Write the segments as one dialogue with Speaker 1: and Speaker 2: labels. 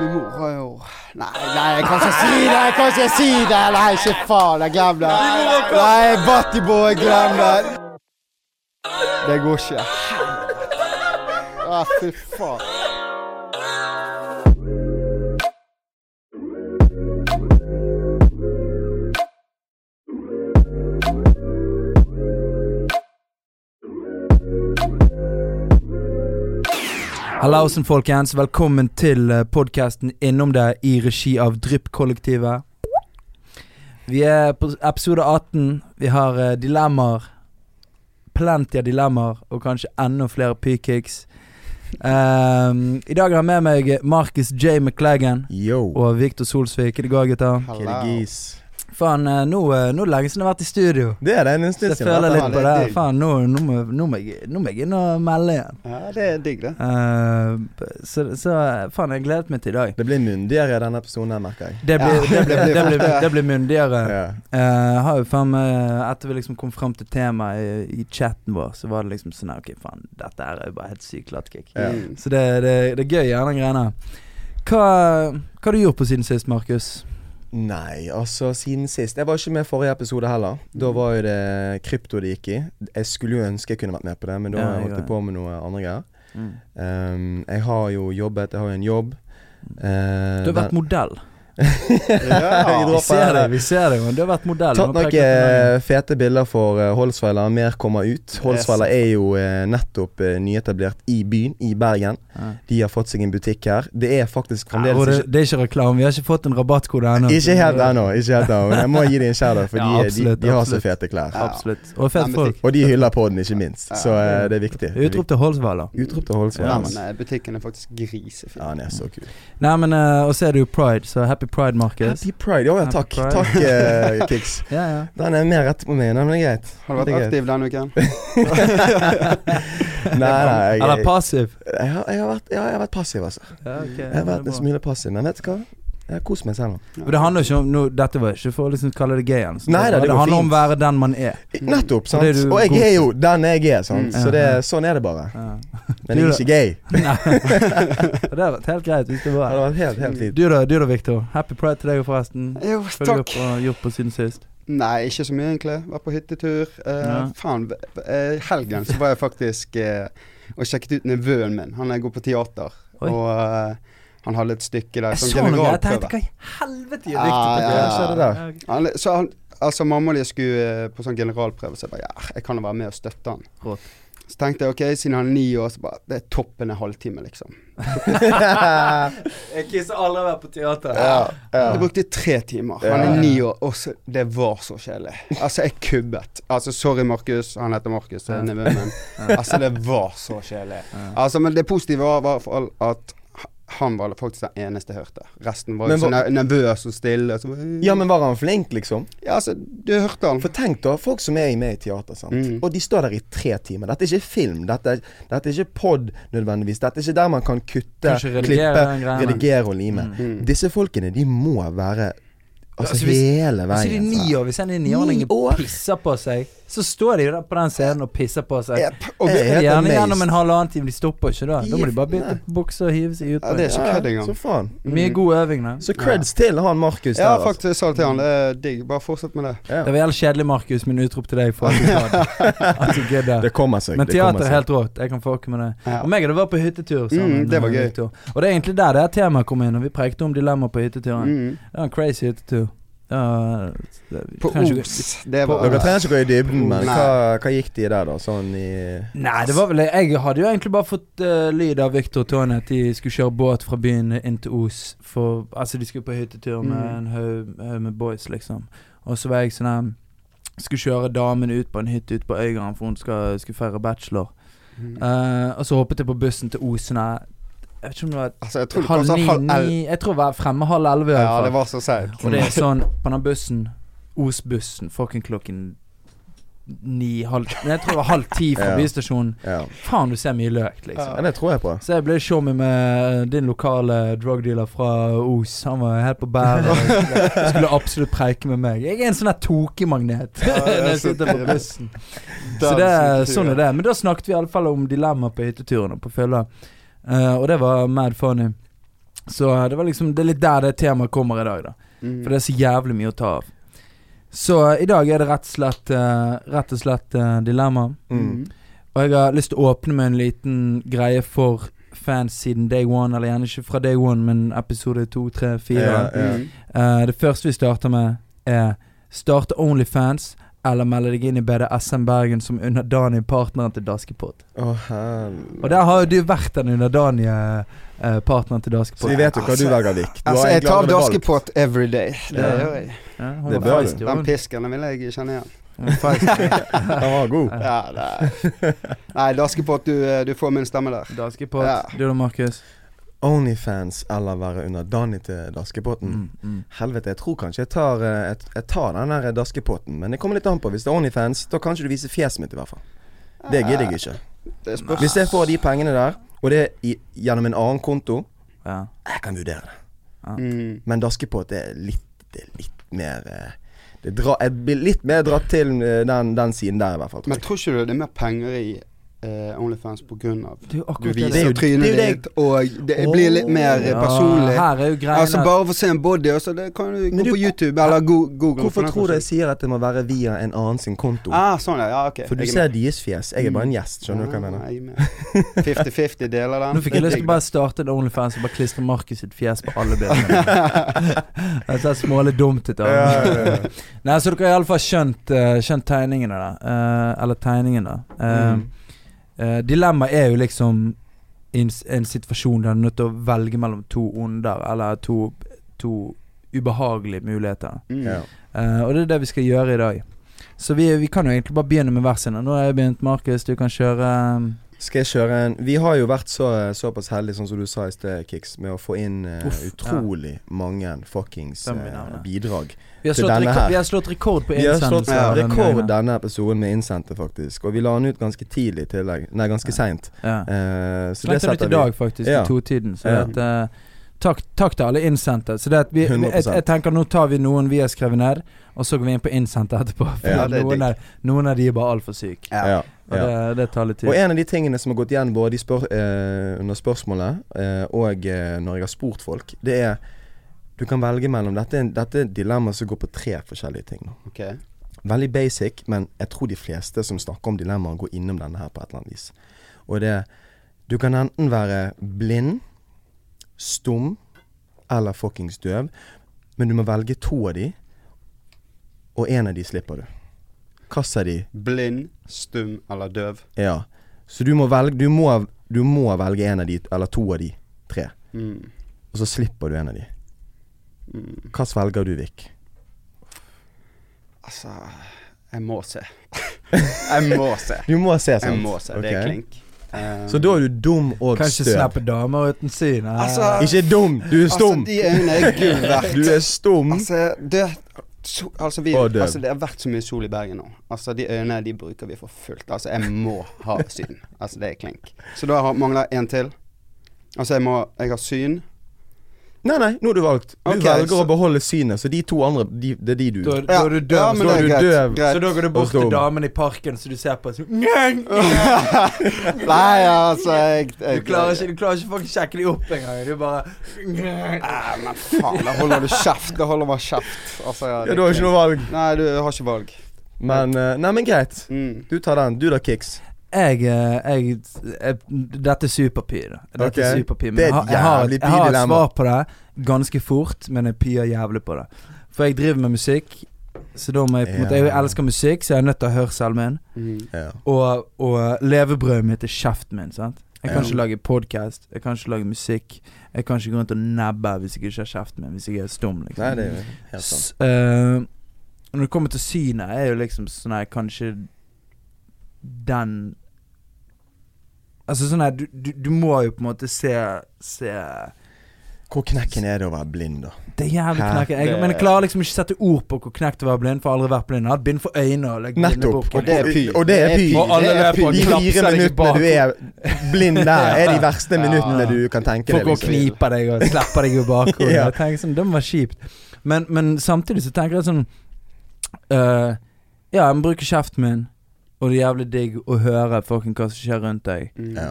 Speaker 1: Min mor har jo Nei, nei, jeg kan ikke si det! Jeg kan ikke si det! Nei, ikke faen. Jeg glem det. Nei, Buttyboy, glem det. Det går ikke. Å, fy faen.
Speaker 2: Hallausen, folkens. Velkommen til eh, podkasten Innom deg i regi av Drypp-kollektivet. Vi er på episode 18. Vi har eh, dilemmaer. Plenty av dilemmaer, og kanskje enda flere pykicks. Ehm, I dag har jeg med meg Marcus J. McLagan
Speaker 3: Yo.
Speaker 2: og Victor Solsvik. Er det går, gutter?
Speaker 1: Hallo.
Speaker 3: Kirgis.
Speaker 2: Faen, eh, nå, eh, nå er det lenge siden jeg har vært i studio.
Speaker 3: Det er det en stund
Speaker 2: Jeg
Speaker 3: siden.
Speaker 2: føler
Speaker 1: det
Speaker 2: litt på det.
Speaker 1: er digg.
Speaker 2: Faen, nå, nå, må, nå, må jeg, nå må jeg inn og melde igjen.
Speaker 1: Ja, det er digg, det.
Speaker 2: Eh, så, så faen, jeg gledet meg til i dag.
Speaker 3: Det blir myndigere i denne episoden, her, merker jeg.
Speaker 2: Det blir,
Speaker 1: Ja,
Speaker 2: det blir,
Speaker 1: det blir
Speaker 2: det
Speaker 1: fort
Speaker 2: blir,
Speaker 1: det.
Speaker 2: det blir myndigere.
Speaker 3: Ja.
Speaker 2: Eh, har jo faen meg Etter vi liksom kom fram til temaet i, i chatten vår, så var det liksom sånn her, OK, faen, dette her er jo bare helt sykt latkick.
Speaker 3: Ja.
Speaker 1: Mm.
Speaker 2: Så det, det, det er gøy, gjerne greiene. Hva, hva har du gjort på siden sist, Markus?
Speaker 3: Nei, altså, siden sist Jeg var ikke med i forrige episode heller.
Speaker 2: Mm.
Speaker 3: Da var jo det krypto det gikk i. Jeg skulle jo ønske jeg kunne vært med på det, men da
Speaker 2: Ja, jeg
Speaker 3: holdt jeg
Speaker 2: òg.
Speaker 3: på med noe andre greier. Ehm, jeg har jo jobbet, jeg har jo en jobb. Eh,
Speaker 2: Du har vært
Speaker 3: den-
Speaker 2: modell.
Speaker 3: Jeg
Speaker 1: Ja.
Speaker 2: Vi
Speaker 3: dropper
Speaker 2: ser det,
Speaker 3: det.
Speaker 2: vi ser det. men Du har vært modell.
Speaker 3: Tatt
Speaker 2: Nå
Speaker 3: noen
Speaker 2: peker jeg på deg.
Speaker 3: eh, fete bilder for eh, Holsweiler. Mer kommer ut. Holsweiler er jo eh, nettopp eh, nyetablert i byen, i Bergen.
Speaker 2: Ja.
Speaker 3: De har fått seg en butikk her. Det er faktisk
Speaker 2: Ja, og
Speaker 3: fremdeles
Speaker 2: det,
Speaker 3: ikke
Speaker 2: det er ikke reklame. Vi har ikke fått en rabattkode ennå.
Speaker 3: Ikke helt ennå, ikke helt ennå, men jeg må gi dem en shout-out, for
Speaker 2: Ja,
Speaker 3: de,
Speaker 2: absolutt,
Speaker 3: de, de har så
Speaker 2: absolutt.
Speaker 3: fete klær.
Speaker 1: Ja.
Speaker 2: Absolutt. Og fett
Speaker 1: Nei, men
Speaker 2: folk.
Speaker 3: Og de hyller på den, ikke minst, så eh, det er viktig. Det er
Speaker 2: Utrop til Holsvaler.
Speaker 3: viktig. Utrop til Holsvik.
Speaker 1: Ja,
Speaker 3: ass.
Speaker 1: men eh, butikken er faktisk grisefin.
Speaker 3: Ja, han er så kul.
Speaker 2: Nei, men eh, Og så er det jo pride, så happy pride, Markus.
Speaker 3: Happy pride. Ja, ja,
Speaker 2: Happy
Speaker 3: takk.
Speaker 2: pride.
Speaker 3: Takk, eh, Kix.
Speaker 2: Ja, ja.
Speaker 3: Den er mer rett på meg, den er greit.
Speaker 1: Har du
Speaker 3: Det
Speaker 1: vært
Speaker 3: er greit.
Speaker 1: aktiv denne uken?
Speaker 3: Nei, nei, jeg,
Speaker 2: Eller
Speaker 3: jeg,
Speaker 2: passiv.
Speaker 3: har, jeg, har vært, ja, jeg har vært passiv, altså. Jeg har vært en smule passiv, men vet du hva? Jeg har kost meg selv nå.
Speaker 2: Men det handler jo ikke om no, Dette var ikke for å liksom kalle det gay igjen. så
Speaker 3: Nei da,
Speaker 2: det
Speaker 3: det går
Speaker 2: handler om å
Speaker 3: fint.
Speaker 2: være den man er.
Speaker 3: Nettopp,
Speaker 2: Mm.
Speaker 3: sant.
Speaker 2: Det er du
Speaker 3: Og jeg
Speaker 2: god
Speaker 3: er jo den jeg er, sant.
Speaker 2: Mm.
Speaker 3: Så det, sånn er det bare.
Speaker 2: Ja.
Speaker 3: Men jeg er ikke gay.
Speaker 2: Nei. Og det hadde vært helt greit hvis det
Speaker 3: Det
Speaker 2: var
Speaker 3: hadde vært helt, helt fint.
Speaker 2: Du da, du da, Victor. Happy pride til deg, forresten.
Speaker 1: Jo,
Speaker 2: Følg
Speaker 1: takk.
Speaker 2: opp og gjort på siden sist.
Speaker 1: Nei, ikke så mye egentlig. Var på hyttetur. Eh,
Speaker 2: Ja.
Speaker 1: Faen, v- v- eh, helgen så var jeg faktisk eh, og sjekket ut nevøen min. Han eh, går på teater.
Speaker 2: Oi.
Speaker 1: Og eh, han hadde et stykke der.
Speaker 2: Jeg
Speaker 1: Sånn
Speaker 2: så noe, jeg tenkte
Speaker 1: generalprøve.
Speaker 2: hva i helvete
Speaker 3: Ah,
Speaker 2: gjør
Speaker 1: Ja,
Speaker 2: Victor på
Speaker 1: ja,
Speaker 2: det?
Speaker 1: ja.
Speaker 2: Skjedde der?
Speaker 1: Han, så han, altså, mamma og de skulle eh, på sånn generalprøve, så jeg bare ja, jeg kan jo være med og støtte han.
Speaker 2: Rått.
Speaker 1: Så tenkte jeg ok, siden han er ni år, så bare det er toppen en halvtime, liksom.
Speaker 2: Jeg kisser aldri å være på teater.
Speaker 3: Ja, ja.
Speaker 1: Jeg brukte tre timer. Han
Speaker 3: Ja.
Speaker 1: er ni år, og så Det var så kjedelig. Altså, jeg kubbet. Altså, sorry, Markus. Han heter Markus, det er nevøen min. Altså, det var så kjedelig. Altså, men det positive var i hvert fall at han var faktisk den eneste jeg hørte. Resten var jo
Speaker 3: Men
Speaker 1: så
Speaker 3: hva-
Speaker 1: ne- nervøs og stille. Så,
Speaker 3: Ja, men var han flink, liksom?
Speaker 1: ja, altså, du hørte han.
Speaker 3: For tenk da, folk som er med i teater, sant?
Speaker 1: Mm.
Speaker 3: og de står der i tre timer. Dette er ikke film, dette er, dette er ikke pod nødvendigvis. Dette er ikke der man kan kutte,
Speaker 2: Kanskje redigere
Speaker 3: klippe,
Speaker 2: den greia, men-
Speaker 3: redigere og lime.
Speaker 1: Mm.
Speaker 3: Disse folkene, de må være Altså,
Speaker 2: Altså, hvis-
Speaker 3: hele
Speaker 2: Så de er
Speaker 3: veien. altså.
Speaker 2: ni
Speaker 3: sant?
Speaker 2: år. Hvis en niåring
Speaker 3: Ni år?
Speaker 2: pisser på seg, så står de jo der på den scenen og pisser på seg.
Speaker 3: Yep, og vi-
Speaker 2: Det er
Speaker 3: helt
Speaker 2: gjerne
Speaker 3: amazed.
Speaker 2: gjennom en halvannen time. De stopper ikke da. Da må de bare bytte
Speaker 3: Nei.
Speaker 2: bukse og hive seg ut.
Speaker 1: Ja, det er
Speaker 2: på
Speaker 1: ikke
Speaker 3: Ja,
Speaker 1: kødd engang.
Speaker 3: Så faen.
Speaker 2: en- Mye god øving, da.
Speaker 3: Så creds til han Markus der.
Speaker 1: Ja,
Speaker 3: altså.
Speaker 1: faktisk. Jeg sa det til han. Det er digg. Bare fortsett med det.
Speaker 3: Ja.
Speaker 2: Det var helt kjedelig, Markus, min utrop til deg. For at du sa det. At du gidder.
Speaker 3: Det kommer seg.
Speaker 2: Men
Speaker 3: det kommer
Speaker 2: teater er
Speaker 3: seg.
Speaker 2: helt rått. Jeg kan fucke med det.
Speaker 1: Ja.
Speaker 2: Og meg og det var på hyttetur sammen.
Speaker 1: Mm, det var
Speaker 2: med
Speaker 1: gøy.
Speaker 2: Victor. Og det er egentlig der det her temaet kom inn, og vi prekte om dilemmaer på hytteturen.
Speaker 1: Mm.
Speaker 2: Det var en crazy hyttetur. Ja, det- vi
Speaker 1: På
Speaker 2: trenger ikke-
Speaker 1: Os. Det
Speaker 2: På
Speaker 1: var
Speaker 3: Dere trenger ikke gå i dybden, men
Speaker 1: Nei.
Speaker 3: hva, hva gikk de der, da? Sånn i
Speaker 2: Nei, det var vel Jeg hadde jo egentlig bare fått eh, lyd av Victor og Tony at de skulle kjøre båt fra byen inn til Os. For Altså, de skulle på hyttetur med
Speaker 1: Mm.
Speaker 2: en haug haug med boys, liksom. Og så var jeg sånn her Skulle kjøre damen ut på en hytte ute på Øygarden, for hun skal, skulle feire bachelor.
Speaker 1: Mm.
Speaker 2: Eh, og så hoppet jeg på bussen til Os. Sånn her Jeg vet ikke om det var
Speaker 1: Altså, jeg tror det
Speaker 2: halv
Speaker 1: kom sånn halv elv.
Speaker 2: ni Jeg tror det var fremme halv elleve. i hvert
Speaker 1: Ja,
Speaker 2: fall.
Speaker 1: det var så seigt.
Speaker 2: Og det er sånn på den bussen Os-bussen, fucking klokken ni, halv Nei, jeg tror det var halv ti fra
Speaker 3: Ja.
Speaker 2: bystasjonen.
Speaker 3: Ja.
Speaker 2: Faen, du ser mye løk, liksom.
Speaker 3: ja, det tror jeg på.
Speaker 2: Så jeg ble showmy med eh, din lokale drugdealer fra Os. Han var helt på bæret. og Skulle, skulle absolutt preike med meg. Jeg er en sånn her tokemagnet
Speaker 1: Ja, det er
Speaker 2: når jeg
Speaker 1: så
Speaker 2: sitter på
Speaker 1: trivelig.
Speaker 2: bussen. Så det, er- sånn er det. Men da snakket vi i alle fall om dilemmaer på hytteturen og på fylla. Eh, og det var mad funny. Så det var liksom Det er litt der det temaet kommer i dag, da.
Speaker 1: Mm.
Speaker 2: For det er så jævlig mye å ta av. Så eh, i dag er det rett og slett, eh, rett og slett eh, dilemma.
Speaker 3: Mm.
Speaker 2: Og jeg har lyst til å åpne med en liten greie for fans siden day one. Eller gjerne ikke fra day one, men episode to, tre, fire.
Speaker 3: Ja, ja.
Speaker 1: Mm.
Speaker 2: Eh, det første vi starter med, er starte Onlyfans eller melde deg inn i BDSM Bergen som underdanig partneren til Daskepott.
Speaker 3: Å, hel-
Speaker 2: Og der har jo du vært den underdanige eh, partneren til Daskepott.
Speaker 3: Så vi vet jo hva du
Speaker 1: Altså,
Speaker 3: velger, Vik. Du har
Speaker 1: Altså, jeg
Speaker 3: egentlig
Speaker 1: tar
Speaker 3: allerede valgt.
Speaker 1: Daskepott every day. Det
Speaker 2: Ja.
Speaker 1: gjør jeg.
Speaker 2: Ja, hun
Speaker 3: Det
Speaker 2: var
Speaker 3: bør
Speaker 2: feist,
Speaker 3: du.
Speaker 2: jo,
Speaker 1: Den
Speaker 2: hun.
Speaker 1: piskeren den vil jeg kjenne igjen.
Speaker 2: Hun var feist.
Speaker 3: Den var god.
Speaker 1: Ja, det Nei, Daskepott, du, eh, du får min stemme der.
Speaker 2: Daskepott.
Speaker 1: Ja.
Speaker 2: Du da, Markus?
Speaker 3: Onlyfans eller være under Danny til Daskepotten.
Speaker 2: Mm, mm.
Speaker 3: Helvete, jeg tror kanskje jeg tar, eh, jeg, jeg tar den der Daskepotten, men det kommer litt an på. Hvis det er Onlyfans, da kan ikke du vise fjeset mitt, i hvert fall. Det gidder jeg ikke.
Speaker 1: Det spørs.
Speaker 3: Hvis jeg får de pengene der, og det er i, gjennom en annen konto,
Speaker 2: Ja.
Speaker 3: jeg kan vurdere det.
Speaker 1: Mm.
Speaker 3: Men Daskepott er litt, det er litt mer eh, det drar- Jeg blir litt mer dratt til eh, den, den siden der, i hvert fall. tror
Speaker 1: Men
Speaker 3: jeg.
Speaker 1: tror ikke du det er mer penger i eh, Onlyfans på grunn av
Speaker 2: Det er jo
Speaker 1: Du
Speaker 2: akkurat det.
Speaker 3: det er
Speaker 1: viser
Speaker 3: jo- det
Speaker 1: trynet
Speaker 3: er jo det-
Speaker 1: ditt, og det blir litt mer eh,
Speaker 2: Ja,
Speaker 1: personlig.
Speaker 2: Her er jo greia
Speaker 1: Altså Bare for å se en body, og så det kan du gå
Speaker 3: Men du-
Speaker 1: på YouTube eller go Google.
Speaker 3: Hvorfor tror du jeg
Speaker 1: det?
Speaker 3: sier at det må være via en annen sin konto?
Speaker 1: Ah, sånn, ja. ja ok.
Speaker 3: For du
Speaker 1: Jeg er
Speaker 3: ser
Speaker 1: med.
Speaker 3: deres fjes. Jeg er bare en gjest, skjønner du hva jeg
Speaker 1: Ah,
Speaker 3: mener?
Speaker 1: jeg er med. 50-50 deler den.
Speaker 2: Nå fikk jeg lyst til å bare starte en Onlyfans og bare klistre Markus sitt fjes på alle bildene. Det ser smålig dumt ut. da. Nei, så dere har iallfall skjønt, eh, skjønt tegningene, da. Eh, eller tegningen, da. Eh,
Speaker 3: Mm.
Speaker 2: eh, dilemma er jo liksom en, s- en situasjon der du er nødt til å velge mellom to onder, eller to, to ubehagelige muligheter.
Speaker 1: Mm.
Speaker 3: Ja.
Speaker 2: Eh, og det er det vi skal gjøre i dag. Så vi, vi kan jo egentlig bare begynne med hver sin. Nå har jeg begynt, Markus. Du kan kjøre eh,
Speaker 3: Skal jeg kjøre en Vi har jo vært så, såpass heldige, sånn som du sa i sted, Kix, med å få inn eh,
Speaker 2: Uff,
Speaker 3: utrolig mange fuckings
Speaker 2: Den vi
Speaker 3: eh,
Speaker 2: nevner.
Speaker 3: bidrag.
Speaker 2: Vi har
Speaker 3: Til
Speaker 2: slått,
Speaker 3: denne
Speaker 2: rekord,
Speaker 3: her.
Speaker 2: vi har slått rekord på eh,
Speaker 3: Vi har slått
Speaker 2: innsendelser. av denne
Speaker 3: rekord
Speaker 2: gangen.
Speaker 3: denne episoden med innsendte, faktisk. Og vi la den ut ganske tidlig i tillegg. Nei, ganske seint.
Speaker 2: Ja.
Speaker 3: Eh, så det
Speaker 2: Slengte den ut i
Speaker 3: setter vi.
Speaker 2: dag, faktisk,
Speaker 3: Ja.
Speaker 2: i totiden. Så
Speaker 3: Ja.
Speaker 2: at, eh, takk, takk til alle innsendte. Så det at vi, vi, jeg,
Speaker 3: 100%.
Speaker 2: jeg tenker nå tar vi noen vi har skrevet ned, og så går vi inn på innsendte etterpå. For
Speaker 3: Ja,
Speaker 1: det er
Speaker 2: noen, er, noen av de er bare altfor syke.
Speaker 1: Ja.
Speaker 3: Ja,
Speaker 2: Og
Speaker 3: ja.
Speaker 2: det, det tar litt tid.
Speaker 3: Og en av de tingene som har gått igjen både i spør eh, under spørsmålet eh, og eh, når jeg har spurt folk, det er Du kan velge mellom Dette er, en- dette er et dilemma som går på tre forskjellige ting. nå.
Speaker 1: Ok.
Speaker 3: Veldig basic, men jeg tror de fleste som snakker om dilemmaer, går innom denne her på et eller annet vis. Og det er Du kan enten være blind, stum eller fuckings døv, men du må velge to av de, og én av de slipper du. Hvilken av de
Speaker 1: Blind, stum eller døv.
Speaker 3: ja. Så du må velge du må, du må velge en av de, eller to av de tre.
Speaker 1: Mm.
Speaker 3: Og så slipper du en av de.
Speaker 1: Mm.
Speaker 3: Hva velger du, Vik?
Speaker 1: Altså Jeg må se. jeg må se.
Speaker 3: Du må se, sant?
Speaker 1: Jeg må se. Det er
Speaker 3: Ok.
Speaker 1: klink. Eh,
Speaker 3: Så da er du dum og
Speaker 2: kan ikke
Speaker 3: støv.
Speaker 2: snappe damer uten syn. eh.
Speaker 1: Altså-
Speaker 3: Ikke dum, du er stum!
Speaker 1: Altså, de øynene er gull verdt.
Speaker 3: Du er stum.
Speaker 1: Altså, det, so, altså, vi,
Speaker 3: Og døv.
Speaker 1: altså, det har vært så mye sol i Bergen nå. Altså, De øynene de bruker vi for fullt. Altså, Jeg må ha syn. Altså, Det er klink. Så da har- mangler jeg en til. Altså, jeg må Jeg har syn.
Speaker 3: Nei, nei, nå har du valgt. Du
Speaker 1: Ok,
Speaker 3: velger
Speaker 1: så-
Speaker 3: å beholde synet, så de to andre, de, det er de du
Speaker 2: da, da er du døv.
Speaker 1: Ja, men
Speaker 3: så
Speaker 1: det
Speaker 3: er
Speaker 1: er
Speaker 3: du
Speaker 1: greit.
Speaker 3: døv.
Speaker 1: greit.
Speaker 2: så da går du bort til
Speaker 3: Og dum.
Speaker 2: damen i parken som du ser på, og "Mm, så du
Speaker 1: Nei, altså jeg, jeg
Speaker 2: klarer ikke, du klarer ikke faktisk sjekke dem opp engang. Du bare
Speaker 1: Nei, men faen, da holder du kjeft. Da holder man kjeft. Altså, ja,
Speaker 3: Ja, du har ikke noe valg.
Speaker 1: Nei, du har ikke valg.
Speaker 3: Men eh, Nei, men greit.
Speaker 1: Mm.
Speaker 3: Du tar den. Du da, Kix.
Speaker 2: jeg, eh, jeg, jeg Dette er superpy. da. Dette er
Speaker 3: Ok.
Speaker 2: superpy, men
Speaker 3: Det er
Speaker 2: jeg, har-
Speaker 3: et
Speaker 2: jeg, har,
Speaker 3: jævlig
Speaker 2: jeg har et
Speaker 3: bydilemma.
Speaker 2: svar på det ganske fort, men jeg pyr jævlig på det. For jeg driver med musikk, så da må jeg på en måte Jeg
Speaker 3: Ja.
Speaker 2: elsker musikk, så jeg er nødt til å høre selv min.
Speaker 1: Mm.
Speaker 3: Ja.
Speaker 2: Og, og levebrødet mitt er kjeften min. sant? Jeg kan
Speaker 1: Ja.
Speaker 2: ikke lage podkast, jeg kan ikke lage musikk. Jeg kan ikke gå rundt og nebbe hvis jeg ikke har kjeften min, hvis jeg er stum. liksom
Speaker 3: Nei, det er jo helt sant.
Speaker 2: S- eh, når det kommer til synet, er jo liksom sånn her kanskje den Altså sånn her, du, du, du må jo på en måte se, se Det
Speaker 3: Hvor knekken er det å være blind, da?
Speaker 2: er jævlig
Speaker 3: Hæ?
Speaker 2: knekket. Jeg,
Speaker 1: Det-
Speaker 2: men jeg klarer liksom ikke sette ord på hvor knekt det var å være blind, for jeg har aldri vært blind. Jeg har hatt bind for øynene. Og lagt bind i
Speaker 3: Nettopp.
Speaker 2: boken.
Speaker 1: Og det er py.
Speaker 3: Og det er py.
Speaker 2: Og alle
Speaker 1: Det er
Speaker 2: løper
Speaker 1: py.
Speaker 2: og
Speaker 3: De
Speaker 2: klapser
Speaker 3: fire
Speaker 2: deg
Speaker 3: minuttene
Speaker 2: bak.
Speaker 3: du er blind der, er de verste minuttene du kan tenke deg.
Speaker 2: Folk går og kniper deg og slipper deg i bakhodet.
Speaker 3: Ja.
Speaker 2: Jeg tenker sånn, Det var kjipt. Men, men samtidig så tenker jeg sånn øh, Ja, jeg må bruke kjeften min, og det er jævlig digg å høre fucking hva som skjer rundt deg.
Speaker 1: Mm.
Speaker 3: Ja.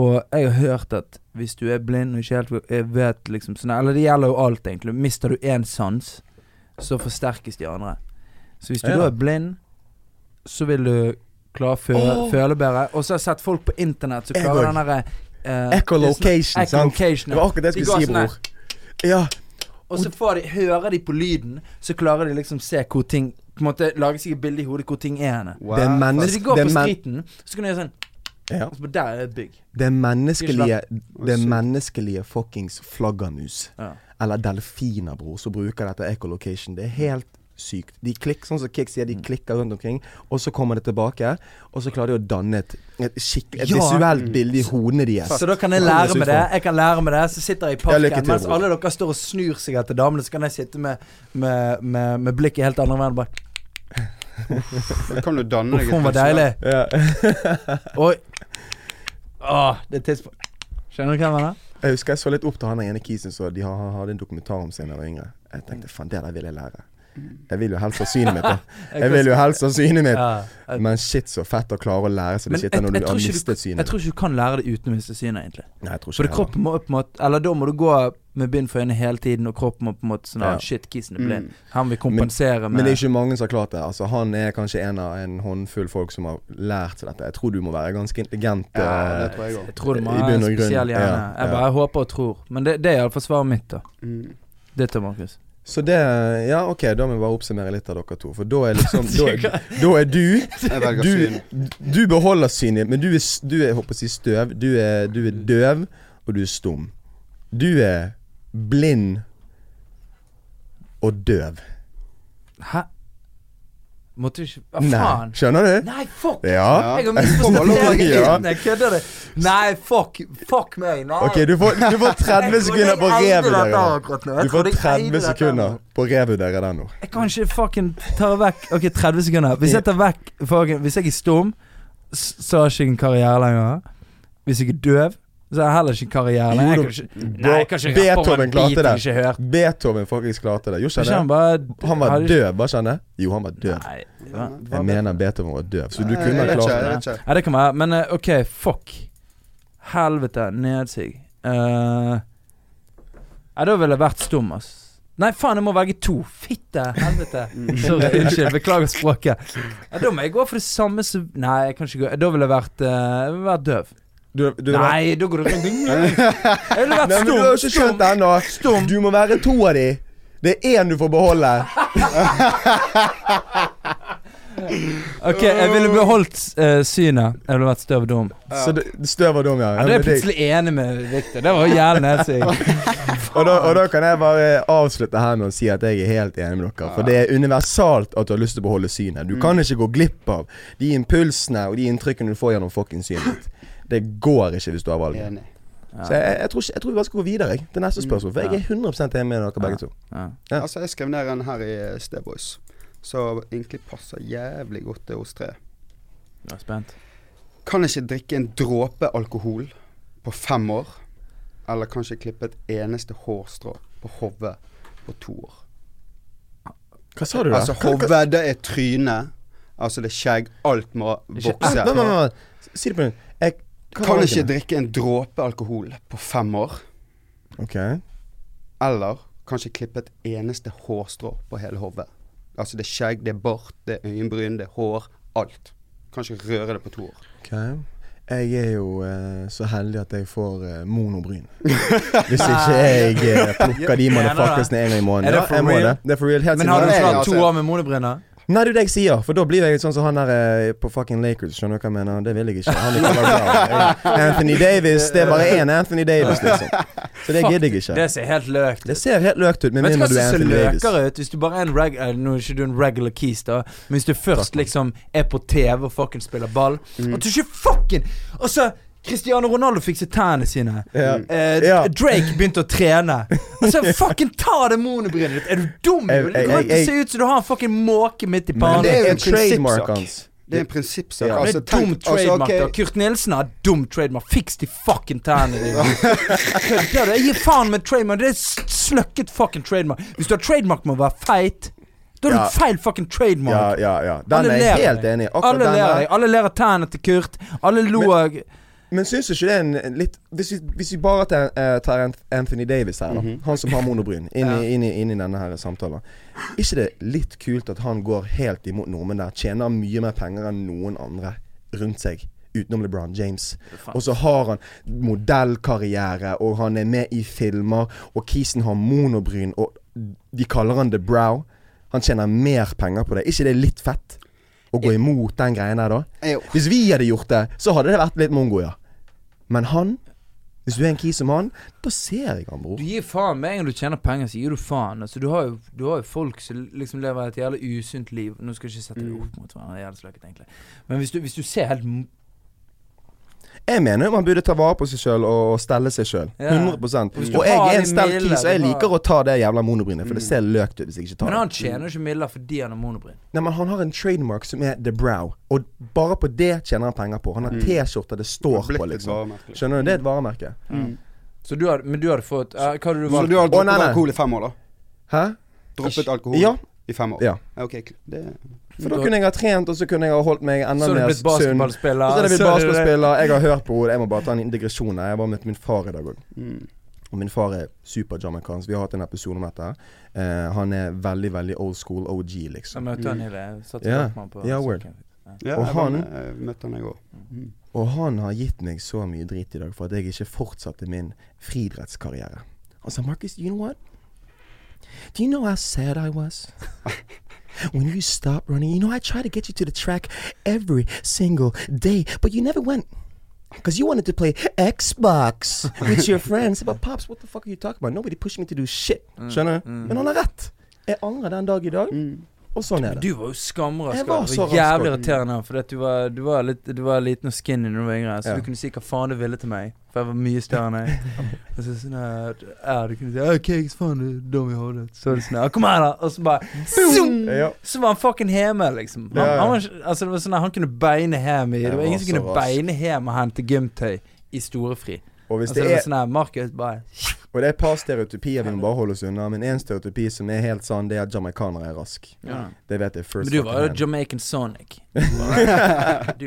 Speaker 2: Og jeg har hørt at hvis du er blind og ikke helt jeg vet liksom sånn, Eller det gjelder jo alt, egentlig. Mister du én sans, så forsterkes de andre. Så hvis du
Speaker 3: Ja.
Speaker 2: da er blind, så vil du klare å føle,
Speaker 3: Åh.
Speaker 2: føle bedre. Og så har jeg sett folk på internett som
Speaker 3: Jeg
Speaker 2: klarer
Speaker 3: òg.
Speaker 2: den derre eh,
Speaker 3: Echolocation, sant?
Speaker 2: echolocation,
Speaker 3: Det var akkurat det
Speaker 2: De
Speaker 3: jeg
Speaker 2: går
Speaker 3: skulle si,
Speaker 2: sånn her.
Speaker 3: bror. Ja.
Speaker 2: Og så får de, hører de på lyden, så klarer de liksom se hvor ting På en måte lage seg et bilde i hodet hvor ting er henne.
Speaker 1: Wow.
Speaker 3: Det er
Speaker 2: Så
Speaker 3: menneske-
Speaker 2: de går
Speaker 3: det
Speaker 2: på
Speaker 3: er men-
Speaker 2: streeten, så kan de gjøre sånn
Speaker 3: Ja.
Speaker 2: og så bare, Der er det et bygg.
Speaker 3: Det menneskelige Det
Speaker 1: Shit.
Speaker 3: menneskelige fuckings flaggermus,
Speaker 2: Ja.
Speaker 3: eller delfiner, bror, som bruker dette echolocation. Det er helt sykt. De klikk, sånn som Kik sier, de klikker rundt omkring, og så kommer det tilbake, og så klarer de å danne et, et, skikk- et
Speaker 2: Ja.
Speaker 3: visuelt bilde i hodene deres.
Speaker 2: Så da kan jeg
Speaker 3: Faen,
Speaker 2: lære
Speaker 3: så
Speaker 2: med det.
Speaker 3: utfordrende.
Speaker 2: Jeg kan lære med det Så sitter jeg i
Speaker 3: Ja,
Speaker 2: parken
Speaker 3: lykke til,
Speaker 2: mens
Speaker 3: bror.
Speaker 2: alle dere står og snur seg etter damene, så kan jeg sitte med, med, med, med blikket helt andre veien. og Bare
Speaker 1: Da kan du danne deg
Speaker 2: Uff, hun var deilig.
Speaker 3: Ja.
Speaker 2: Oi. Åh, det er tidspunkt Skjønner du hva jeg mener?
Speaker 3: Jeg husker jeg så litt opp til han der ene kisen som de har- han hadde en dokumentar om seg da jeg var yngre. Jeg tenkte
Speaker 2: Mm.
Speaker 3: faen, det der vil jeg lære. Jeg vil jo helst ha synet mitt, da. Jeg vil jo helst ha synet mitt.
Speaker 2: Ja, jeg-
Speaker 3: Men shit, så fett å klare å lære seg
Speaker 2: Men
Speaker 3: det shit da
Speaker 2: jeg- jeg
Speaker 3: når du
Speaker 2: tror
Speaker 3: har
Speaker 2: ikke du-
Speaker 3: mistet
Speaker 2: Jeg
Speaker 3: synet.
Speaker 2: tror ikke du kan lære det uten å miste synet, egentlig.
Speaker 3: Nei, jeg tror ikke
Speaker 2: For det
Speaker 3: det. heller.
Speaker 2: kroppen må på en måte Eller da må du gå med bind for øynene hele tiden, og kroppen må på en måte sånn ah,
Speaker 3: Ja.
Speaker 2: Shit, kisen er blind.
Speaker 1: Mm.
Speaker 2: Han vil kompensere med
Speaker 3: Men det er ikke mange som har klart det. Altså, han er kanskje en av en håndfull folk som har lært seg dette. Jeg tror du må være ganske intelligent.
Speaker 1: Ja, det
Speaker 3: eh,
Speaker 1: tror jeg òg.
Speaker 2: Jeg tror det må
Speaker 3: i
Speaker 2: være
Speaker 3: bunn
Speaker 2: en
Speaker 3: og grunn,
Speaker 2: spesiell hjerne.
Speaker 3: ja,
Speaker 2: Jeg
Speaker 3: ja.
Speaker 2: bare håper og tror. Men det, det er iallfall svaret mitt, da.
Speaker 1: Mm.
Speaker 2: Det tar Markus.
Speaker 3: så det Ja, OK, da må vi bare oppsummere litt av dere to. For da er liksom Da er, da er du
Speaker 1: Jeg velger
Speaker 3: du,
Speaker 1: syn.
Speaker 3: du beholder synet, men du er, s- du er jeg håper å si støv. Du er, du er døv, og du er stum. Du er blind og døv.
Speaker 2: Hæ? Måtte du ikke Hva
Speaker 3: Nei,
Speaker 2: faen?
Speaker 3: skjønner du?
Speaker 2: Nei, fuck!
Speaker 3: Ja.
Speaker 2: Jeg har
Speaker 3: Ja.
Speaker 2: misforstått hele
Speaker 3: Ja.
Speaker 2: tiden. Jeg kødder det. Nei, fuck. Fuck meg. Nei.
Speaker 3: Ok, du får, du får 30 sekunder på revet dere.
Speaker 2: dere.
Speaker 3: Du får 30 sekunder på revet dere der nå.
Speaker 2: Jeg kan ikke fucking ta vekk Ok, 30 sekunder. Hvis jeg tar vekk fucking, Hvis jeg er stum, s- så har jeg ikke en karriere lenger. Hvis jeg er døv, så har jeg heller ikke en karriere.
Speaker 3: Jo,
Speaker 2: Nei, jeg
Speaker 3: da-
Speaker 2: kan ikke,
Speaker 3: bro,
Speaker 2: nei, jeg kan ikke rappe om
Speaker 3: Beethoven
Speaker 2: en
Speaker 3: klarte
Speaker 2: bit jeg
Speaker 3: det.
Speaker 2: ikke har hørt.
Speaker 3: Beethoven faktisk klarte det. Jo,
Speaker 2: Ikke
Speaker 3: skjønner
Speaker 2: han
Speaker 3: jeg.
Speaker 2: bare
Speaker 3: Han var
Speaker 2: hadde ikke-
Speaker 3: døv, bare skjønner jeg. Jo, han var døv.
Speaker 2: Nei, det var-
Speaker 3: Jeg mener Beethoven var døv, så du
Speaker 1: Nei,
Speaker 3: kunne
Speaker 1: jeg
Speaker 3: ha
Speaker 1: vet
Speaker 3: klart
Speaker 1: ikke,
Speaker 3: det.
Speaker 1: jeg vet ikke.
Speaker 2: Nei, det kan være. Men eh, OK, fuck. Helvete. Nedsig. Eh, Nei, da ville jeg vært stum, ass. Nei, faen, jeg må velge to. Fitte. Helvete.
Speaker 3: Mm.
Speaker 2: Sorry, unnskyld. Beklager språket. Ja, da må jeg gå for det samme som Nei, jeg kan ikke gå Da ville jeg vært, eh, jeg ville vært døv.
Speaker 3: Du, du,
Speaker 2: Nei, da går det rundt Jeg ville vært
Speaker 3: Nei, men du har jo
Speaker 2: stum.
Speaker 3: ikke skjønt det ennå.
Speaker 2: Stum.
Speaker 3: Du må være to av de. Det er én du får beholde.
Speaker 2: OK, jeg ville beholdt eh, synet. Jeg ville vært støv dum.
Speaker 3: Så det, støv og dum, ja.
Speaker 2: Ja, det er
Speaker 3: Ja, men
Speaker 2: jeg
Speaker 3: det-
Speaker 2: plutselig enig med Victor. Det var jo jævlig nedsig.
Speaker 3: og, da, og da kan jeg bare avslutte her med å si at jeg er helt enig med dere. For det er universalt at du har lyst til å beholde synet. Du kan ikke gå glipp av de impulsene og de inntrykkene du får gjennom fucking synet ditt. Det går ikke hvis du har valget.
Speaker 1: Enig.
Speaker 3: Så jeg, jeg, tror, ikke, jeg tror vi bare skal gå videre jeg, til neste spørsmål, for jeg er 100 enig med dere begge to.
Speaker 2: Ja.
Speaker 3: Mm. Ja.
Speaker 1: Altså, jeg skrev ned en her i eh, Stay Boys, som egentlig passer jævlig godt til oss tre.
Speaker 2: Jeg er spent.
Speaker 1: Kan ikke drikke en dråpe alkohol på fem år, eller kanskje klippe et eneste hårstrå på hodet på to år.
Speaker 3: Hva sa du da?
Speaker 1: Altså, hodet, det er trynet. Altså, det er skjegg. Alt må
Speaker 2: Ikke-
Speaker 1: vokse.
Speaker 3: Vent, vent, vent. Si det på nytt. Jeg
Speaker 1: Kan ikke drikke en dråpe alkohol på fem år,
Speaker 3: Ok.
Speaker 1: eller kanskje klippe et eneste hårstrå på hele hodet. Altså, det er skjegg, det er bart, det er øyenbryn, det er hår. Alt. Kan ikke røre det på to år.
Speaker 3: Ok. Jeg er jo eh, så heldig at jeg får eh, monobryn. Hvis ikke jeg eh, plukker de
Speaker 2: Mener du det?
Speaker 3: motherfuckersene en gang i måneden.
Speaker 2: Er det
Speaker 3: Ja,
Speaker 2: for
Speaker 3: jeg må
Speaker 2: real?
Speaker 3: Det. det er for real. Helt
Speaker 2: Men
Speaker 3: siden
Speaker 2: har du
Speaker 1: Nei,
Speaker 3: jeg-
Speaker 2: klart
Speaker 1: altså-
Speaker 2: to år med monebryner?
Speaker 3: Nei, det er det jeg sier, for da blir jeg sånn som han der eh, på fucking Lakers. Skjønner du hva jeg mener? Det vil jeg ikke. Han er ikke bare bra. Jeg- Anthony Davis. Det er bare én Anthony Davis, liksom. Så det
Speaker 2: Fuck,
Speaker 3: gidder jeg ikke.
Speaker 2: Det ser helt løkt
Speaker 3: Det ser helt løkt ut, med
Speaker 2: Vet du
Speaker 3: mindre
Speaker 2: hva
Speaker 3: du
Speaker 2: som
Speaker 3: er
Speaker 2: ser
Speaker 3: Anthony Davis.
Speaker 2: løkere ut? Hvis du bare er en reg eh, Nå er ikke du en regular keys, da, men hvis du først liksom er på TV og fucking spiller ball
Speaker 3: Mm.
Speaker 2: At du ikke fucking Og så Cristiano Ronaldo fikk seg tærne sine.
Speaker 3: Ja.
Speaker 2: Eh,
Speaker 3: Ja.
Speaker 2: Drake begynte å trene. Og så fucking ta det monobrynet ditt! Er du dum?
Speaker 3: Jeg-
Speaker 2: Jule?
Speaker 3: jeg-
Speaker 2: Du kan ikke
Speaker 3: jeg-
Speaker 2: se ut som du har en fucking måke midt i
Speaker 3: Men
Speaker 2: pannen.
Speaker 3: det er jo en
Speaker 1: prinsippsak.
Speaker 3: trademark hans.
Speaker 1: Det er en prinsippsak.
Speaker 3: Ja.
Speaker 2: Det er
Speaker 1: tenk-
Speaker 2: dum
Speaker 1: altså,
Speaker 2: trademark,
Speaker 1: ok,
Speaker 2: da. Kurt Nilsen har dum trademark. Fiks de fucking tærne dine. Kødder du? Jeg gir faen med trademark. Det er s- sløkket fucking trademark. Hvis du har trademark med å være feit, da har
Speaker 3: Ja.
Speaker 2: du feil fucking trademark.
Speaker 3: Ja, ja, ja. Den
Speaker 2: Alle
Speaker 3: er
Speaker 2: ler
Speaker 3: jeg
Speaker 2: av
Speaker 3: helt
Speaker 2: deg.
Speaker 3: enig i.
Speaker 2: Alle
Speaker 3: Akkurat den
Speaker 2: ler av
Speaker 3: der.
Speaker 2: deg. Alle ler av tærne til Kurt. Alle lo av
Speaker 3: Men syns du ikke det er en en litt Hvis vi, hvis vi bare tar, eh, tar Anth- Anthony Davis her, da. Han som har monobryn, inn i, inn i, inn i denne her samtalen. ikke det litt kult at han går helt imot nordmenn der? Tjener mye mer penger enn noen andre rundt seg. Utenom LeBron James. Og så har han modellkarriere, og han er med i filmer, og Kisen har monobryn, og de kaller han The Brow. Han tjener mer penger på det. ikke det er litt fett? Å gå imot den greien der, da?
Speaker 1: Jo.
Speaker 3: Hvis vi hadde gjort det, så hadde det vært litt mongo, ja. Men han Hvis du er en kis som han, da ser jeg han, bror.
Speaker 2: Du gir faen med en gang du tjener penger, så gir du faen. Altså, du, har jo, du har jo folk som liksom lever et jævla usunt liv. Nå skal jeg ikke sette det
Speaker 1: Mm.
Speaker 2: opp mot hverandre, det er jævla sløkket, egentlig. Men hvis du, hvis du ser helt m-
Speaker 3: Jeg mener jo man burde ta vare på seg sjøl og og stelle seg sjøl.
Speaker 2: Ja.
Speaker 3: 100
Speaker 2: Hvis du
Speaker 3: Og jeg
Speaker 2: har
Speaker 3: er
Speaker 2: de
Speaker 3: en stelt
Speaker 2: midlene,
Speaker 3: kis, og jeg
Speaker 2: du har-
Speaker 3: liker å ta det jævla monobrynet, for det ser løk ut hvis jeg ikke
Speaker 2: Men
Speaker 3: tar det.
Speaker 2: han tjener jo ikke midler fordi han har monobryn.
Speaker 3: Nei, men han har en trademark som er The Brow, og bare på det tjener han penger på. Han
Speaker 2: Mm.
Speaker 3: har T-skjorter det
Speaker 1: Det har
Speaker 3: står
Speaker 1: blitt
Speaker 3: på,
Speaker 1: et
Speaker 3: liksom.
Speaker 1: varemerke.
Speaker 3: Skjønner du? Det er et varemerke.
Speaker 2: Så du hadde, men du hadde fått ja, Hva hadde du
Speaker 1: Så
Speaker 2: valgt?
Speaker 1: du har
Speaker 3: Å,
Speaker 1: droppet
Speaker 3: nei, nei.
Speaker 1: alkohol i fem år, da?
Speaker 3: Hæ?
Speaker 1: Droppet alkohol
Speaker 3: Ja.
Speaker 1: i fem år?
Speaker 3: Ja.
Speaker 1: Ok, kl- det
Speaker 3: For da kunne jeg ha trent, og så kunne jeg ha holdt meg
Speaker 2: Så
Speaker 3: enda
Speaker 2: hadde du
Speaker 3: mer
Speaker 2: blitt
Speaker 3: sunn.
Speaker 2: basketballspiller.
Speaker 3: Og så er det blitt
Speaker 2: så hadde du det.
Speaker 3: basketballspiller. Jeg har hørt på henne. Jeg må bare ta en digresjon her. Jeg var med min far i dag òg. Og min far er super-jamaicansk. Vi har hatt en episode om dette. Eh, han er veldig, veldig old school OG,
Speaker 2: Jeg
Speaker 3: liksom.
Speaker 2: møtte han hele Satt
Speaker 3: Ja.
Speaker 2: yeah. på
Speaker 3: Ja, word.
Speaker 1: ja,
Speaker 3: Og
Speaker 1: jeg
Speaker 3: han-
Speaker 1: var med- jeg møtte han i går.
Speaker 3: Og han har gitt meg så mye drit i dag for at jeg ikke fortsatte min friidrettskarriere. Han sa, Marcus, you know what? Do you know how sad I was? When you stopped running, you know, I tried to get you to the track every single day, but you never went. Because you wanted to play Xbox with your friends. But Pops, what the fuck are you talking about? Nobody pushed me to do shit. Skjønner du? Men han har rett. Jeg angrer den dag i dag. Og sånn er det.
Speaker 2: Du var jo skamrask.
Speaker 3: Jeg
Speaker 2: og
Speaker 3: var
Speaker 2: det
Speaker 3: så
Speaker 2: var
Speaker 3: rask,
Speaker 2: Jævlig
Speaker 3: og-
Speaker 2: irriterende. For at du, var, du, var litt, du var liten og skinny da du var yngre, så
Speaker 3: Ja.
Speaker 2: du kunne si hva faen du ville til meg. For jeg var mye større enn deg. Og så sånn eh, ja, Du kunne si 'OK, hva faen, du er dum i hodet'. Så var det sånn ja, 'Kom her, da'. Og så bare zoom!
Speaker 3: Ja.
Speaker 2: Så var han fucking hjemme, liksom. Han,
Speaker 3: Ja, ja.
Speaker 2: han, var, ikke- altså, det var sånn at han kunne beine hjem i Det
Speaker 3: Jeg
Speaker 2: var
Speaker 3: var
Speaker 2: ingen som
Speaker 3: så
Speaker 2: kunne
Speaker 3: rask.
Speaker 2: beine hjem og hente gymtøy i storefri.
Speaker 3: Og hvis
Speaker 2: Altså,
Speaker 3: det
Speaker 2: det var
Speaker 3: er
Speaker 2: sånn her Markus bare
Speaker 3: Og det er et par stereotypier vi må bare holde oss unna, men én stereotypi som er helt sann, det er at jamaicanere er rask.
Speaker 2: Ja.
Speaker 3: Det vet jeg first
Speaker 2: Men du var jo
Speaker 3: hand.
Speaker 2: Jamaican Sonic. Du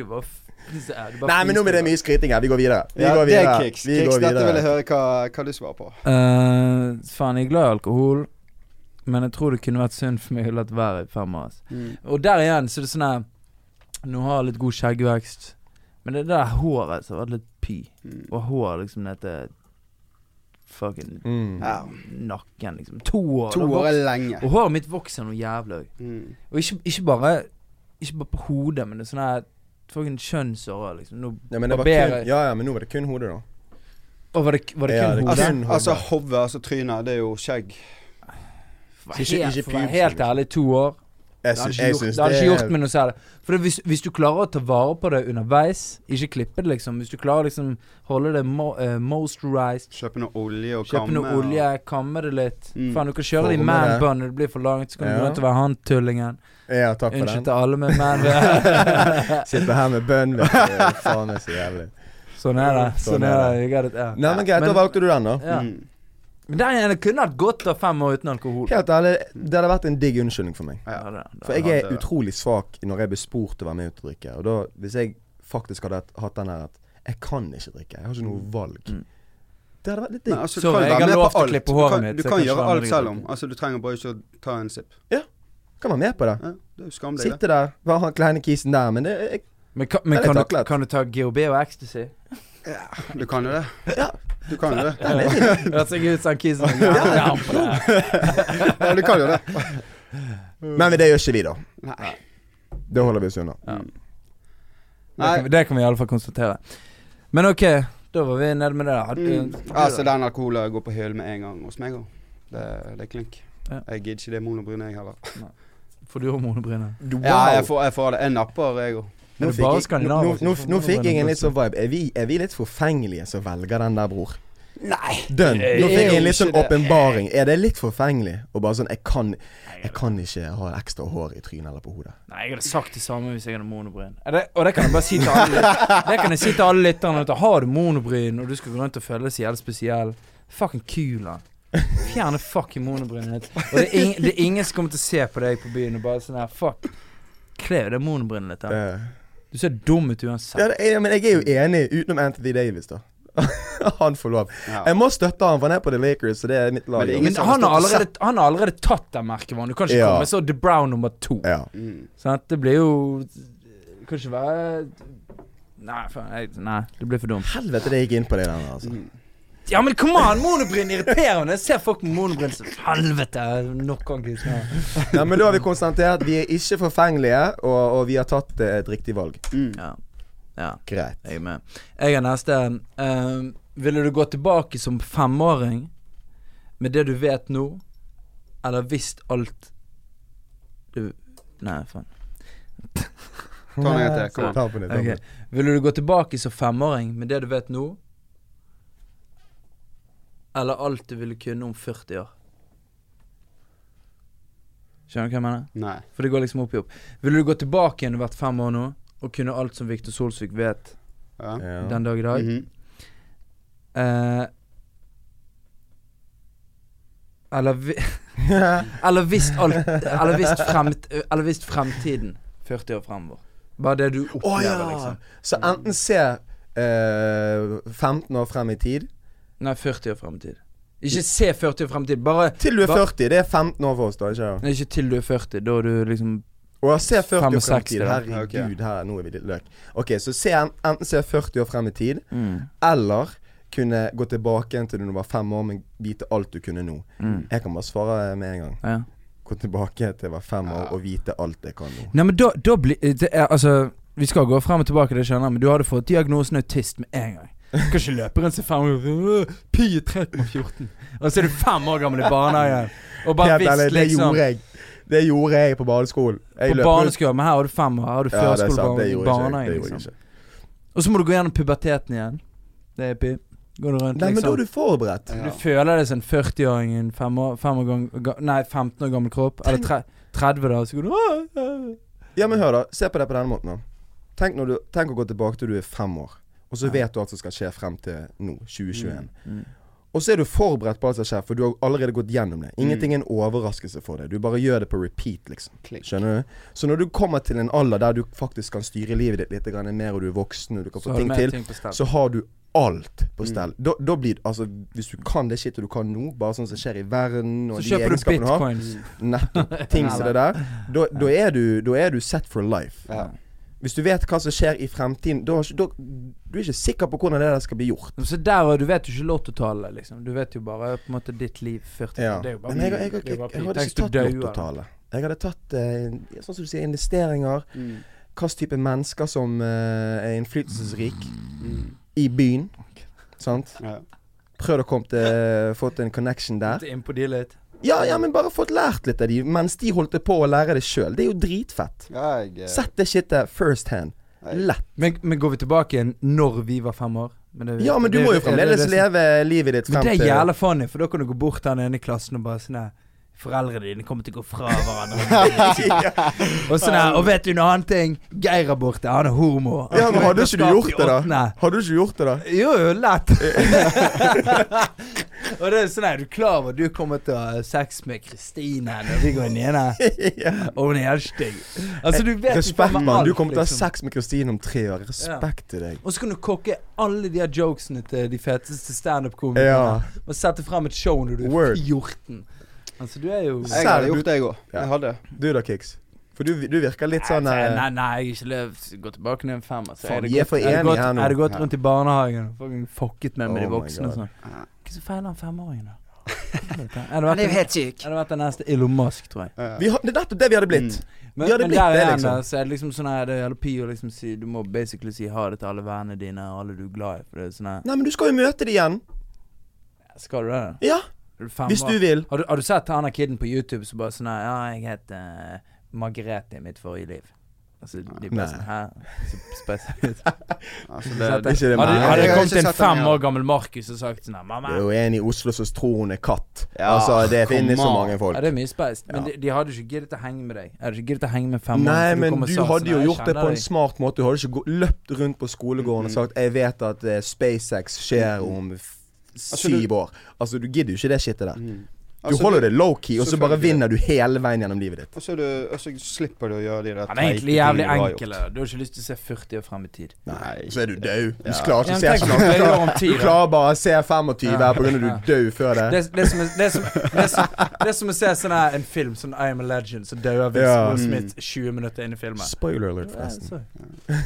Speaker 2: var f- ja, du bare
Speaker 3: Nei, men nå blir det mye skryting her. Vi går videre. Vi
Speaker 1: Ja, det
Speaker 3: går videre.
Speaker 1: er Kicks.
Speaker 3: Vi
Speaker 1: Kicks,
Speaker 3: går
Speaker 1: dette vil jeg
Speaker 3: videre.
Speaker 1: høre hva, hva du svarer på.
Speaker 2: Eh, faen, jeg er glad i alkohol, men jeg tror det kunne vært synd for meg å la det være i fem år. ass.
Speaker 3: Mm.
Speaker 2: Og der igjen, så er det sånn her Nå har jeg litt god skjeggvekst, men det der håret som har vært litt py,
Speaker 1: Mm.
Speaker 2: og hår liksom ned til fucking
Speaker 3: Mm.
Speaker 1: Ja.
Speaker 2: nakken, liksom. To år.
Speaker 1: To
Speaker 2: da
Speaker 1: år
Speaker 2: vokser-
Speaker 1: er lenge.
Speaker 2: Og håret mitt vokser noe jævlig.
Speaker 1: Mm.
Speaker 2: Og ikke, ikke bare Ikke bare på hodet, men det er sånn her fucking kjønnshår òg, liksom. Nå
Speaker 3: Ja, men det var
Speaker 2: barberer-
Speaker 3: kun, ja, ja, men nå var det kun hodet, da.
Speaker 2: Og var det, var det
Speaker 3: Ja,
Speaker 2: kun
Speaker 3: det-
Speaker 2: hodet?
Speaker 1: Altså,
Speaker 3: Hodet.
Speaker 1: altså hodet, altså trynet, det er jo skjegg.
Speaker 2: For,
Speaker 3: ikke-
Speaker 2: helt,
Speaker 3: ikke
Speaker 2: for å være
Speaker 3: pubes,
Speaker 2: helt
Speaker 3: liksom.
Speaker 2: ærlig, to år.
Speaker 3: Jeg
Speaker 2: Det hadde
Speaker 3: syns,
Speaker 2: ikke
Speaker 3: jeg
Speaker 2: gjort,
Speaker 3: syns
Speaker 2: det hadde
Speaker 3: det
Speaker 2: ikke gjort
Speaker 3: er
Speaker 2: meg noe særlig. For det, hvis, hvis du klarer å ta vare på det underveis, ikke klippe det, liksom Hvis du klarer å liksom holde det mo eh, moisturized,
Speaker 1: Kjøpe noe olje og
Speaker 2: kjøpe
Speaker 1: kamme.
Speaker 2: noe olje, kamme det litt
Speaker 1: Mm.
Speaker 2: Faen, du kan kjøre det i
Speaker 3: Forme
Speaker 2: man
Speaker 3: det.
Speaker 2: bun når det blir for langt, så kan du gå
Speaker 3: Ja.
Speaker 2: rundt og være han tullingen.
Speaker 3: Ja, takk for
Speaker 2: Unnskyld
Speaker 3: den.
Speaker 2: til alle med man bun.
Speaker 3: Sitter her med bønn, vet du. Faen, det er så jævlig.
Speaker 2: sånn er det.
Speaker 3: Sånn
Speaker 2: Sånn
Speaker 3: er
Speaker 2: er det. You
Speaker 3: det.
Speaker 2: got it. Ja.
Speaker 3: Nei, men greit, da
Speaker 2: Men-
Speaker 3: valgte du den, da.
Speaker 2: Ja.
Speaker 1: Mm.
Speaker 2: Men der igjen, det kunne hatt godt av fem år uten alkohol.
Speaker 3: Helt ærlig, det hadde vært en digg unnskyldning for meg.
Speaker 1: Ja.
Speaker 2: Ja, det- det-
Speaker 3: For jeg
Speaker 1: det
Speaker 3: er
Speaker 1: er-
Speaker 3: utrolig svak når jeg blir spurt til å være med ut og drikke. Og da, hvis jeg faktisk hadde hatt- hatt den her at jeg kan ikke drikke, jeg har ikke noe valg.
Speaker 2: Mm.
Speaker 3: Det hadde vært litt
Speaker 1: Men
Speaker 3: digg.
Speaker 1: altså, du
Speaker 2: Sorry,
Speaker 1: kan jo
Speaker 2: jeg
Speaker 1: være
Speaker 2: har
Speaker 1: med på
Speaker 2: lov til å
Speaker 1: alt.
Speaker 2: klippe
Speaker 1: Du
Speaker 2: håret
Speaker 1: kan,
Speaker 2: mitt,
Speaker 1: du
Speaker 2: så
Speaker 1: kan
Speaker 2: jeg kan
Speaker 1: gjøre
Speaker 2: ikke
Speaker 1: alt
Speaker 2: være med
Speaker 1: selv
Speaker 2: deg.
Speaker 1: om. Altså, du trenger bare ikke å ta en sipp.
Speaker 3: Kan være med på det.
Speaker 1: Ja, det er jo skamlig, det.
Speaker 3: Sitte der, være han kleine kisen der, men det jeg,
Speaker 2: Men, kan, men
Speaker 3: Det er
Speaker 2: kan,
Speaker 3: litt
Speaker 2: du,
Speaker 3: taklet.
Speaker 2: kan du ta GHB og ecstasy?
Speaker 1: Du kan jo det.
Speaker 3: Ja.
Speaker 1: Du kan jo det.
Speaker 2: Høres jeg ut som kisen? Ja,
Speaker 1: Ja, du kan jo det.
Speaker 3: Men det gjør ikke vi, da.
Speaker 1: Nei.
Speaker 3: Det holder vi oss unna.
Speaker 2: Det kan,
Speaker 1: Nei.
Speaker 2: vi- det kan vi i alle fall konstatere. Men ok, da var vi nede med det. da. Hadde-
Speaker 1: Mm.
Speaker 2: hadde du
Speaker 1: Altså,
Speaker 2: det?
Speaker 1: den alkoholen går på høl med en gang hos meg òg. Det, det er klink.
Speaker 2: Ja.
Speaker 1: Jeg gidder ikke det monobrynet, jeg heller.
Speaker 2: For du har monobryne.
Speaker 1: Ja, jeg får, jeg får det. Jeg napper, jeg òg.
Speaker 2: Er
Speaker 3: Nå
Speaker 2: det
Speaker 3: fikk,
Speaker 2: bare
Speaker 3: jeg, nå,
Speaker 2: skandinaver?
Speaker 3: nå, nå, nå fikk jeg en litt sånn vibe. Er vi, er vi litt forfengelige som velger den der, bror?
Speaker 1: Nei.
Speaker 3: Dønn.
Speaker 1: Det er
Speaker 3: Nå fikk jeg en
Speaker 1: jo
Speaker 3: litt sånn
Speaker 1: ikke det.
Speaker 3: åpenbaring. Er det litt forfengelig? Og bare sånn Jeg kan, jeg kan ikke ha ekstra hår i trynet eller på hodet.
Speaker 2: Nei, jeg hadde sagt det samme hvis jeg hadde monobryn. Er det- Og det kan jeg bare si til alle lyt- Det kan jeg si til alle lytterne. at Har du monobryn og du skal gå rundt og føle deg så jævlig spesiell, fucking kul, da. Fjerne fucking monobrynet ditt. Og det er, ing, det er ingen som kommer til å se på deg på byen og bare sånn her Fuck. Kle det monobrynet ditt. da.
Speaker 3: Eh,
Speaker 2: Du ser dum ut uansett.
Speaker 3: Ja, det er, men jeg er jo enig, utenom Anthony Davis, da. han får lov.
Speaker 1: Ja.
Speaker 3: Jeg må støtte han, for han er på The Lakers, så det er mitt lag.
Speaker 1: Men det er
Speaker 2: Men
Speaker 1: ingen som har
Speaker 2: han har,
Speaker 1: stått og
Speaker 2: allerede, han har allerede tatt den merkevaren. Du kan ikke
Speaker 3: Ja.
Speaker 2: komme så The Brown nummer to.
Speaker 3: ja.
Speaker 1: Mm.
Speaker 2: Sant? Det blir jo Det kan ikke være Nei, faen, jeg, nei, det blir for dumt.
Speaker 3: Helvete, det gikk inn på det der,
Speaker 1: Mm.
Speaker 3: altså.
Speaker 2: Ja, men come on! Monobryn irriterer meg. Jeg ser folk med monobryn som Helvete! Nok av gliser.
Speaker 3: Nei, men da har vi konstatert vi er ikke forfengelige, og, og vi har tatt eh, et riktig valg.
Speaker 1: Mm.
Speaker 2: Ja. ja,
Speaker 3: Greit.
Speaker 2: jeg er med. Jeg er neste. Ehm, ville du gå tilbake som femåring med det du vet nå, eller visst alt du Nei, faen.
Speaker 1: Ta den en gang til, kom an.
Speaker 3: Ta på nytt, ta på
Speaker 2: Ok.
Speaker 3: nytt.
Speaker 2: Ville du gå tilbake som femåring med det du vet nå? Eller alt du ville kunne om 40 år? Skjønner du hva jeg mener?
Speaker 1: Nei.
Speaker 2: For det går liksom opp i opp. Ville du gå tilbake igjen og vært fem år nå, og kunne alt som Victor Solsvik vet
Speaker 1: Ja.
Speaker 3: Ja.
Speaker 2: den dag i dag?
Speaker 1: Mhm.
Speaker 2: eh, eller, vi, eller visst alt Eller visst, fremt, eller visst fremtiden 40 år fremover. Bare det du
Speaker 3: Å
Speaker 2: opplever,
Speaker 3: ja!
Speaker 2: liksom.
Speaker 3: Så enten se eh, 15 år frem i tid,
Speaker 2: Nei, 40 år fremtid. Ikke se 40 år fremtid, bare
Speaker 3: til du er
Speaker 2: Hva?
Speaker 3: 40. Det er 15 år for oss, da. ikke sant?
Speaker 2: Nei, Ikke til du er 40, da er du liksom
Speaker 3: Og se 40 år frem i
Speaker 2: 65,
Speaker 3: tid.
Speaker 2: da.
Speaker 3: Herregud, her, nå er vi litt løk. Ok, så se, en- enten se 40 år frem i tid,
Speaker 2: mm.
Speaker 3: eller kunne gå tilbake igjen til da du var fem år, men vite alt du kunne nå.
Speaker 2: Mm.
Speaker 3: Jeg kan bare svare med en gang.
Speaker 2: Ja.
Speaker 3: Gå tilbake til jeg var fem år og vite alt jeg kan nå.
Speaker 2: Nei, men da, da blir det er, Altså, vi skal gå frem og tilbake, det skjønner jeg, men du hadde fått diagnosen autist med en gang. Du kan ikke løpe rundt som fem år øh, Pi 13,14. Og så er du fem år gammel i barnehagen. Og bare
Speaker 3: Helt ærlig,
Speaker 2: visst,
Speaker 3: det
Speaker 2: liksom.
Speaker 3: gjorde jeg. Det gjorde jeg på barneskolen. Jeg
Speaker 2: På
Speaker 3: løp rundt-
Speaker 2: barneskolen, men her har du fem år. Her har du
Speaker 3: Ja, det er sant.
Speaker 2: førskolebarn
Speaker 3: Det
Speaker 2: i
Speaker 3: gjorde ikke jeg. Det
Speaker 2: barnehagen,
Speaker 3: gjorde jeg
Speaker 2: liksom.
Speaker 3: ikke.
Speaker 2: Og så må du gå gjennom puberteten igjen. Det er pi. Går du rundt,
Speaker 3: Nei, men da
Speaker 2: liksom.
Speaker 3: er du forberedt.
Speaker 1: Ja.
Speaker 2: Du føler deg som en 40-åring i en fem år, fem år gang, ga, nei, 15 år gammel kropp. Eller tre, 30, da. Så går du «Åh, øh».
Speaker 3: Ja, men hør da, se på det på denne måten da Tenk, når du, tenk å gå tilbake til du er fem år Og så vet du alt som skal skje frem til nå, 2021
Speaker 2: Mm.
Speaker 3: Og så er du forberedt på alt som skjer For du har allerede gått gjennom det
Speaker 2: Mm.
Speaker 3: Ingenting er en overraskelse for deg Du bare gjør det på repeat liksom
Speaker 1: Klikk.
Speaker 3: Skjønner du? Så når du kommer til en alder der du faktisk kan styre livet ditt litt grann mer Og du er voksen og du kan
Speaker 2: Så
Speaker 3: få
Speaker 2: har du
Speaker 3: ting
Speaker 2: mer Mm.
Speaker 3: til
Speaker 2: ting på stell.
Speaker 3: Så har du alt på stell da, da blir det, altså Hvis du kan det shitet du kan nå Bare sånn som skjer i verden og
Speaker 2: Så
Speaker 3: de
Speaker 2: kjøper du
Speaker 3: egenskapene har,
Speaker 2: bitcoins.
Speaker 3: Nettopp. Ting som det der da, da, er du, da er du set for life
Speaker 1: Ja.
Speaker 3: hvis du vet hva som skjer i fremtiden, da, har ikke- da du er ikke sikker på hvordan det der skal bli gjort.
Speaker 2: Så der og du vet jo ikke lottotallet, liksom. Du vet jo bare på en måte ditt liv 40
Speaker 3: Ja.
Speaker 2: Det er jo bare
Speaker 3: Men jeg, jeg, jeg,
Speaker 2: det er
Speaker 3: jeg,
Speaker 2: jo bare
Speaker 3: hadde
Speaker 2: Tenk
Speaker 3: ikke
Speaker 2: du dør jo
Speaker 3: tatt
Speaker 2: av det.
Speaker 3: lottotallet. Jeg hadde tatt eh, sånn som du sier, investeringer.
Speaker 1: Mm.
Speaker 3: Hvilken type mennesker som eh, er innflytelsesrik
Speaker 1: Mm.
Speaker 3: i byen. Sant?
Speaker 1: Ja.
Speaker 3: Prøvd å komme til eh, Fått en connection der.
Speaker 2: Litt Innpå de litt.
Speaker 3: Ja, ja, men bare fått lært litt av de mens de holdt på å lære det sjøl. Det er jo dritfett.
Speaker 1: Jeg, eh,
Speaker 3: Sett det shitet first hand.
Speaker 1: jeg,
Speaker 3: Lett.
Speaker 2: Men, men går vi tilbake igjen når vi var fem år? Men det-
Speaker 3: Ja, men du
Speaker 2: det-
Speaker 3: må jo
Speaker 2: det- det- det-
Speaker 3: fremdeles leve livet ditt
Speaker 2: Men
Speaker 3: frem
Speaker 2: det er
Speaker 3: til
Speaker 2: jævla funny, for da kan du gå bort til han ene i klassen og bare sånn her Foreldrene dine kommer til å gå fra hverandre. og sånn her, og vet du en annen ting? Geir er borte, han er homo.
Speaker 3: Ja, men hadde ikke du gjort det, da?
Speaker 2: Nei.
Speaker 3: Hadde du ikke gjort det, da?
Speaker 2: Jo, jo, lett. og det er sånn her, du er klar over at du kommer til å ha sex med Kristine når vi går ned der,
Speaker 3: ja.
Speaker 2: og hun er helt stygg. Altså, du vet jo
Speaker 3: Respekt,
Speaker 2: faen meg
Speaker 3: mann. Du
Speaker 2: alt,
Speaker 3: kommer til å ha
Speaker 2: liksom.
Speaker 3: sex med Kristine om tre år. Respekt til deg.
Speaker 2: Og så kan du kokke alle de her jokesene til de feteste standup-komikerne.
Speaker 3: Ja.
Speaker 2: Og sette frem et show når du er
Speaker 3: Word.
Speaker 2: 14. Altså, du er jo
Speaker 1: jeg hadde gjort det, jeg òg.
Speaker 3: Ja.
Speaker 1: Jeg hadde.
Speaker 3: Du da, Kix? For du, du virker litt sånn
Speaker 2: Nei,
Speaker 3: eh,
Speaker 2: nei, nei, jeg er ikke løv. Gå tilbake ned en femmer. så
Speaker 3: Faen,
Speaker 2: er det
Speaker 3: vi er
Speaker 2: gått-
Speaker 3: for
Speaker 2: det
Speaker 3: enige
Speaker 2: gått-
Speaker 3: her nå.
Speaker 2: Er det gått
Speaker 1: Ja.
Speaker 2: rundt i barnehagen og fucking fucket med, med de
Speaker 3: Oh my
Speaker 2: voksne og
Speaker 3: God.
Speaker 2: sånn?
Speaker 1: Ja.
Speaker 2: Hva som feiler han femåringen, da? Er det vært en- er det vært den neste Elon Musk, tror jeg.
Speaker 1: Ja.
Speaker 3: vi har, Det er nettopp det vi hadde blitt.
Speaker 2: Men,
Speaker 3: Vi hadde
Speaker 2: men
Speaker 3: blitt
Speaker 2: der
Speaker 3: det,
Speaker 2: igjen,
Speaker 3: liksom.
Speaker 2: da, så er det liksom sånn her Det gjelder pi å liksom si Du må basically si ha det til alle vennene dine og alle du er glad i. For det er sånn her
Speaker 3: Nei, men du skal jo møte dem igjen.
Speaker 2: Skal du det? da?
Speaker 3: Ja,
Speaker 2: Er du fem
Speaker 3: hvis
Speaker 2: år?
Speaker 3: du vil.
Speaker 2: Har du, har du sett han der kiden på YouTube som bare sånn her Ja, jeg het eh, Margrethe i mitt forrige liv. Altså, de
Speaker 3: Nei.
Speaker 2: bare sånn Hæ? Så spesielt.
Speaker 1: Altså, det,
Speaker 2: Hadde,
Speaker 1: det,
Speaker 3: ikke
Speaker 2: hadde,
Speaker 3: det meg.
Speaker 2: hadde
Speaker 1: Jeg
Speaker 2: det
Speaker 1: har
Speaker 2: kommet
Speaker 1: ikke
Speaker 2: en
Speaker 1: sett den,
Speaker 2: fem
Speaker 1: ja.
Speaker 2: år gammel Markus og sagt sånn her Mamma!
Speaker 3: Det er jo en i Oslo som tror hun er katt.
Speaker 1: Ja,
Speaker 3: altså, det
Speaker 1: come
Speaker 3: finnes så
Speaker 1: on.
Speaker 3: mange folk.
Speaker 2: Ja, det er mye speist. Men
Speaker 3: Ja.
Speaker 2: de, de hadde ikke giddet å henge med deg. Jeg hadde ikke giddet å henge med fem år.
Speaker 3: Nei,
Speaker 2: for
Speaker 3: men
Speaker 2: kommer
Speaker 3: du
Speaker 2: sånn,
Speaker 3: hadde
Speaker 2: sånn,
Speaker 3: jo
Speaker 2: jeg
Speaker 3: gjort det
Speaker 2: kjenner
Speaker 3: på en
Speaker 2: deg.
Speaker 3: smart måte. Du hadde ikke gå- løpt rundt på skolegården og sagt 'Jeg vet at eh, SpaceX skjer om f-
Speaker 1: du-
Speaker 3: syv år'. Altså, du gidder jo ikke det shitet der. Du
Speaker 1: Altså,
Speaker 3: holder det low-key, og så bare
Speaker 1: Selvfølgelig.
Speaker 3: vinner du hele veien gjennom livet ditt.
Speaker 1: Og så, er du, og så slipper du å gjøre de der
Speaker 2: Han er egentlig
Speaker 1: teite
Speaker 2: jævlig
Speaker 1: tingene du har
Speaker 2: enkel.
Speaker 1: gjort.
Speaker 2: da. Du har ikke lyst til å se 40 år frem i tid.
Speaker 1: Nei.
Speaker 3: Så er du død. Du
Speaker 1: Ja.
Speaker 3: klarer
Speaker 2: Ja,
Speaker 3: ikke å
Speaker 2: men
Speaker 3: se
Speaker 2: tenk
Speaker 3: så
Speaker 2: om
Speaker 3: langt.
Speaker 2: det er
Speaker 3: Du klarer,
Speaker 2: om ti,
Speaker 3: du
Speaker 2: da.
Speaker 3: klarer bare å se 25
Speaker 2: Ja.
Speaker 3: her pga. du er død før det.
Speaker 2: Det, det, som er, det, som, det, som, det er som å se sånn her, en film som I Am A Legend, så dauer Will
Speaker 3: Ja. Mm.
Speaker 2: Will Smith 20 minutter inn i filmen.
Speaker 3: Spoiler alert,
Speaker 2: Ja,
Speaker 3: forresten.
Speaker 2: så.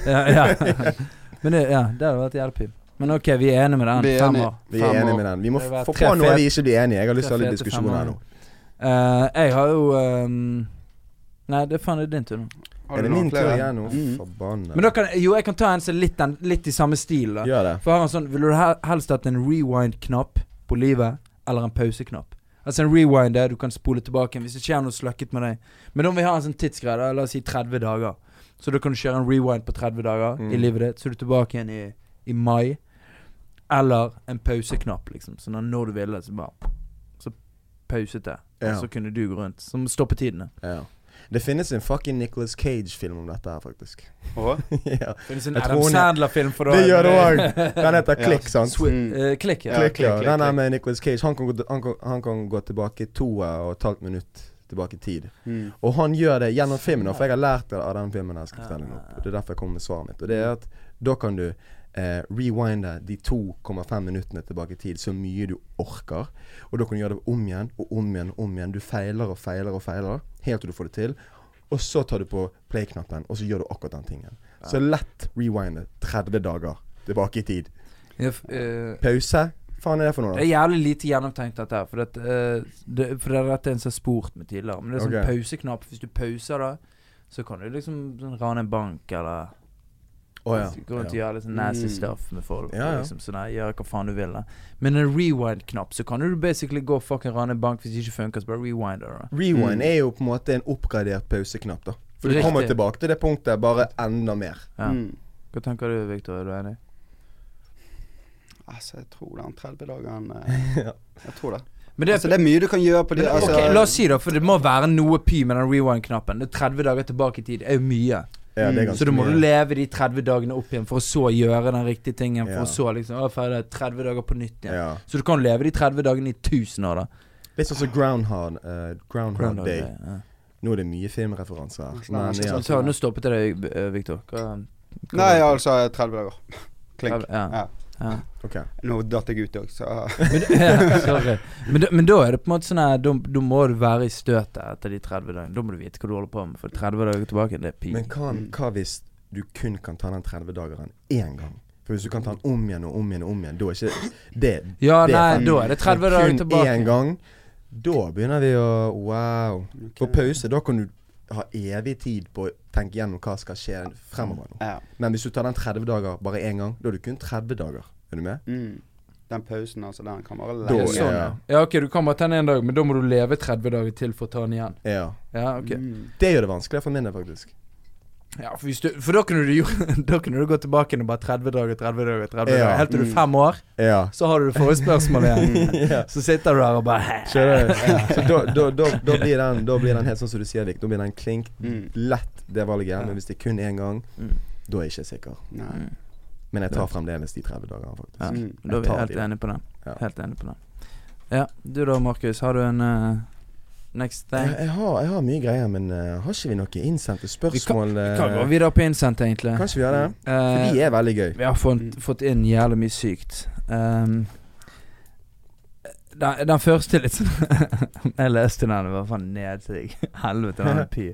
Speaker 2: Ja, ja. Men det, ja, det hadde vært jævlig pim. Men ok, vi er enige med
Speaker 1: Vi
Speaker 2: den.
Speaker 1: er
Speaker 2: Fem
Speaker 1: enige.
Speaker 2: år.
Speaker 3: Vi er
Speaker 1: Fem
Speaker 3: enige
Speaker 1: år.
Speaker 3: med den. Vi må
Speaker 2: Det var
Speaker 3: få
Speaker 2: tre
Speaker 3: på noe
Speaker 2: fet-
Speaker 3: vi ikke blir enige i. Jeg har lyst til
Speaker 2: tre
Speaker 3: å ha litt
Speaker 2: fete
Speaker 3: diskusjon her
Speaker 2: femmer.
Speaker 3: nå.
Speaker 2: Eh, jeg har jo ehm, Nei, det er faen det er din tur nå.
Speaker 1: Har du
Speaker 3: Er det
Speaker 1: noen
Speaker 3: min tur
Speaker 1: flere?
Speaker 3: igjen nå?
Speaker 1: Mm.
Speaker 2: Men da
Speaker 3: Forbanna.
Speaker 2: kan, jo, jeg kan ta en som er litt, den- litt i samme stil. da
Speaker 3: Gjør det.
Speaker 2: For jeg har en sånn Ville du hel- helst hatt en rewind-knapp på livet, eller en pauseknapp? Altså en rewind er du kan spole tilbake igjen hvis det skjer noe sløkket med deg. Men om vi har en sånn tidsgreie, da, la oss si 30 dager. Så da kan du kjøre en rewind på 30 dager
Speaker 3: Mm.
Speaker 2: i livet ditt, så er du tilbake igjen i, i mai. Eller en pauseknapp, liksom. Sånn at når du ville, så bare Så pauset det.
Speaker 3: Ja.
Speaker 2: Og så kunne du gå rundt. Som stoppetidene.
Speaker 3: Ja. Det finnes en fucking Nicolas Cage-film om dette her, faktisk.
Speaker 1: Åh?
Speaker 3: ja.
Speaker 2: Finnes en
Speaker 3: Jeg
Speaker 2: Adam
Speaker 3: tror hun-
Speaker 2: Sandler-film for
Speaker 3: Det gjør det òg. Den
Speaker 2: òg.
Speaker 3: heter
Speaker 1: Ja.
Speaker 3: Klikk, sant?
Speaker 1: Mm.
Speaker 2: eh, Klikk, ja.
Speaker 1: Ja.
Speaker 3: Klikk, ja.
Speaker 1: Klikk,
Speaker 3: Den er
Speaker 1: klikk.
Speaker 3: med Nicolas Cage. Han kan gå, han kan, han kan gå tilbake to og et halvt minutt tilbake i tid.
Speaker 1: Mm.
Speaker 3: Og han gjør det gjennom filmen, for jeg har lært det av den filmen. jeg skal fortelle nå. Det er derfor jeg kommer med svaret mitt. Og det er at da kan du eh, rewinde de 2,5 minuttene tilbake i tid så mye du orker. Og da kan du gjøre det om igjen og om igjen og om igjen. Du feiler og feiler og feiler helt til du får det til. Og så tar du på play-knappen, og så gjør du akkurat den tingen. Så lett rewinde 30 dager tilbake i tid.
Speaker 2: Ja, f- eh,
Speaker 3: Pause? Faen er det for noe,
Speaker 2: Det
Speaker 3: da?
Speaker 2: er jævlig lite gjennomtenkt dette her. For, at, eh, det, for det, dette er en som er spurt med tidligere. Men det er sånn
Speaker 3: Ok.
Speaker 2: pauseknapp. Hvis du pauser da, så kan du liksom sånn, rane en bank eller
Speaker 3: Å ja.
Speaker 2: Gå rundt og
Speaker 3: ja.
Speaker 2: gjøre litt sånn nasty
Speaker 1: Mm.
Speaker 2: stuff med folk.
Speaker 3: Ja, ja.
Speaker 2: Liksom, sånn her, gjøre hva faen du vil. Da. Men en rewind-knapp, så kan du basically gå og fucking rane en bank hvis det ikke funker. Så bare rewinder du.
Speaker 3: Rewind
Speaker 1: Mm.
Speaker 3: er jo på en måte en oppgradert pauseknapp, da. For du
Speaker 2: Riktig.
Speaker 3: kommer tilbake til det punktet, bare enda mer.
Speaker 2: Ja.
Speaker 1: Mm.
Speaker 2: Hva tenker du, Victor? Er du enig?
Speaker 1: Altså, jeg tror den 30 dagen eh,
Speaker 3: Ja.
Speaker 1: Jeg tror det.
Speaker 2: Men det er
Speaker 1: Altså, det er mye du kan gjøre på det.
Speaker 2: men,
Speaker 1: Altså,
Speaker 2: ok, La oss si, da, for det må være noe py med den rewind-knappen. Det er 30 dager tilbake i tid. Det er jo mye.
Speaker 3: Ja, det er
Speaker 1: Mm.
Speaker 3: ganske
Speaker 2: Så da må
Speaker 3: mye.
Speaker 2: du leve de 30 dagene opp igjen for å så gjøre den riktige tingen. For
Speaker 3: Ja.
Speaker 2: å så liksom Å, ferdig, 30 dager på nytt igjen.
Speaker 3: ja.
Speaker 2: Så du kan leve de 30 dagene i 1000 år, da.
Speaker 3: Litt sånn som Groundhog, eh, Groundhog
Speaker 2: Groundhog
Speaker 3: Day.
Speaker 2: Day, ja.
Speaker 3: Nå er det mye filmreferanser her.
Speaker 1: Slash.
Speaker 3: Men ja.
Speaker 2: Men så, nå stoppet jeg deg, eh, Victor. Hva- hva-
Speaker 1: Nei, altså 30 dager. Klink.
Speaker 2: Ja.
Speaker 1: Ja.
Speaker 2: Ja.
Speaker 3: Ok.
Speaker 1: Nå datt jeg ut òg, så
Speaker 2: Men, ja, sorry. Men, da- men da er det på en måte sånn her Da da må du være i støtet etter de 30 dagene. Da må du vite hva du holder på med, for 30 dager tilbake, det er pi.
Speaker 3: Men hva,
Speaker 1: Mm.
Speaker 3: hva hvis du kun kan ta den 30-dageren én gang? For hvis du kan ta den om igjen og om igjen og om igjen, da er ikke det
Speaker 2: Ja,
Speaker 3: det er
Speaker 2: nei,
Speaker 1: fem-
Speaker 2: da er det 30 dager
Speaker 3: Men Kun én
Speaker 2: tilbake.
Speaker 3: gang. Da begynner vi å Wow. På pause, da kan du ha evig tid på å tenke gjennom hva skal skje fremover nå.
Speaker 1: ja.
Speaker 3: Men hvis du tar den 30 dager bare én gang, da er du kun 30 dager. Er du med?
Speaker 1: mm. Den pausen, altså, den kan være
Speaker 3: Da
Speaker 1: lenge. Mm.
Speaker 3: er
Speaker 2: sånn, ja. ja, ok, du kan bare ta den én dag, men da må du leve 30 dager til for å ta den igjen.
Speaker 3: Ja.
Speaker 2: Ja, ok
Speaker 1: Mm.
Speaker 3: Det gjør det vanskeligere for min del, faktisk.
Speaker 2: Ja, for, hvis du, for da, kunne du, jo- da kunne du gå tilbake igjen og bare 30 dager, 30 dager, 30
Speaker 3: Ja.
Speaker 2: dager. Helt til du er fem år,
Speaker 3: Ja.
Speaker 2: så har du det forrige spørsmålet igjen.
Speaker 3: ja.
Speaker 2: Så sitter du der og bare
Speaker 3: Skjønner du? Så da, da, da, da, blir den, da blir den helt sånn som du sier, Vik. Da blir den klink
Speaker 1: Mm.
Speaker 3: lett, det valget.
Speaker 2: Ja.
Speaker 3: Men hvis det er kun én gang,
Speaker 2: Mm.
Speaker 3: da er jeg ikke sikker.
Speaker 1: Nei.
Speaker 3: Men jeg tar fremdeles de 30 dagene, faktisk.
Speaker 2: Ja,
Speaker 1: Mm.
Speaker 2: Da er vi
Speaker 3: Jeg tar
Speaker 2: helt
Speaker 3: de.
Speaker 2: enige på den.
Speaker 3: Ja.
Speaker 2: Helt enige på den. Ja, du da, Markus. Har du en eh, next
Speaker 3: Jeg,
Speaker 2: thing?
Speaker 3: jeg, har, jeg har mye greier, men eh, har ikke vi noen innsendte spørsmål?
Speaker 2: Hva går
Speaker 3: eh,
Speaker 2: videre på innsendt, egentlig?
Speaker 3: Kanskje vi har det? For
Speaker 2: Eh,
Speaker 3: de er veldig gøy.
Speaker 2: Vi har fått, fått inn jævlig mye sykt. Ehm, den, den første litt sånn Jeg leste den, det var faen nedsig. Helvete, den er py.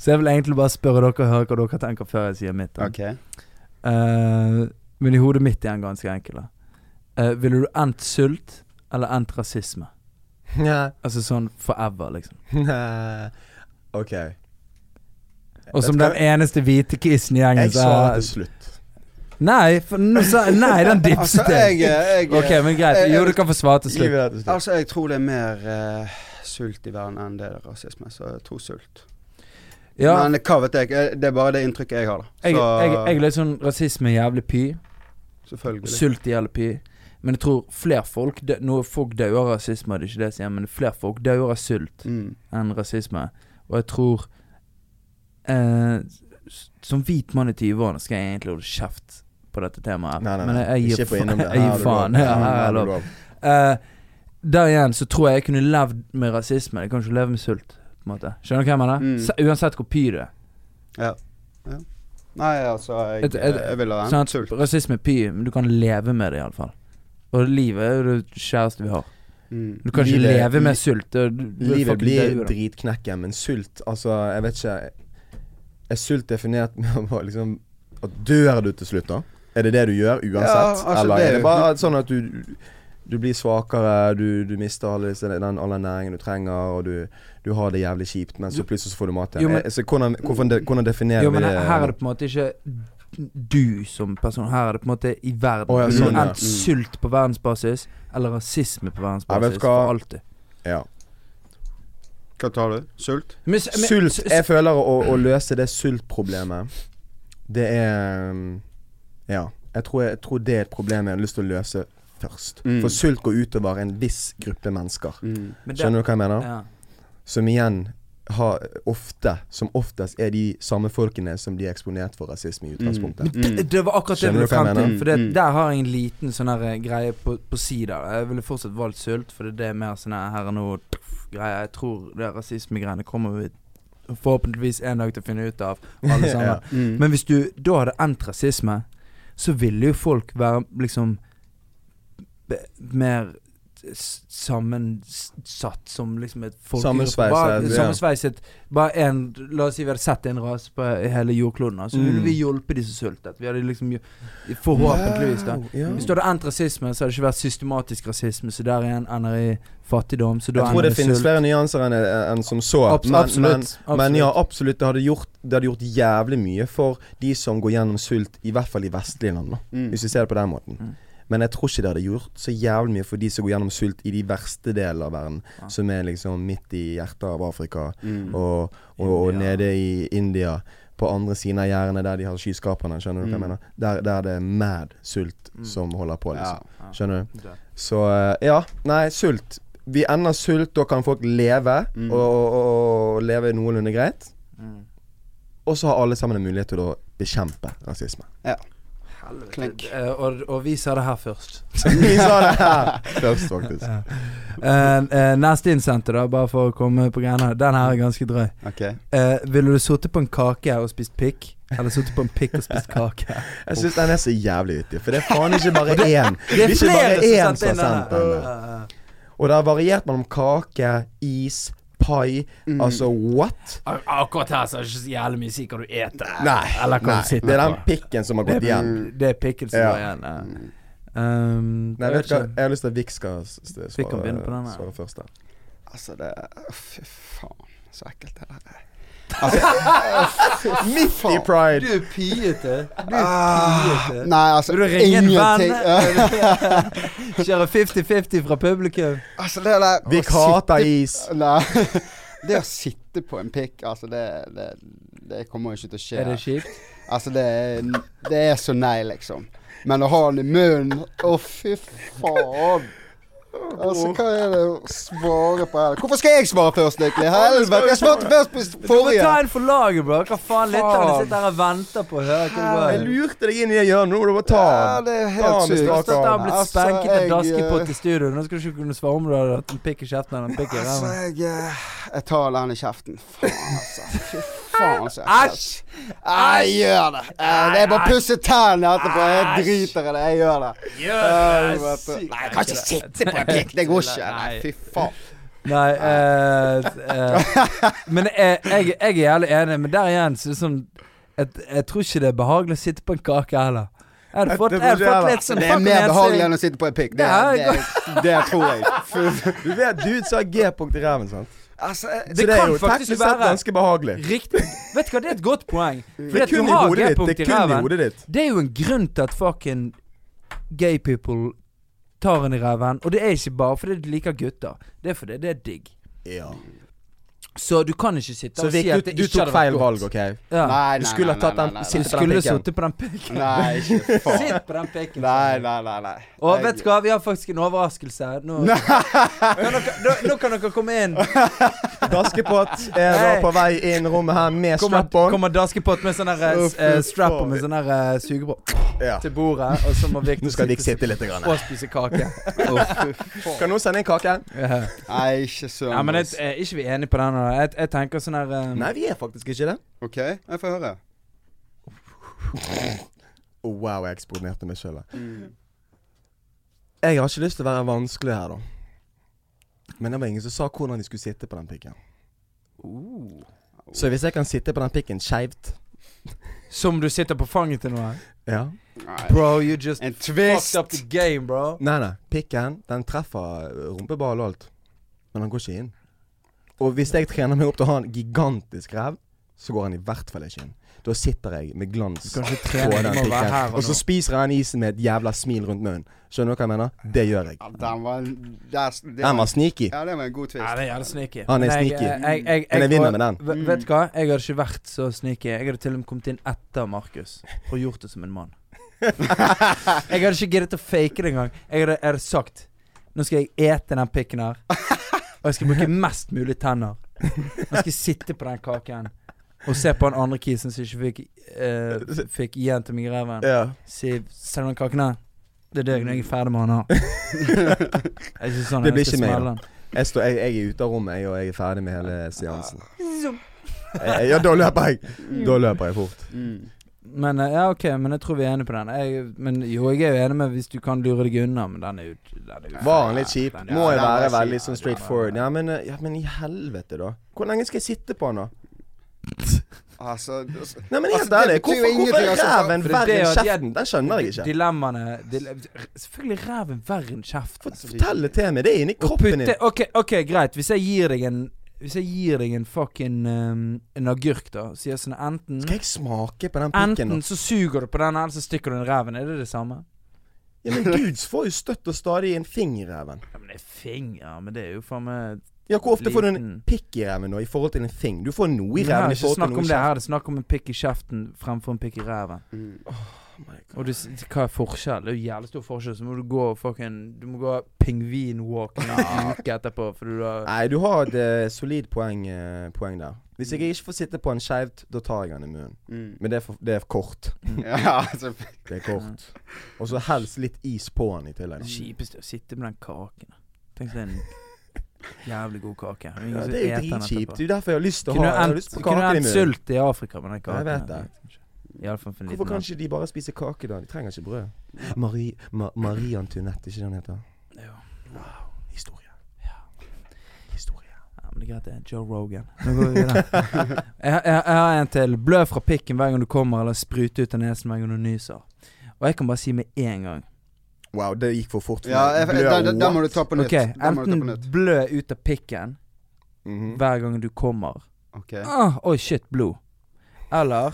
Speaker 2: Så jeg vil egentlig bare spørre dere og høre hva dere tenker før jeg sier mitt. da.
Speaker 1: Ok.
Speaker 2: Eh, men i hodet mitt er den ganske enkel. da. Eh, ville du endt sult eller endt rasisme?
Speaker 3: Nja,
Speaker 2: Altså sånn forever, liksom.
Speaker 3: nja. OK.
Speaker 2: Og som
Speaker 3: Vet
Speaker 2: den
Speaker 3: du hva?
Speaker 2: eneste hvite kissen i gjengen
Speaker 3: Jeg svarer
Speaker 2: så-
Speaker 3: til slutt.
Speaker 2: Nei, for, nå sa- nei, den
Speaker 1: Altså,
Speaker 2: dipset
Speaker 1: jeg,
Speaker 2: jeg.
Speaker 1: jeg
Speaker 2: Ok, men greit. Jo, du kan få svare til slutt.
Speaker 3: Gi meg det til slutt.
Speaker 1: Altså, jeg tror det er mer eh, sult i verden enn det er rasisme, så jeg tror sult.
Speaker 2: Ja,
Speaker 1: Men hva vet jeg, eh, det er bare det inntrykket jeg har, da. Så
Speaker 2: Jeg, jeg, jeg er litt sånn rasisme er jævlig py.
Speaker 1: selvfølgelig.
Speaker 2: Sult er jævlig py. Men jeg tror flere folk dø, Nå folk dør av rasisme, det er ikke det jeg sier, men flere folk dør av sult
Speaker 1: Mm.
Speaker 2: enn rasisme. Og jeg tror eh, s- Som hvit mann i 20-årene skal jeg egentlig holde kjeft på dette temaet.
Speaker 3: Nei, nei, nei.
Speaker 2: Men jeg, jeg
Speaker 3: ikke
Speaker 2: gir
Speaker 3: på innom
Speaker 2: faen.
Speaker 3: det.
Speaker 2: Jeg
Speaker 3: Her
Speaker 2: gir faen. Ja,
Speaker 3: har du lov. Her
Speaker 2: her
Speaker 3: har
Speaker 2: er
Speaker 3: du
Speaker 2: lov.
Speaker 3: lov.
Speaker 2: Eh, der igjen så tror jeg jeg kunne levd med rasisme. Jeg kan ikke leve med sult. på en måte Skjønner du hva jeg mener?
Speaker 1: Mm.
Speaker 2: Se- Uansett hvor py du er.
Speaker 1: Nei, altså, jeg,
Speaker 2: Et- et-
Speaker 1: jeg vil ha en
Speaker 3: Sånn
Speaker 2: Sant?
Speaker 1: sult.
Speaker 2: Rasisme er py, men du kan leve med det iallfall. Og livet er jo det kjæreste vi har.
Speaker 1: Mm.
Speaker 2: Du kan ikke
Speaker 3: Livet-
Speaker 2: leve med
Speaker 3: li-
Speaker 2: sult. Du, du, du er
Speaker 3: Livet
Speaker 2: fucking
Speaker 3: blir
Speaker 2: død, da.
Speaker 3: dritknekken, men sult Altså, jeg vet ikke Er sult definert med å bare liksom at Dør du til slutt, da? Er det det du gjør uansett?
Speaker 1: Ja, altså,
Speaker 3: Eller
Speaker 1: det er
Speaker 3: er det
Speaker 1: jo-
Speaker 3: bare sånn at du du blir svakere, du, du mister alle, disse, den, all den næringen du trenger, og du, du har det jævlig kjipt, men så plutselig så får du mat
Speaker 2: Jo,
Speaker 3: igjen.
Speaker 2: men-
Speaker 3: Eh, Så hvordan, hvorfor de, hvordan definerer
Speaker 2: Jo, men
Speaker 3: vi det?
Speaker 2: her, her er det på en måte ikke du som person. Her er det på en måte i verden.
Speaker 3: Å, ja,
Speaker 2: Du har
Speaker 3: sånn, ja.
Speaker 2: enten sult på verdensbasis eller rasisme på
Speaker 3: Jeg
Speaker 2: verdensbasis
Speaker 3: vet hva-
Speaker 2: for alltid.
Speaker 3: ja.
Speaker 1: Hva tar du? Sult?
Speaker 2: Men- men-
Speaker 3: Sult
Speaker 2: s-
Speaker 3: Jeg føler å, å løse det sultproblemet Det er um, Ja. Jeg tror, jeg tror det er et problem jeg har lyst til å løse først.
Speaker 1: Mm.
Speaker 3: For sult går utover en viss gruppe mennesker.
Speaker 1: Mm.
Speaker 2: men det-
Speaker 3: Skjønner du hva jeg mener?
Speaker 2: Ja.
Speaker 3: Som igjen har ofte, som oftest, er de samme folkene som de er eksponert for rasisme i utgangspunktet.
Speaker 1: Mm.
Speaker 2: Det, det var akkurat det jeg
Speaker 3: Skjønner
Speaker 2: ville
Speaker 3: du hva
Speaker 2: frem
Speaker 3: jeg
Speaker 2: til.
Speaker 1: mener?
Speaker 2: For det,
Speaker 1: Mm.
Speaker 2: der har jeg en liten sånn her eh, greie på, på si der. Jeg ville fortsatt valgt sult, for det er det mer sånn her her og nå-greier. Jeg tror det rasismegreiene kommer vi forhåpentligvis en dag til å finne ut av, alle sammen.
Speaker 3: Ja.
Speaker 1: Mm.
Speaker 2: Men hvis du da hadde endt rasisme, så ville jo folk være liksom be- mer s- sammensatt som liksom et folkegruppe.
Speaker 3: Sammensveiset,
Speaker 2: Bare-
Speaker 3: ja.
Speaker 2: Sammensveiset. Bare en La oss si vi hadde sett en rase på hele jordkloden, da, så ville
Speaker 3: Mm.
Speaker 2: vi hjulpet de som sultet. Vi hadde liksom jo- Forhåpentligvis, da.
Speaker 3: Wow, ja.
Speaker 2: Hvis du hadde endt rasisme, så hadde det ikke vært systematisk rasisme, så der igjen ender i fattigdom, så da
Speaker 3: Jeg tror
Speaker 2: ender
Speaker 3: det
Speaker 2: i
Speaker 3: finnes
Speaker 2: sult.
Speaker 3: flere nyanser enn enn som så.
Speaker 2: Abs-
Speaker 3: Men-
Speaker 2: absolutt,
Speaker 3: men- Men ja,
Speaker 2: absolutt.
Speaker 3: absolutt. Det hadde, gjort, det hadde gjort jævlig mye for de som går gjennom sult, i hvert fall i vestlige land. da
Speaker 1: Mm.
Speaker 3: Hvis vi ser det på den måten.
Speaker 2: Mm.
Speaker 3: Men jeg tror ikke det hadde gjort så jævlig mye for de som går gjennom sult i de verste delene av verden.
Speaker 2: Ja.
Speaker 3: Som er liksom midt i hjertet av Afrika
Speaker 1: Mm.
Speaker 3: og, og, og
Speaker 2: India.
Speaker 3: nede i India. På andre siden av gjerdene der de har skyskaperne. Skjønner du hva
Speaker 1: Mm.
Speaker 3: jeg mener? Der, der det er mad sult
Speaker 2: Mm.
Speaker 3: som holder på,
Speaker 1: Ja.
Speaker 3: liksom. Skjønner du?
Speaker 2: Ja.
Speaker 3: Så eh, ja. Nei, sult. Vi ender sult, da kan folk leve,
Speaker 1: Mm.
Speaker 3: og, og, og leve noenlunde greit.
Speaker 2: Mm.
Speaker 3: Og så har alle sammen en mulighet til å bekjempe rasisme.
Speaker 1: Klink.
Speaker 2: Eh, Og, og vi sa det her først.
Speaker 3: Vi sa det her først, faktisk.
Speaker 2: Eh, eh, neste innsendte, da, bare for å komme på greiene. her. Den her er ganske drøy.
Speaker 1: Ok.
Speaker 2: Eh, ville du sittet på en kake og spist pikk? Eller sittet på en pikk og spist kake?
Speaker 3: Jeg syns den er så jævlig vittig, for det er faen ikke bare én.
Speaker 2: Det
Speaker 3: er ikke bare én som har sendt
Speaker 2: sendte
Speaker 3: den. Og det har variert mellom kake, is, pai
Speaker 1: Mm.
Speaker 3: Altså what?
Speaker 2: Akkurat her så er det ikke så jævlig mye sikkert du eter.
Speaker 3: Nei.
Speaker 2: Eller hva
Speaker 3: nei.
Speaker 2: du sitter
Speaker 3: Det er den
Speaker 2: på.
Speaker 3: pikken som har gått
Speaker 2: Det er,
Speaker 3: igjen.
Speaker 2: det er pikken som
Speaker 3: Ja.
Speaker 2: går igjen. ja. Um,
Speaker 3: Nei,
Speaker 2: jeg
Speaker 3: vet du hva,
Speaker 2: ikke.
Speaker 3: jeg har lyst til at Vik skal s- s- svare,
Speaker 2: Vik kan begynne på den her.
Speaker 3: svare først. der
Speaker 1: Altså, det Fy faen, så ekkelt det der er.
Speaker 2: Altså,
Speaker 3: Midt i pride!
Speaker 2: er piete. Du
Speaker 1: Ah, nei, altså
Speaker 2: Vil du ringe en venn?
Speaker 1: ingenting.
Speaker 2: Kjøre 50-50 fra publikum.
Speaker 1: altså, det der å
Speaker 3: Vik
Speaker 1: sitte-
Speaker 3: hater is.
Speaker 1: Nei. Det å sitte på en pikk, altså det, det, det kommer jo ikke til å skje.
Speaker 2: Er det kjipt?
Speaker 1: Altså, det er, det er så nei, liksom. Men å ha den i munnen Å, fy faen. Altså, hva er det å svare på her? Hvorfor skal jeg svare først, egentlig? Helvete, jeg svarte først på
Speaker 2: Du må ta
Speaker 1: forrige.
Speaker 2: en for laget, bro. Hva faen? Lytterne
Speaker 1: Faen.
Speaker 2: sitter her og venter på å høre hva det
Speaker 3: Jeg
Speaker 2: går i.
Speaker 3: lurte deg inn i det hjørnet, nå må du bare ta
Speaker 1: Ja,
Speaker 3: den.
Speaker 1: det er
Speaker 3: Ta
Speaker 1: helt
Speaker 3: den i
Speaker 1: sykt.
Speaker 3: strak
Speaker 2: Støtt har
Speaker 3: arm.
Speaker 2: blitt
Speaker 1: Altså,
Speaker 2: spenket av
Speaker 1: jeg,
Speaker 2: daskepott
Speaker 1: eh,
Speaker 2: i studio. Nå skal du ikke kunne svare om du hadde hatt en pikk i kjeften eller en pikk i
Speaker 1: Altså,
Speaker 2: ræven.
Speaker 1: jeg eh, Jeg tar den i kjeften. Faen, altså. Fy faen, så
Speaker 2: Æsj!
Speaker 1: Jeg gjør det. Eh, Det er bare å pusse tennene etterpå. Jeg driter i det. Jeg gjør det. Helvete. Nei, Eh, jeg kan ikke sitte på en pikk. Det går ikke. Nei, fy faen.
Speaker 2: Nei, eh, eh, Men jeg, jeg, jeg er jævlig enig, men der igjen så er det sånn jeg, jeg tror ikke det er behagelig å sitte på en kake heller. Jeg hadde
Speaker 3: Jeg
Speaker 2: fått,
Speaker 3: tror
Speaker 2: jeg hadde
Speaker 3: ikke
Speaker 2: fått
Speaker 3: det
Speaker 2: litt sånn
Speaker 1: Det er
Speaker 2: fucking
Speaker 1: mer
Speaker 2: ensing.
Speaker 1: behagelig enn å sitte på en pikk. Det,
Speaker 2: Ja,
Speaker 1: det, det tror jeg. Fy-
Speaker 3: Du vet dudes har g-punkt i ræven, sant?
Speaker 1: Altså, jeg-
Speaker 2: Det
Speaker 3: Så det er
Speaker 2: kan
Speaker 3: jo
Speaker 2: faktisk
Speaker 3: teknisk sett
Speaker 2: være
Speaker 3: ganske behagelig.
Speaker 2: Riktig. Vet du hva, det er et godt poeng.
Speaker 3: Det
Speaker 2: Fordi
Speaker 3: er
Speaker 2: at du
Speaker 3: kun i
Speaker 2: har
Speaker 3: hodet ditt.
Speaker 2: G-punkt
Speaker 3: Det
Speaker 2: i
Speaker 3: er kun i
Speaker 2: ræven.
Speaker 3: hodet ditt.
Speaker 2: Det er jo en grunn til at fucking gay people tar en i ræven. Og det er ikke bare fordi du liker gutter. Det er fordi det er digg.
Speaker 3: Ja.
Speaker 2: Så du kan ikke sitte
Speaker 3: Så
Speaker 2: og si
Speaker 3: Vik,
Speaker 2: at
Speaker 3: du,
Speaker 2: det
Speaker 3: du
Speaker 2: ikke
Speaker 3: tok
Speaker 2: hadde vært
Speaker 3: feil
Speaker 2: godt.
Speaker 3: valg, OK?
Speaker 2: Ja.
Speaker 1: Nei,
Speaker 3: Du
Speaker 1: nei,
Speaker 3: skulle
Speaker 1: nei,
Speaker 3: tatt
Speaker 1: nei,
Speaker 3: den-
Speaker 1: nei, nei,
Speaker 2: Du
Speaker 3: sitte på den
Speaker 2: skulle
Speaker 3: pikken.
Speaker 2: sittet på den pikken.
Speaker 1: Nei, ikke faen.
Speaker 2: Sitt på den pikken.
Speaker 1: Nei, nei, nei. nei.
Speaker 2: Og vet du hva, vi har faktisk en overraskelse. Nå, nå, kan, dere, nå, nå kan dere komme inn.
Speaker 3: Daskepott er da
Speaker 2: Hey.
Speaker 3: på vei inn i rommet her med
Speaker 2: Kommer,
Speaker 3: strap-on.
Speaker 2: kommer Daskepott med sånn der,
Speaker 3: Uff,
Speaker 2: eh,
Speaker 3: uff,
Speaker 2: strap og
Speaker 3: faen.
Speaker 2: med sånn der eh, sugebrød
Speaker 3: Ja.
Speaker 2: til bordet, og så må Vik
Speaker 3: Nå skal Vik sitte litt. Grann.
Speaker 2: og spise kake.
Speaker 3: Kan noen sende inn kake?
Speaker 2: Ja.
Speaker 1: Nei, ikke søren.
Speaker 2: Ja, eh, men jeg,
Speaker 1: ass.
Speaker 2: jeg er ikke vi enige på den. da. Jeg, jeg tenker sånn her eh,
Speaker 3: Nei, vi er faktisk ikke det.
Speaker 1: OK, jeg får høre.
Speaker 3: Å, wow, jeg eksponerte meg sjøl.
Speaker 2: Mm.
Speaker 3: Jeg har ikke lyst til å være vanskelig her, da. Men det var ingen som sa hvordan de skulle sitte på den pikken. Så hvis jeg kan sitte på den pikken skeivt
Speaker 2: Som dus du sitter på fanget til noen.
Speaker 3: Ja.
Speaker 1: Nei.
Speaker 2: Bro, you just
Speaker 1: En
Speaker 2: fucked
Speaker 1: twist!
Speaker 2: up the game, bro.
Speaker 3: Nei, nei. Pikken, den treffer rumpeball og alt. Men den går ikke inn. Og hvis jeg trener meg opp til å ha en gigantisk ræv, så går han i hvert fall ikke inn. Da sitter jeg med glans
Speaker 2: Du kan ikke
Speaker 3: på
Speaker 2: trene,
Speaker 3: den
Speaker 2: du må være her og
Speaker 3: pikken. Og så
Speaker 2: nå.
Speaker 3: spiser han isen med et jævla smil rundt munnen. Skjønner du hva jeg mener? Det gjør jeg.
Speaker 1: Ja, den var der, det,
Speaker 3: Den var sneaky.
Speaker 1: Ja, det var en god twist.
Speaker 2: Ja, det er jævlig sneaky.
Speaker 3: Han er
Speaker 2: Men jeg-
Speaker 3: sneaky.
Speaker 2: jeg- jeg- jeg-
Speaker 3: Men jeg
Speaker 2: jeg-
Speaker 3: vinner med den.
Speaker 2: Ve- Vet du hva? Jeg hadde ikke vært så sneaky. Jeg hadde til og med kommet inn etter Markus og gjort det som en mann. jeg hadde ikke giddet å fake det engang. Jeg hadde, jeg hadde sagt Nå skal jeg ete den pikken her. Og jeg skal bruke mest mulig tenner. Nå skal jeg sitte på den kaken og se på den andre kisen som ikke fikk, eh, fikk igjen til meg i ræven.
Speaker 3: Ja.
Speaker 2: Si Selg den kaken her. Det er deg når jeg er ferdig med han her. Det er ikke sånn
Speaker 3: Det blir
Speaker 2: jeg skal
Speaker 3: ikke meg,
Speaker 2: smelle
Speaker 3: da.
Speaker 2: den.
Speaker 3: Jeg, står, jeg, jeg er ute av rommet, jeg, og jeg er ferdig med hele seansen. Jeg- Ja, da løper jeg. Da løper jeg fort.
Speaker 1: Mm.
Speaker 2: Men eh, ja, ok, men jeg tror vi er enige på den. Jeg, men jo, jeg er jo enig med hvis du kan lure deg unna, men den er jo den er jo-
Speaker 3: Var han litt kjip?
Speaker 2: Den er-
Speaker 3: Må jeg
Speaker 1: Ja,
Speaker 3: være
Speaker 1: den var
Speaker 3: veldig
Speaker 1: kjip.
Speaker 3: sånn straight forward? Ja, men, eh, ja, men i helvete, da. Hvor lenge skal jeg sitte på han, da?
Speaker 1: Altså, altså
Speaker 3: Nei, men helt
Speaker 1: Altså, det
Speaker 3: ærlig,
Speaker 1: betyr jo
Speaker 3: hvorfor, hvorfor
Speaker 1: ingenting,
Speaker 3: er
Speaker 1: altså.
Speaker 3: ræven
Speaker 2: For det er
Speaker 3: verre enn
Speaker 2: det at jeg-
Speaker 3: kjeften? Den skjønner jeg ikke.
Speaker 2: Dilemmaene dile Selvfølgelig er ræven verre enn kjeft.
Speaker 3: For- Fortell det til meg. Det er inni
Speaker 2: Å
Speaker 3: kroppen din.
Speaker 2: putte- ok, ok, greit. Hvis jeg gir deg en Hvis jeg gir deg en fucking um, En agurk, da, og sier sånn enten
Speaker 3: Skal jeg smake på den pikken?
Speaker 2: Enten
Speaker 3: nå?
Speaker 2: så suger du på den, eller så stikker du den i ræven. Er det det samme?
Speaker 3: Ja, men dudes får jo støtt og stadig en fing i ræven.
Speaker 2: Ja, men det er fingre, men det er jo faen meg
Speaker 3: Ja, hvor ofte får du en
Speaker 2: Liten.
Speaker 3: pikk i ræven nå i forhold til en fing? Du får noe i
Speaker 2: Her er
Speaker 3: ræven i
Speaker 2: det ikke
Speaker 3: forhold til
Speaker 2: snakk
Speaker 3: noe
Speaker 2: om det
Speaker 3: kjeft.
Speaker 2: her, det er snakk om en pikk i kjeften fremfor en pikk i ræven.
Speaker 1: mm.
Speaker 3: Oh my God.
Speaker 2: Og du, s- hva er forskjell? Det er jo jævlig stor forskjell. Så må du gå fucking Du må gå pingvinwalk en uke etterpå. Fordi du har
Speaker 3: Nei, du har et eh, solid poeng, eh, poeng der. Hvis jeg ikke får sitte på han skeivt, da tar jeg han i munnen.
Speaker 1: Mm.
Speaker 3: Men det er, for, det er kort.
Speaker 1: Ja, altså
Speaker 3: Det er kort. Og så helst litt is på han i tillegg.
Speaker 2: Det kjipeste er å sitte med den kaken. Tenk deg en jævlig god kake. Og ingen
Speaker 3: Ja,
Speaker 2: som
Speaker 3: det er jo
Speaker 2: eter den
Speaker 3: dritkjipt.
Speaker 2: etterpå.
Speaker 3: Det er jo derfor jeg har lyst til å ha
Speaker 2: Kunne
Speaker 3: jeg har lyst
Speaker 2: endt,
Speaker 3: på
Speaker 2: kunne
Speaker 3: kaken i
Speaker 2: endt
Speaker 3: munnen.
Speaker 2: sult i Afrika med den kaken.
Speaker 3: Jeg vet det.
Speaker 2: I alle fall for en
Speaker 3: Hvorfor
Speaker 2: liten
Speaker 3: kan
Speaker 2: en.
Speaker 3: ikke de bare spise kake, da? De trenger ikke brød. Marie, Ma, Marie Antoinette, ikke det hun heter?
Speaker 2: Ja.
Speaker 3: Historie. Historie.
Speaker 2: Ja, men det er greit, det er Joe Rogan. Nå går vi videre. jeg, jeg, jeg har en til. Blø fra pikken hver gang du kommer, eller sprute ut av nesen hver gang du nyser. Og jeg kan bare si med en gang
Speaker 3: Wow, det gikk for fort. for
Speaker 1: Ja,
Speaker 3: meg.
Speaker 1: jeg,
Speaker 3: Blør
Speaker 1: den, den, den må
Speaker 3: what?
Speaker 1: du ta på nytt.
Speaker 2: Ok,
Speaker 1: den må du ta på
Speaker 2: enten
Speaker 1: nytt.
Speaker 2: blø ut av pikken
Speaker 3: Mhm.
Speaker 2: hver gang du kommer.
Speaker 1: Ok.
Speaker 2: Ah, Oi, shit, blod. Eller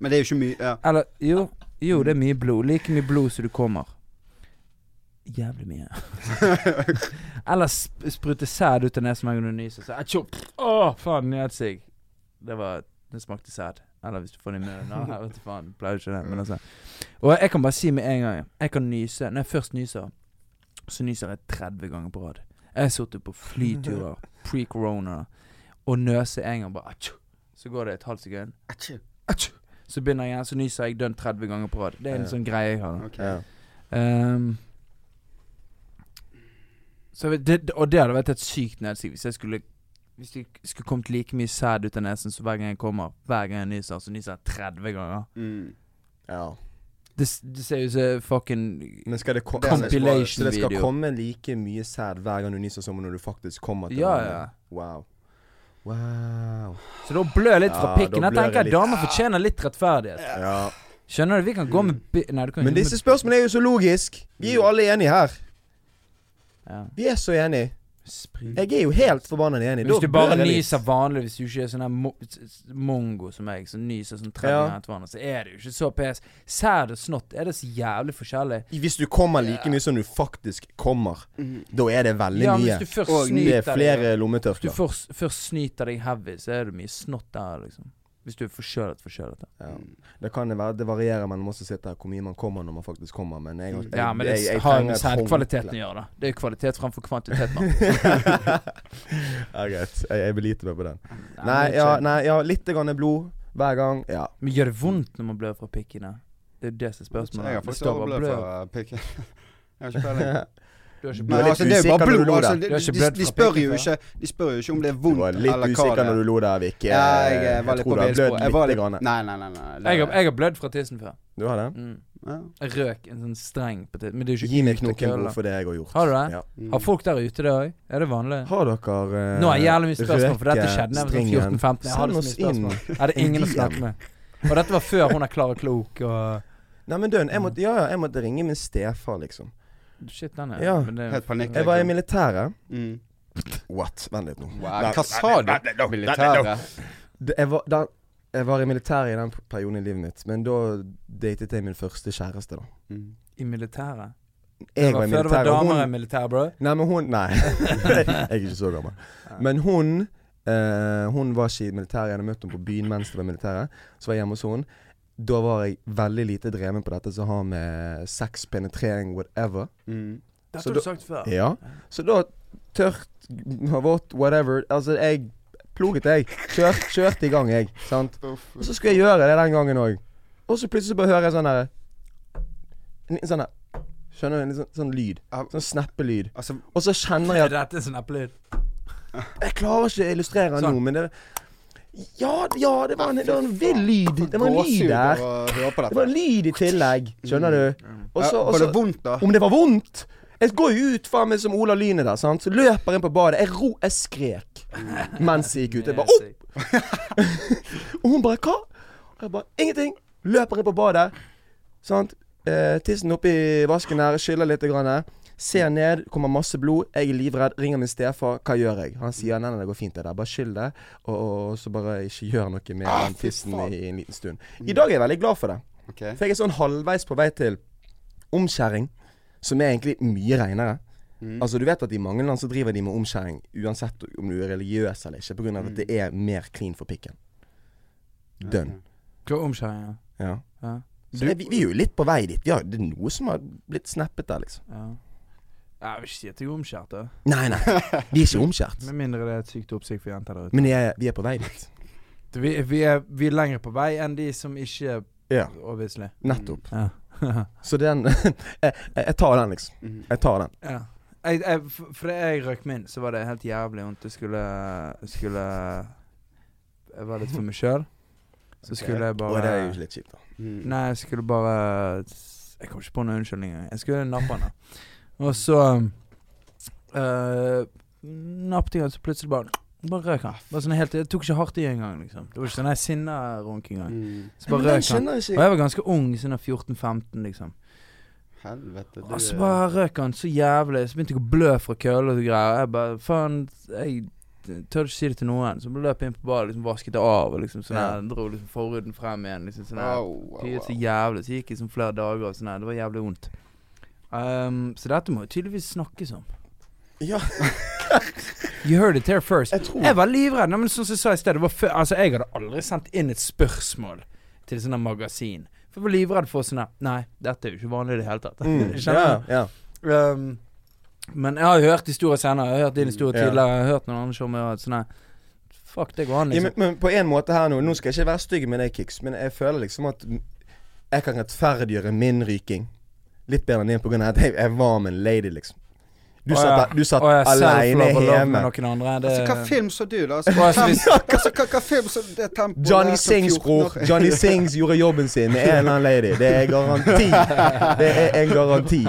Speaker 1: Men det er jo ikke mye ja.
Speaker 2: Eller jo, jo, det er mye blod. Like mye blod som du kommer. Jævlig mye. Eller sp sprute sæd ut av nesen hver gang du nyser. Så, atjo, Å, faen, nedsig. Det var Det smakte sæd. Eller hvis du får det i munnen. Å, Jeg vet ikke faen. Pleier jo ikke det, men altså. Og jeg kan bare si med en gang Jeg kan nyse. Når jeg først nyser, så nyser jeg 30 ganger på rad. Jeg har sittet på flyturer pre-corona og nøse en gang bare atjo. Så går det et halvt sekund. Atju. Så begynner jeg igjen, så nyser jeg dønn 30 ganger på rad. Det er en
Speaker 3: Ja.
Speaker 2: sånn greie jeg har. da.
Speaker 1: Ok.
Speaker 3: Ja.
Speaker 2: Ehm, så vi- det, og det hadde vært et sykt nedsig hvis jeg skulle Hvis det skulle kommet like mye sæd ut av nesen som hver gang jeg kommer, hver gang jeg nyser, så nyser jeg 30 ganger.
Speaker 1: Mm.
Speaker 3: ja.
Speaker 2: Det, s- det ser ut som fucking
Speaker 3: Men skal det komme
Speaker 2: Compilation
Speaker 3: Så det skal
Speaker 2: video.
Speaker 3: komme like mye sæd hver gang du nyser som når du faktisk kommer til
Speaker 2: Ja,
Speaker 3: vannet?
Speaker 2: ja.
Speaker 3: Wow. Wow.
Speaker 2: Så da blør jeg litt fra
Speaker 3: Ja,
Speaker 2: pikken.
Speaker 3: da
Speaker 2: Jeg
Speaker 3: blør jeg
Speaker 2: tenker
Speaker 3: litt.
Speaker 2: damer fortjener litt rettferdighet.
Speaker 3: Ja.
Speaker 2: Skjønner du? Vi kan gå med bi Nei, du kan
Speaker 3: Men
Speaker 2: ikke-
Speaker 3: disse spørsmålene er jo så logiske. Vi er jo alle enige her.
Speaker 2: ja.
Speaker 3: Vi er så enige.
Speaker 2: Sprit.
Speaker 3: Jeg er jo helt forbanna enig.
Speaker 2: Hvis
Speaker 3: Da
Speaker 2: du bare
Speaker 3: bør jeg litt-
Speaker 2: nyser vanlig, hvis du ikke er sånn her mo s- s- mongo som meg, som nyser sånn 30
Speaker 3: Ja.
Speaker 2: ganger etter hverandre, så er det jo ikke så pes. Sæd og snott er det så jævlig forskjellig.
Speaker 3: Hvis du kommer like mye som du faktisk kommer,
Speaker 1: Mm.
Speaker 3: da er det veldig
Speaker 2: Ja, men hvis
Speaker 3: mye.
Speaker 2: du først
Speaker 1: Og
Speaker 3: Det
Speaker 2: snyter
Speaker 3: er flere
Speaker 2: Hvis du
Speaker 3: lommetørklær.
Speaker 2: først, først snyter deg heavy, så er det mye snott der, liksom. Hvis du er forkjølet, forkjølet. da.
Speaker 3: Ja.
Speaker 1: Mm.
Speaker 3: Det kan det være, det varierer mellom oss som sitter her, hvor mye man kommer når man faktisk kommer. Men jeg, jeg,
Speaker 2: Mm. Ja, men det
Speaker 3: jeg, jeg
Speaker 2: har
Speaker 3: trenger
Speaker 2: med
Speaker 3: et
Speaker 2: sædkvaliteten å
Speaker 3: håndkle.
Speaker 2: gjøre, da. Det er kvalitet framfor kvantitet, mann.
Speaker 3: ja, greit. Jeg, jeg beliter meg på den.
Speaker 2: Nei,
Speaker 3: Nei,
Speaker 2: men
Speaker 3: ja,
Speaker 2: ikke-
Speaker 3: nei, ja litt grann blod hver gang. Ja.
Speaker 2: Men gjør det vondt når man blør fra pikkene? Det er jo det
Speaker 1: Jeg
Speaker 2: som er
Speaker 1: har
Speaker 2: spørsmålet. Det
Speaker 1: faktisk
Speaker 2: står bare
Speaker 1: overblødd
Speaker 2: blør.
Speaker 1: fra pikken. uh, Jeg har ikke peiling.
Speaker 2: Du har ikke
Speaker 3: Du
Speaker 1: Men
Speaker 3: var
Speaker 2: blødd.
Speaker 3: litt
Speaker 1: altså, det er jo
Speaker 3: usikker
Speaker 1: bare
Speaker 3: når du
Speaker 1: blod.
Speaker 3: lo
Speaker 1: Altså, de, de,
Speaker 2: Du har ikke
Speaker 3: der.
Speaker 2: blødd
Speaker 1: de,
Speaker 2: fra
Speaker 1: spør jo
Speaker 2: pikken
Speaker 1: ikke, de spør jo ikke om det er
Speaker 3: Du
Speaker 1: vondt
Speaker 3: var litt
Speaker 1: eller hva
Speaker 3: usikker
Speaker 1: det
Speaker 3: når du lo der, Vikke.
Speaker 1: Ja, jeg eh, var litt
Speaker 3: tror
Speaker 1: på
Speaker 3: du har
Speaker 1: villspor.
Speaker 3: blødd
Speaker 1: Jeg var
Speaker 3: lite
Speaker 1: litt-
Speaker 3: grann.
Speaker 1: Nei, nei, nei. nei, det-
Speaker 2: Jeg har, jeg har blødd fra tissen før.
Speaker 3: Du har det?
Speaker 2: Mm.
Speaker 1: Ja.
Speaker 2: Jeg røk en sånn streng på tissen. Men det er jo ikke
Speaker 3: Gi meg
Speaker 2: ut å
Speaker 3: knoken
Speaker 2: kølle.
Speaker 3: god for det jeg har gjort.
Speaker 2: Har du det?
Speaker 3: Ja.
Speaker 1: Mm.
Speaker 2: Har folk der ute det òg? Er det vanlig?
Speaker 3: Har dere eh,
Speaker 2: Nå er jævlig mye spørsmål, for dette
Speaker 3: røke
Speaker 2: skjedde da jeg var sånn
Speaker 3: eh, stringen?
Speaker 2: 14-15. Jeg
Speaker 3: Send
Speaker 2: hadde
Speaker 3: oss
Speaker 2: så mye
Speaker 3: inn.
Speaker 2: spørsmål. Jeg hadde ingen å snakke med. Og dette var før hun er klar og klok og
Speaker 3: Nei, men døden, jeg måtte, ja, ja, jeg måtte ringe min stefar, liksom.
Speaker 2: Shit, den er
Speaker 3: Ja.
Speaker 2: men det er-
Speaker 1: Helt panikk.
Speaker 3: Jeg var i militæret.
Speaker 1: Mm.
Speaker 3: What? Vent litt nå.
Speaker 1: Wow. Hva sa du? Militæret?
Speaker 3: Det- Jeg var, da, jeg var i militæret i den perioden i livet mitt, men da datet jeg min første kjæreste, da.
Speaker 1: Mm.
Speaker 2: I militæret? Det
Speaker 3: Jeg
Speaker 2: var
Speaker 3: var i
Speaker 2: før det var
Speaker 3: militæret, og
Speaker 2: damer i
Speaker 3: hun
Speaker 2: militæret, bro.
Speaker 3: Nei, men hun Nei. jeg er ikke så gammel. Men hun eh, Hun var ikke i militæret. Jeg hadde møtt henne på byen mens det var i militæret. Så var jeg hjemme hos henne. Da var jeg veldig lite dreven på dette som har med sex, penetrering, whatever.
Speaker 1: Mm.
Speaker 2: Dette
Speaker 3: Så
Speaker 2: har du
Speaker 3: da-
Speaker 2: sagt før.
Speaker 3: Ja. Så da tørt, vått, whatever. Altså, jeg ploget, jeg. Kjør, kjørte i gang, jeg. Sant? Og så skulle jeg gjøre det den gangen òg. Og så plutselig bare hører jeg sånn derre En liten sånn der Skjønner du? En litt sånn, sånn lyd. Sånn snappelyd.
Speaker 1: Altså,
Speaker 3: Og så kjenner jeg
Speaker 2: Er
Speaker 3: at
Speaker 2: dette en sånn eplelyd?
Speaker 3: Jeg klarer ikke å illustrere den
Speaker 2: Sånn.
Speaker 3: nå, men det Ja, ja, det var en, det var en vill lyd. Det var en lyd
Speaker 1: gåsehud
Speaker 3: der.
Speaker 1: av å høre på
Speaker 3: Det var en
Speaker 1: dette.
Speaker 3: lyd i tillegg. Skjønner du? Og så,
Speaker 1: Mm. Ja,
Speaker 3: og
Speaker 1: Var
Speaker 3: så
Speaker 1: det vondt, da?
Speaker 3: om det var vondt? Jeg går jo ut faen meg som Ola Lyne der, sant. Så løper jeg inn på badet. Jeg ro, jeg skrek mens jeg gikk ut. Jeg bare, oh! Og hun bare 'hva?' Og jeg bare 'ingenting'. Løper inn på badet. Sant. Eh, tissen oppi vasken her, skyller litt. Grann. Ser ned, kommer masse blod. Jeg er livredd. Ringer min stefar. Hva gjør jeg? Han sier 'nei, nei, det går fint, det der'. Bare skyll det. Og, og, og så bare ikke gjør noe med den tissen i, i en liten stund. I dag er jeg veldig glad for det.
Speaker 1: Ok.
Speaker 3: For jeg er sånn halvveis på vei til omskjæring, som er egentlig mye reinere.
Speaker 2: Mm.
Speaker 3: Altså, du vet at i mange land så driver de med omskjæring uansett om du er religiøs eller ikke, pga.
Speaker 2: Mm.
Speaker 3: av at det er mer clean for pikken. Dønn.
Speaker 2: Hva omskjæring, ja.
Speaker 3: Ja.
Speaker 2: ja.
Speaker 3: Så jeg, vi, vi er jo litt på vei dit. Ja, det er noe som har blitt snappet der, liksom.
Speaker 2: ja. Jeg vil ikke si at jeg er omskjært, da.
Speaker 3: Nei, nei. Vi er ikke omskjært.
Speaker 2: Med mindre det er et sykt oppsikt for jenter der ute.
Speaker 3: Men jeg, vi er på vei dit.
Speaker 2: Vi, vi, er, vi er lenger på vei enn de som ikke
Speaker 3: Ja.
Speaker 2: Obviously.
Speaker 3: Nettopp.
Speaker 2: Ja. Mm.
Speaker 3: Så den jeg, jeg jeg tar den, liksom.
Speaker 1: Mm.
Speaker 3: Jeg tar den.
Speaker 2: ja. Jeg, jeg, for for da jeg røk min, så var det helt jævlig vondt. Jeg skulle, skulle Jeg var litt for meg sjøl. Så skulle jeg
Speaker 3: Og det
Speaker 2: bare
Speaker 3: er jo litt kjipt, da.
Speaker 1: Mm.
Speaker 2: Nei, jeg skulle bare Jeg kom ikke på noen unnskyldning engang. Jeg skulle nappe han, da. Og
Speaker 3: Mm.
Speaker 2: så uh, nappet jeg han, så plutselig bare Bare røk han. Bare sånn helt, jeg tok ikke hardt i engang, liksom. Det var ikke sånn sinna-runk engang.
Speaker 1: Mm.
Speaker 2: Så bare
Speaker 3: Men den
Speaker 2: røk han.
Speaker 3: skjønner
Speaker 2: Og
Speaker 3: jeg ikke.
Speaker 2: jeg var ganske ung, sånn av 14-15, liksom.
Speaker 1: Helvete, du eh,
Speaker 2: Og
Speaker 3: Altså,
Speaker 2: så bare røk han så jævlig. Så begynte jeg å blø fra køller og greier. Og jeg bare faen, jeg tør ikke si det til noen. Så løp jeg inn på badet, liksom vasket det av, og liksom sånn her. Dro liksom forhuden frem igjen, liksom sånn her.
Speaker 1: Au, au,
Speaker 2: Pyet så
Speaker 1: au.
Speaker 2: jævlig. Så gikk jeg sånn flere dager og sånn her. Det var jævlig vondt. Ehm, så dette må jo tydeligvis snakkes om.
Speaker 3: Ja.
Speaker 2: You heard it here first.
Speaker 3: Jeg tror
Speaker 2: Jeg var livredd. Nei, men sånn som jeg sa i sted, det var før Altså, jeg hadde aldri sendt inn et spørsmål til sånne magasin. For jeg var livredd for sånn her Nei, dette er jo ikke vanlig i det hele tatt.
Speaker 3: Mm, ja,
Speaker 2: Skjønner
Speaker 3: ja.
Speaker 2: du? Um, men jeg har jo hørt historier senere. Jeg har hørt din historie
Speaker 3: Mm, Ja.
Speaker 2: tidligere. Jeg har hørt noen andre show med sånn her Fuck, det går an,
Speaker 3: Ja,
Speaker 2: liksom.
Speaker 3: men, men på en måte her nå Nå skal jeg ikke være stygg med deg, Kix, men jeg føler liksom at jeg kan rettferdiggjøre min ryking litt bedre enn din pga. at jeg, jeg var med en lady, liksom. Du
Speaker 2: Å,
Speaker 3: satt,
Speaker 2: ja.
Speaker 3: der- du satt
Speaker 2: Å, ja,
Speaker 3: alene
Speaker 2: self-love og love
Speaker 3: hjemme.
Speaker 2: med Noen andre, det,
Speaker 1: Altså, hva film så du, da? Altså,
Speaker 2: Og altså,
Speaker 1: tem-
Speaker 2: hvis-
Speaker 1: altså, hva, hva film så det tempoet
Speaker 3: Johnny
Speaker 1: der som
Speaker 3: Sings, bror.
Speaker 1: 14-åring?
Speaker 3: Johnny Sings gjorde jobben sin med en eller annen lady. Det er garanti. Det er en garanti.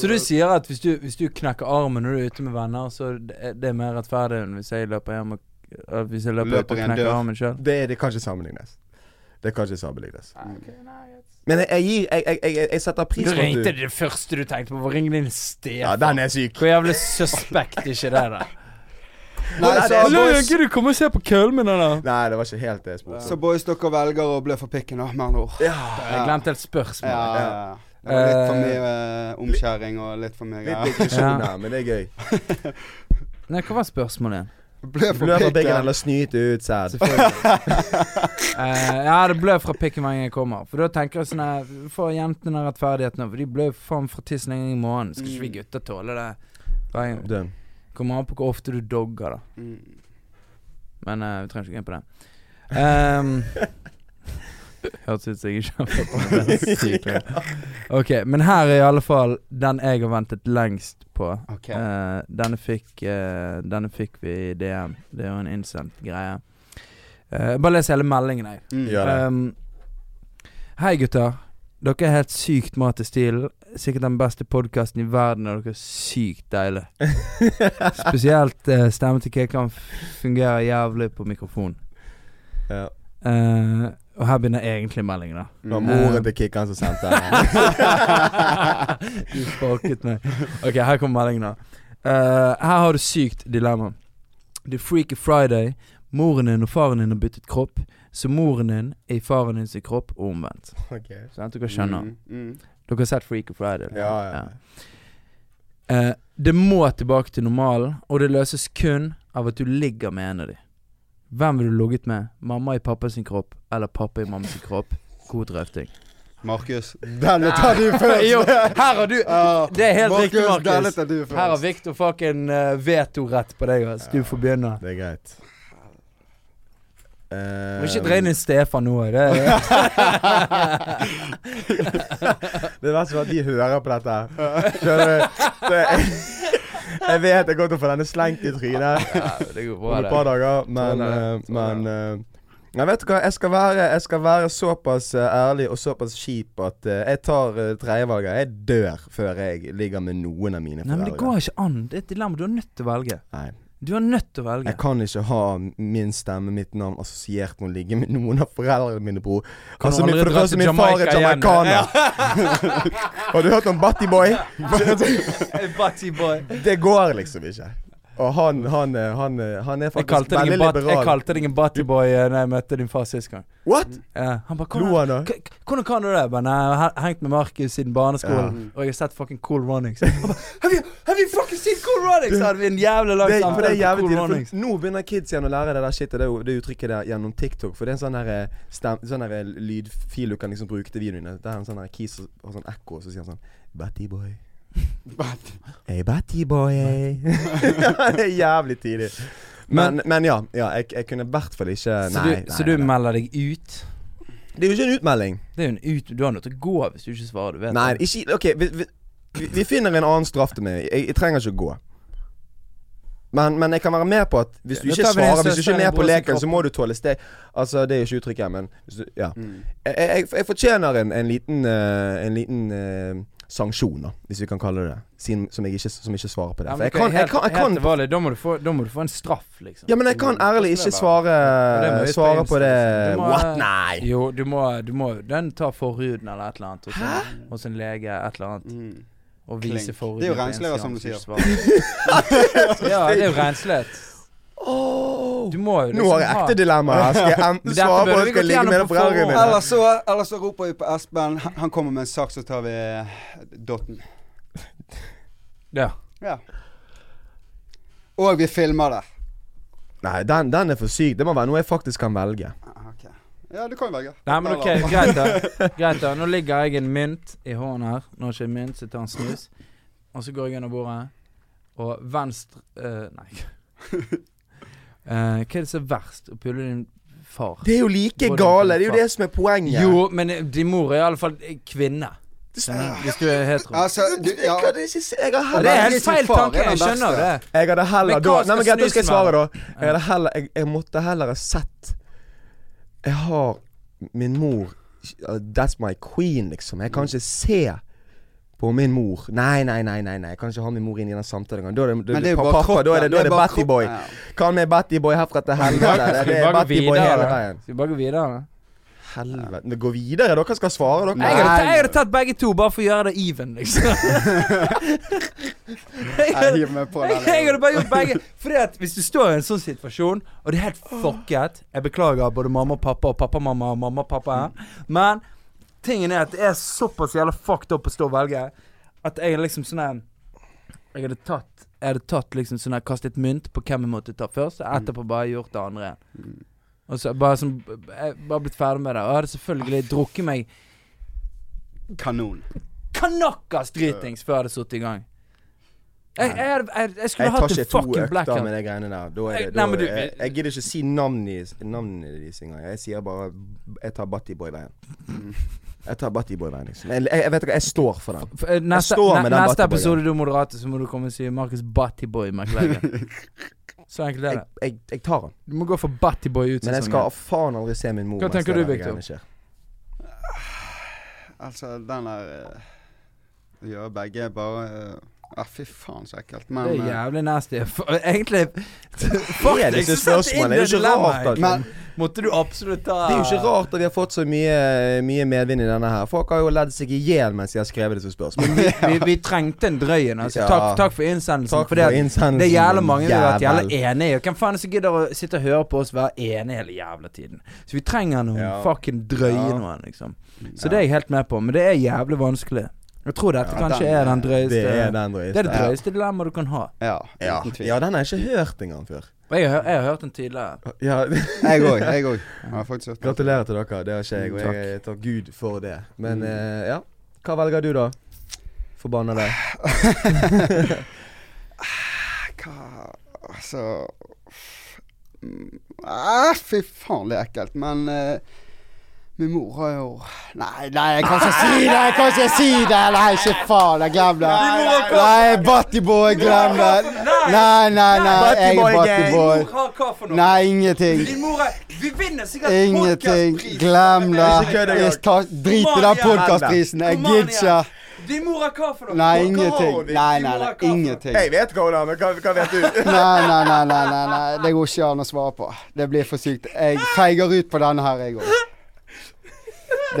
Speaker 2: Så du sier at hvis du, hvis du knekker armen når du er ute med venner, så det er det er mer rettferdig enn hvis jeg løper hjem og øh, Hvis jeg løper,
Speaker 1: Løper
Speaker 2: ut og
Speaker 1: i en
Speaker 2: knekker
Speaker 1: dør.
Speaker 2: armen sjøl?
Speaker 3: Det, er- det kan ikke sammenlignes. Det kan ikke sammenlignes. Men jeg, jeg gir jeg, jeg, jeg, jeg setter pris
Speaker 4: Du
Speaker 3: på at
Speaker 4: ringte
Speaker 3: du
Speaker 4: det første du tenkte på. Hvor ringte din sted?
Speaker 3: Ja, den er syk.
Speaker 4: Hvor jævlig suspekt er ikke det, da?
Speaker 1: Nei,
Speaker 3: Nei,
Speaker 1: så,
Speaker 3: det er-
Speaker 1: boys,
Speaker 4: du komme og se på køllen min, da?
Speaker 3: Nei, det var ikke helt det jeg spurte
Speaker 1: så
Speaker 3: om.
Speaker 1: boys, dere velger å blø for pikken, da, med andre ord.
Speaker 3: Ja.
Speaker 4: Jeg glemte et spørsmål.
Speaker 1: Ja, ja. ja. Det var litt for mye eh, omskjæring og litt for mye
Speaker 3: Litt
Speaker 1: greier.
Speaker 3: digresjon
Speaker 2: Ja.
Speaker 3: her, men det er gøy.
Speaker 2: Nei, hva var spørsmålet igjen?
Speaker 1: Blø for
Speaker 3: Blør på pikken
Speaker 1: pikken.
Speaker 3: eller snyte ut sæd.
Speaker 2: Eh, ja, det blør fra pikken hver gang jeg kommer. For da tenker jeg sånn her Får jentene den rettferdigheten? For de blør faen fra tissen en gang i måneden. Skal ikke vi gutter tåle det? Hver gang.
Speaker 3: Døm.
Speaker 2: Kommer an på hvor ofte du dogger, da.
Speaker 1: Mm.
Speaker 2: Men eh, vi trenger ikke gå inn på det. Ehm, Hørtes ut som jeg ikke har fått med meg det. Sykt lenge. Ok, men her er i alle fall den jeg har ventet lengst på.
Speaker 1: Ok.
Speaker 2: Eh, denne, fikk, eh, denne fikk vi i DM. Det er jo en innsendt greie. Eh, bare les hele meldingen, jeg.
Speaker 1: Mm.
Speaker 3: Ja, det.
Speaker 2: Ehm, Hei gutter Dere er helt sykt mat i stilen Sikkert den beste podcasten i verden Og dere er sykt deilig Spesielt eh, stemmen til Kekan Fungerer jævlig på mikrofon
Speaker 3: Ja.
Speaker 2: Eh, Og her begynner egentlig meldingen da
Speaker 1: Mm.
Speaker 3: Det var moren til Kikkan som sendte den.
Speaker 2: Du sparket meg Ok, her kommer meldingen da Eh, Her har du sykt dilemma Du freaky friday Moren din og faren din har byttet kropp Så moren din er i faren din sin kropp Og omvendt
Speaker 3: Okay.
Speaker 2: Sant, dere skjønner
Speaker 1: Mm, mm.
Speaker 2: Dere har sett Freaky Friday? eller?
Speaker 3: Ja, ja.
Speaker 2: Eh, det må tilbake til normalen, og det løses kun av at du ligger med en av de. Hvem ville du ligget med? Mamma i pappa sin kropp, eller pappa i mamma sin kropp? God drøfting.
Speaker 1: Markus, denne tar du først!
Speaker 2: Jo, her har du
Speaker 1: Ja.
Speaker 2: Det er helt riktig,
Speaker 1: Denne
Speaker 2: Markus.
Speaker 1: tar du først.
Speaker 2: Her har Victor fucking eh, vetorett på deg, ass. Du får begynne.
Speaker 3: Det er greit. Ehm.
Speaker 2: Må ikke dra inn i Stefan nå. Det er
Speaker 3: Det verste var at de hører på dette. her. Skjønner du? Så jeg, jeg vet jeg kommer til å få denne slengt i trynet
Speaker 2: Ja, det går
Speaker 3: om et par dager, men,
Speaker 2: Sånn
Speaker 3: eh, men eh, jeg vet du hva, jeg skal, være, jeg skal være såpass eh, ærlig og såpass kjip at eh, jeg tar uh, tredjevalget. Jeg dør før jeg ligger med noen av mine
Speaker 2: Nei, men det
Speaker 3: foreldre.
Speaker 2: går ikke an. Det er et dilemma. Du er nødt til å velge.
Speaker 3: Nei,
Speaker 2: Du er nødt til å velge.
Speaker 3: Jeg kan ikke ha min stemme, mitt navn assosiert med å ligge med noen av foreldrene mine, bror.
Speaker 2: Kan
Speaker 3: altså,
Speaker 2: du
Speaker 3: min,
Speaker 2: aldri
Speaker 3: for det
Speaker 2: dra
Speaker 3: første,
Speaker 2: til
Speaker 3: min far er
Speaker 2: Jamaica igjen?
Speaker 3: jamaicaner. Har du hørt om Batty Boy?
Speaker 2: Batty boy.
Speaker 3: Det går liksom ikke. Og han, han, eh, han, eh, han er
Speaker 2: Jeg
Speaker 3: faktisk
Speaker 2: kalte deg
Speaker 3: veldig
Speaker 2: en, bat, jeg
Speaker 3: liberal.
Speaker 2: kalte deg en buttyboy eh, Når jeg møtte din far sist gang.
Speaker 3: What?
Speaker 2: Ja, han bare
Speaker 3: Lo
Speaker 2: hvordan,
Speaker 3: han da?
Speaker 2: k- k- hvordan kan du det? Jeg bare, Nei, jeg har hengt med Markus siden barneskolen, og jeg har sett fucking Cool Runnings. Han bare, have, you, have you fucking seen Cool Runnings? Så hadde vi en jævlig lang
Speaker 3: Det, for det er
Speaker 2: samtale på
Speaker 3: jævlig
Speaker 2: Cool
Speaker 3: tidlig.
Speaker 2: Runnings.
Speaker 3: For nå begynner kids igjen å lære det der shitet, det, det uttrykket der gjennom TikTok. For det er en sånn der, eh, stem, sånn der eh, lydfil du kan liksom bruke til videoene. Det er en sånn der kis som har sånn ekko, og så sier han sånn Batty Boy. Hey, Batty Boy. det er jævlig tidlig. Men, men ja, ja jeg, jeg kunne i hvert fall ikke
Speaker 2: Så
Speaker 3: Nei.
Speaker 2: du,
Speaker 3: nei,
Speaker 2: så du
Speaker 3: nei, nei.
Speaker 2: melder deg ut?
Speaker 3: Det er jo ikke en utmelding.
Speaker 2: Det er jo en ut Du har nødt til å gå hvis du ikke svarer. Du vet
Speaker 3: Nei,
Speaker 2: det.
Speaker 3: ikke OK, vi, vi, vi- vi finner en annen straff til meg. Jeg, jeg trenger ikke å gå. Men, men jeg kan være med på at hvis du
Speaker 2: Ja,
Speaker 3: ikke
Speaker 2: da tar vi den
Speaker 3: svarer, hvis du ikke er
Speaker 2: søsteren
Speaker 3: med
Speaker 2: i
Speaker 3: på
Speaker 2: bror sin
Speaker 3: leken,
Speaker 2: kropp.
Speaker 3: så må du tåle steg. Altså, det er jo ikke uttrykket, men hvis du, ja.
Speaker 1: Mm,
Speaker 3: jeg, jeg, jeg fortjener en, en liten, eh, en liten eh, sanksjon, da, hvis vi kan kalle det det. Siden, som, jeg ikke, som ikke svarer på det.
Speaker 2: Ja,
Speaker 3: For
Speaker 2: men
Speaker 3: jeg
Speaker 2: ok,
Speaker 3: kan, jeg
Speaker 2: helt-
Speaker 3: kan, jeg
Speaker 2: helt
Speaker 3: kan
Speaker 2: alvorlig, da, må du få, da må du få en straff, liksom.
Speaker 3: Ja, men jeg kan ærlig ikke
Speaker 2: det må
Speaker 3: svare,
Speaker 2: vi
Speaker 3: svare på
Speaker 2: spille
Speaker 3: det
Speaker 2: inn, liksom. Du må-
Speaker 3: What? Nei!
Speaker 2: Jo, du må, du må Den tar forhuden eller et eller annet hos en, hos en lege. Et eller annet.
Speaker 1: Mm.
Speaker 2: Og
Speaker 1: Klink.
Speaker 2: vise forhuden.
Speaker 1: Det er jo
Speaker 2: på
Speaker 1: rensligere,
Speaker 2: Instagram
Speaker 1: som du
Speaker 2: hvis
Speaker 1: sier.
Speaker 2: ikke svarer. ja, det er jo renslighet.
Speaker 3: Åh.
Speaker 2: Du må jo liksom
Speaker 3: Nå har jeg ekte dilemma her. Skal jeg enten
Speaker 2: Dette
Speaker 3: svare på
Speaker 2: burde
Speaker 3: det,
Speaker 2: vi
Speaker 3: skal jeg
Speaker 2: gått
Speaker 3: ligge med
Speaker 2: gjennom på
Speaker 3: foreldrene
Speaker 2: forhånd.
Speaker 3: mine?
Speaker 1: Eller så, eller så roper vi på Espen. Han han kommer med en sak, så tar vi eh, dotten.
Speaker 2: Ja.
Speaker 1: Ja. Og vi filmer det.
Speaker 3: Nei, den, den er for syk. Det må være noe jeg faktisk kan velge.
Speaker 1: Ah, ok. Ja, du kan jo velge.
Speaker 2: Nei, men ok, greit da. Greit da. Nå ligger jeg en mynt i hånden her. Nå er ikke en mynt, så jeg tar en snus. Og så går jeg under bordet, og venstre eh, Nei. Eh, hva er det som er verst? Å pulle din far?
Speaker 3: Det er jo like
Speaker 2: Både
Speaker 3: gale. Det er jo
Speaker 2: faen.
Speaker 3: det som er poenget.
Speaker 2: Jo, men eh, din mor er iallfall kvinne. Skjønner du? Hvis du er hetero.
Speaker 1: Altså, du,
Speaker 3: Jeg
Speaker 1: ja.
Speaker 3: kan ikke se Jeg har
Speaker 2: Og det
Speaker 3: heller
Speaker 2: er
Speaker 1: Velge
Speaker 2: helt
Speaker 1: sin
Speaker 2: feil
Speaker 1: far
Speaker 2: tanke,
Speaker 1: er den
Speaker 2: jeg skjønner det.
Speaker 1: verste.
Speaker 3: Jeg hadde heller
Speaker 2: Men hva
Speaker 3: da
Speaker 2: skal
Speaker 3: Nei, men greit, da skal
Speaker 2: snusen
Speaker 3: jeg svare,
Speaker 2: være?
Speaker 3: da. Jeg, hadde heller, jeg, jeg måtte heller ha sett Jeg har min mor uh, That's my queen, liksom. Jeg kan ikke se på min mor. Nei, nei, nei, nei, nei. jeg kan ikke ha min mor inn i den samtalen engang. Da er det, da,
Speaker 1: Men det er jo
Speaker 3: pa-
Speaker 1: bare
Speaker 3: pappa, da er det,
Speaker 1: kroppen,
Speaker 3: da er
Speaker 1: det
Speaker 3: det
Speaker 1: er bare
Speaker 3: Batty Boy.
Speaker 1: kroppen,
Speaker 3: Kan med Batty Boy herfra til helvete. Det
Speaker 2: Skal vi
Speaker 3: er
Speaker 2: bare gå
Speaker 3: Batty Boy
Speaker 2: videre?
Speaker 3: hele
Speaker 2: da?
Speaker 3: veien.
Speaker 2: Skal vi bare gå videre? da?
Speaker 3: helvete. Men Gå videre, dere skal svare,
Speaker 2: Jeg
Speaker 3: dere.
Speaker 2: hadde,
Speaker 1: Nei.
Speaker 2: jeg hadde tatt begge to bare for å gjøre det even, liksom. jeg,
Speaker 1: Jeg
Speaker 2: hadde,
Speaker 1: hiver meg på
Speaker 2: jeg,
Speaker 1: den.
Speaker 2: jeg hadde bare gjort begge. Fordi at Hvis du står i en sånn situasjon, og det er helt fucket Jeg beklager både mamma og pappa og pappa-mamma og mamma-pappa her, men tingen er at det er såpass jævla fucked up å stå og velge at jeg liksom sånn her Jeg hadde tatt Jeg hadde tatt liksom sånn her kastet mynt på hvem jeg måtte ta først, og etterpå bare gjort det andre.
Speaker 1: Mm.
Speaker 2: Og så bare sånn Jeg bare blitt ferdig med det. Og jeg hadde selvfølgelig drukket meg
Speaker 1: Kanon.
Speaker 2: Kanakkas dritings før jeg hadde sittet i gang. Jeg, jeg, hadde- jeg, jeg skulle
Speaker 3: Jeg tar
Speaker 2: hatt en
Speaker 3: ikke to
Speaker 2: fucking
Speaker 3: økter med
Speaker 2: blackout.
Speaker 3: de greiene der. Da er
Speaker 2: Jeg-
Speaker 3: det,
Speaker 2: nei,
Speaker 3: da
Speaker 2: men du-
Speaker 3: jeg, jeg gidder ikke si navnene i- navnene deres engang. Jeg sier bare Jeg tar Buttyboy-veien. Jeg tar Buttyboy-veien, liksom. Jeg, jeg, jeg vet ikke, jeg står for den.
Speaker 2: F- eh, Neste,
Speaker 3: står med
Speaker 2: ne,
Speaker 3: den
Speaker 2: neste
Speaker 3: Buttyboy-en.
Speaker 2: episode du moderater, så må du komme og si Markus Buttyboy McLegger. så enkelt er
Speaker 3: Jeg,
Speaker 2: det.
Speaker 3: jeg, jeg tar den.
Speaker 2: Du må gå for Buttyboy ut
Speaker 3: Men jeg skal faen aldri se min mor
Speaker 2: Hva tenker du,
Speaker 3: denne
Speaker 2: Victor?
Speaker 3: greiene skjer.
Speaker 1: Altså, den der eh, Gjør begge bare eh, ah, Fy faen, så ekkelt. Men,
Speaker 2: Det er
Speaker 1: eh,
Speaker 2: jævlig nasty. For, egentlig
Speaker 3: Det er
Speaker 2: Faktisk
Speaker 3: disse
Speaker 2: så setter jeg inn
Speaker 3: spørsmålene. Det
Speaker 2: det
Speaker 3: er jo ikke rart
Speaker 2: dilemmaet.
Speaker 3: at
Speaker 1: men
Speaker 2: Måtte du absolutt ta
Speaker 3: Det er jo ikke rart at vi har fått så mye, mye medvind i denne her. Folk har jo ledd seg i hjel mens de har skrevet disse spørsmålene.
Speaker 2: Vi, vi trengte en drøy en. Altså.
Speaker 3: Ja.
Speaker 2: Takk, takk for innsendelsen.
Speaker 3: Takk
Speaker 2: fordi
Speaker 3: for
Speaker 2: at
Speaker 3: innsendelsen,
Speaker 2: Det er jævla mange vi har vært
Speaker 3: jævel.
Speaker 2: jævla enige i. Hvem faen er det som gidder å sitte og høre på oss være enige hele jævla tiden? Så vi trenger noen
Speaker 3: Ja.
Speaker 2: fucking drøye
Speaker 3: Ja.
Speaker 2: noen, liksom. Så det er jeg helt med på, men det er jævlig vanskelig. Jeg tror dette
Speaker 1: Ja,
Speaker 2: kanskje
Speaker 1: den-
Speaker 2: er den drøyeste
Speaker 3: Det er den
Speaker 2: det er det
Speaker 3: drøyeste.
Speaker 2: drøyeste dilemmaet du kan ha.
Speaker 1: Ja,
Speaker 3: Ja.
Speaker 1: uten tvil.
Speaker 3: ja, den har jeg ikke hørt engang før.
Speaker 2: Og jeg, har- jeg har hørt den tidligere.
Speaker 3: Ja,
Speaker 1: Jeg òg. Jeg òg. Jeg har faktisk hørt det.
Speaker 3: Gratulerer til dere. Det har ikke jeg, og jeg, jeg tar Gud for det.
Speaker 1: Mm.
Speaker 3: Men eh, ja. Hva velger du, da? Forbanna deg.
Speaker 1: Hva Altså mm, ah, Fy faen, det er ekkelt. Men eh, min mor har jo Nei, nei, jeg kan ikke si det! Jeg kan ikke si det! Nei, ikke faen. Jeg glem det. Nei, Buttyboy, glem det. Nei, nei, nei. Jeg er Buttyboy.
Speaker 2: har hva for
Speaker 1: Nei, ingenting.
Speaker 2: Din mor er Vi vinner sikkert
Speaker 1: Ingenting.
Speaker 2: podcastpris.
Speaker 1: Glem det.
Speaker 3: Ikke kødd engang.
Speaker 1: Jeg tar- Drit i den podkastprisen. Jeg
Speaker 2: Kom an,
Speaker 1: gidder ikke.
Speaker 2: Din mor har hva for
Speaker 1: Nei,
Speaker 2: Hva- hva har
Speaker 1: ingenting.
Speaker 2: hun? Din
Speaker 1: Nei,
Speaker 2: mor
Speaker 1: nei,
Speaker 2: har
Speaker 1: nei.
Speaker 2: hva for-
Speaker 1: Ingenting.
Speaker 3: Jeg vet hva hun har, men hva, hva vet du?
Speaker 1: Nei, nei, nei, nei, nei, nei. Det går ikke an å svare på. Det blir for sykt. Jeg feiger ut på denne her, jeg òg.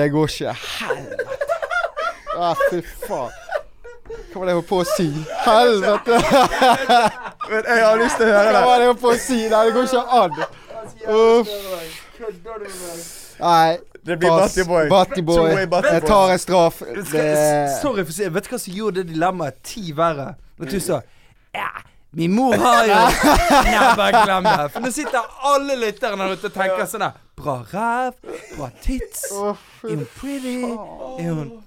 Speaker 1: Det går ikke. Helvete. Å, fy faen. Hva var det jeg holdt på å si? Helvete!
Speaker 3: Men jeg har lyst til å
Speaker 1: Hva
Speaker 3: høre
Speaker 1: var
Speaker 3: det.
Speaker 1: det jeg holdt på å si? Nei, det går ikke an. Uff. Nei.
Speaker 3: Det blir
Speaker 1: pass.
Speaker 3: Buttyboy.
Speaker 1: Buttyboy.
Speaker 3: Two-way Buttyboy.
Speaker 1: Jeg tar en straff.
Speaker 2: Jeg skal-
Speaker 1: Det
Speaker 2: s- Sorry for å si Vet du hva som gjorde det dilemmaet ti verre? At du sa Ja, min mor har jo Nei, bare glem det. For nå sitter alle lytterne der ute og tenker sånn der Bra ræv, bra tits,
Speaker 1: Å,
Speaker 2: er
Speaker 1: fy
Speaker 2: hun pretty, er hun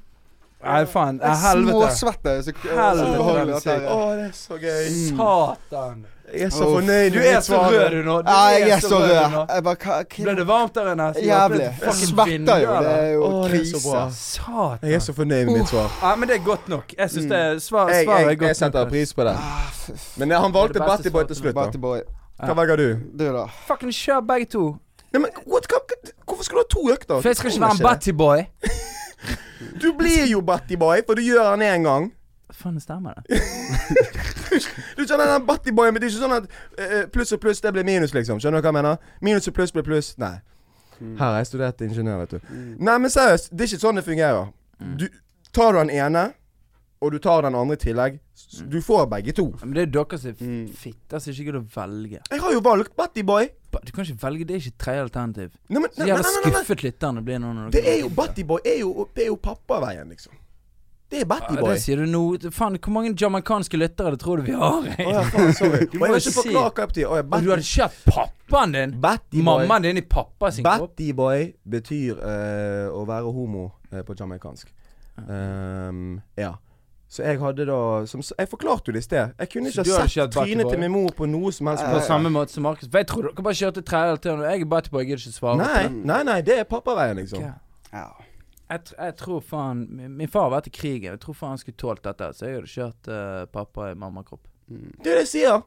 Speaker 2: Nei, faen. eh, Helvete.
Speaker 1: Småsvetter. Så
Speaker 2: Helvete,
Speaker 1: behagelig at
Speaker 3: Å,
Speaker 1: jeg
Speaker 3: det er så gøy.
Speaker 2: Satan.
Speaker 3: Jeg er så
Speaker 1: Uff.
Speaker 3: fornøyd
Speaker 2: Du er
Speaker 3: med mitt
Speaker 2: så
Speaker 3: svar.
Speaker 2: rød du nå. Du
Speaker 1: Nei, jeg er så rød.
Speaker 2: nå.
Speaker 1: Jeg bare hva- hva-
Speaker 2: Ble det varmt der inne? Så jeg åpnet
Speaker 1: Jævlig. Jeg
Speaker 2: fucking
Speaker 1: svetter jo.
Speaker 2: vinduet,
Speaker 1: Det
Speaker 2: da.
Speaker 1: er jo
Speaker 3: Å, det er så
Speaker 1: krise.
Speaker 3: bra.
Speaker 2: Satan.
Speaker 3: Jeg er så fornøyd med mitt svar.
Speaker 2: Ja, men det er godt nok. Jeg syns det er svar,
Speaker 3: Jeg,
Speaker 2: svaret er
Speaker 3: jeg, jeg
Speaker 2: godt
Speaker 3: setter
Speaker 2: nok.
Speaker 3: pris på det.
Speaker 1: Ah, fy faen.
Speaker 3: Men eh, han
Speaker 2: Det
Speaker 3: valgte
Speaker 2: er det beste
Speaker 3: Buttyboy til
Speaker 2: svaret.
Speaker 3: slutt. da
Speaker 1: Butterboy.
Speaker 3: Hva velger du?
Speaker 1: Du, da?
Speaker 2: Fucking kjør begge to.
Speaker 3: Nei, men what, hva, Hvorfor skal du ha to økter?
Speaker 2: For jeg skal
Speaker 3: Du
Speaker 2: ikke
Speaker 3: kommer
Speaker 2: være en buttyboy.
Speaker 3: det. Du blir jo Buttyboy, for du gjør den én gang.
Speaker 2: Faen, det stemmer det.
Speaker 3: Du skjønner den Buttyboyen, men det er ikke sånn at eh, pluss og pluss, det blir minus, liksom. Skjønner du hva jeg mener? Minus og pluss blir pluss. Nei.
Speaker 2: Mm.
Speaker 3: Her har jeg studert ingeniør, vet du. Nei, men seriøst, det er ikke sånn det fungerer.
Speaker 2: Mm.
Speaker 3: Du tar du den ene, og du tar den andre i tillegg. s-
Speaker 2: Mm.
Speaker 3: Du får begge to.
Speaker 2: Men det er dere som er
Speaker 3: Mm.
Speaker 2: fitter som ikke gidder å velge.
Speaker 3: Jeg har jo valgt Buttyboy.
Speaker 2: Ba- Du kan ikke velge, det er ikke tredje alternativ.
Speaker 3: Nei, men
Speaker 2: Så
Speaker 3: nei, nei,
Speaker 2: jævla
Speaker 3: nei, nei, nei.
Speaker 2: skuffet lytterne blir nå. når
Speaker 3: Det
Speaker 2: dere-
Speaker 3: er jo Buttyboy. er jo- Det er jo pappaveien, liksom. Det er
Speaker 2: Ja, det
Speaker 3: Buttyboy.
Speaker 2: sier du nå. Faen, hvor mange jamaicanske lyttere det tror du vi har?
Speaker 3: Å ja, faen, sorry. Og
Speaker 2: må
Speaker 3: jeg har
Speaker 2: jo
Speaker 3: ikke
Speaker 2: si-
Speaker 3: forklart hva det betyr. Å ja,
Speaker 2: Og du hadde kjørt pappaen din?
Speaker 3: Battyboy
Speaker 2: Mammaen din i pappa sin kropp?
Speaker 3: Battyboy betyr eh, å være homo eh, på jamaicansk. Ehm, ja. Så jeg hadde da som, s- Jeg forklarte jo det i sted. Jeg kunne
Speaker 2: Så
Speaker 3: ikke
Speaker 2: du hadde
Speaker 3: ha
Speaker 2: ikke hatt
Speaker 3: sett trynet
Speaker 2: Battyboy?
Speaker 3: til min mor på noe som helst.
Speaker 2: På
Speaker 3: måte.
Speaker 2: samme måte som Markus. For Jeg tror dere bare kjørte tredje alternativ. Jeg er buttyboy, jeg gidder ikke svare.
Speaker 3: Nei, nei, nei, det er pappaveien,
Speaker 2: på
Speaker 3: liksom.
Speaker 2: det.
Speaker 1: Ja.
Speaker 2: Jeg, tr- jeg tror faen Min min far har vært i krigen. Jeg tror faen han skulle tålt dette. Så jeg hadde kjørt eh, pappa i mammakropp.
Speaker 3: Det er det jeg sier.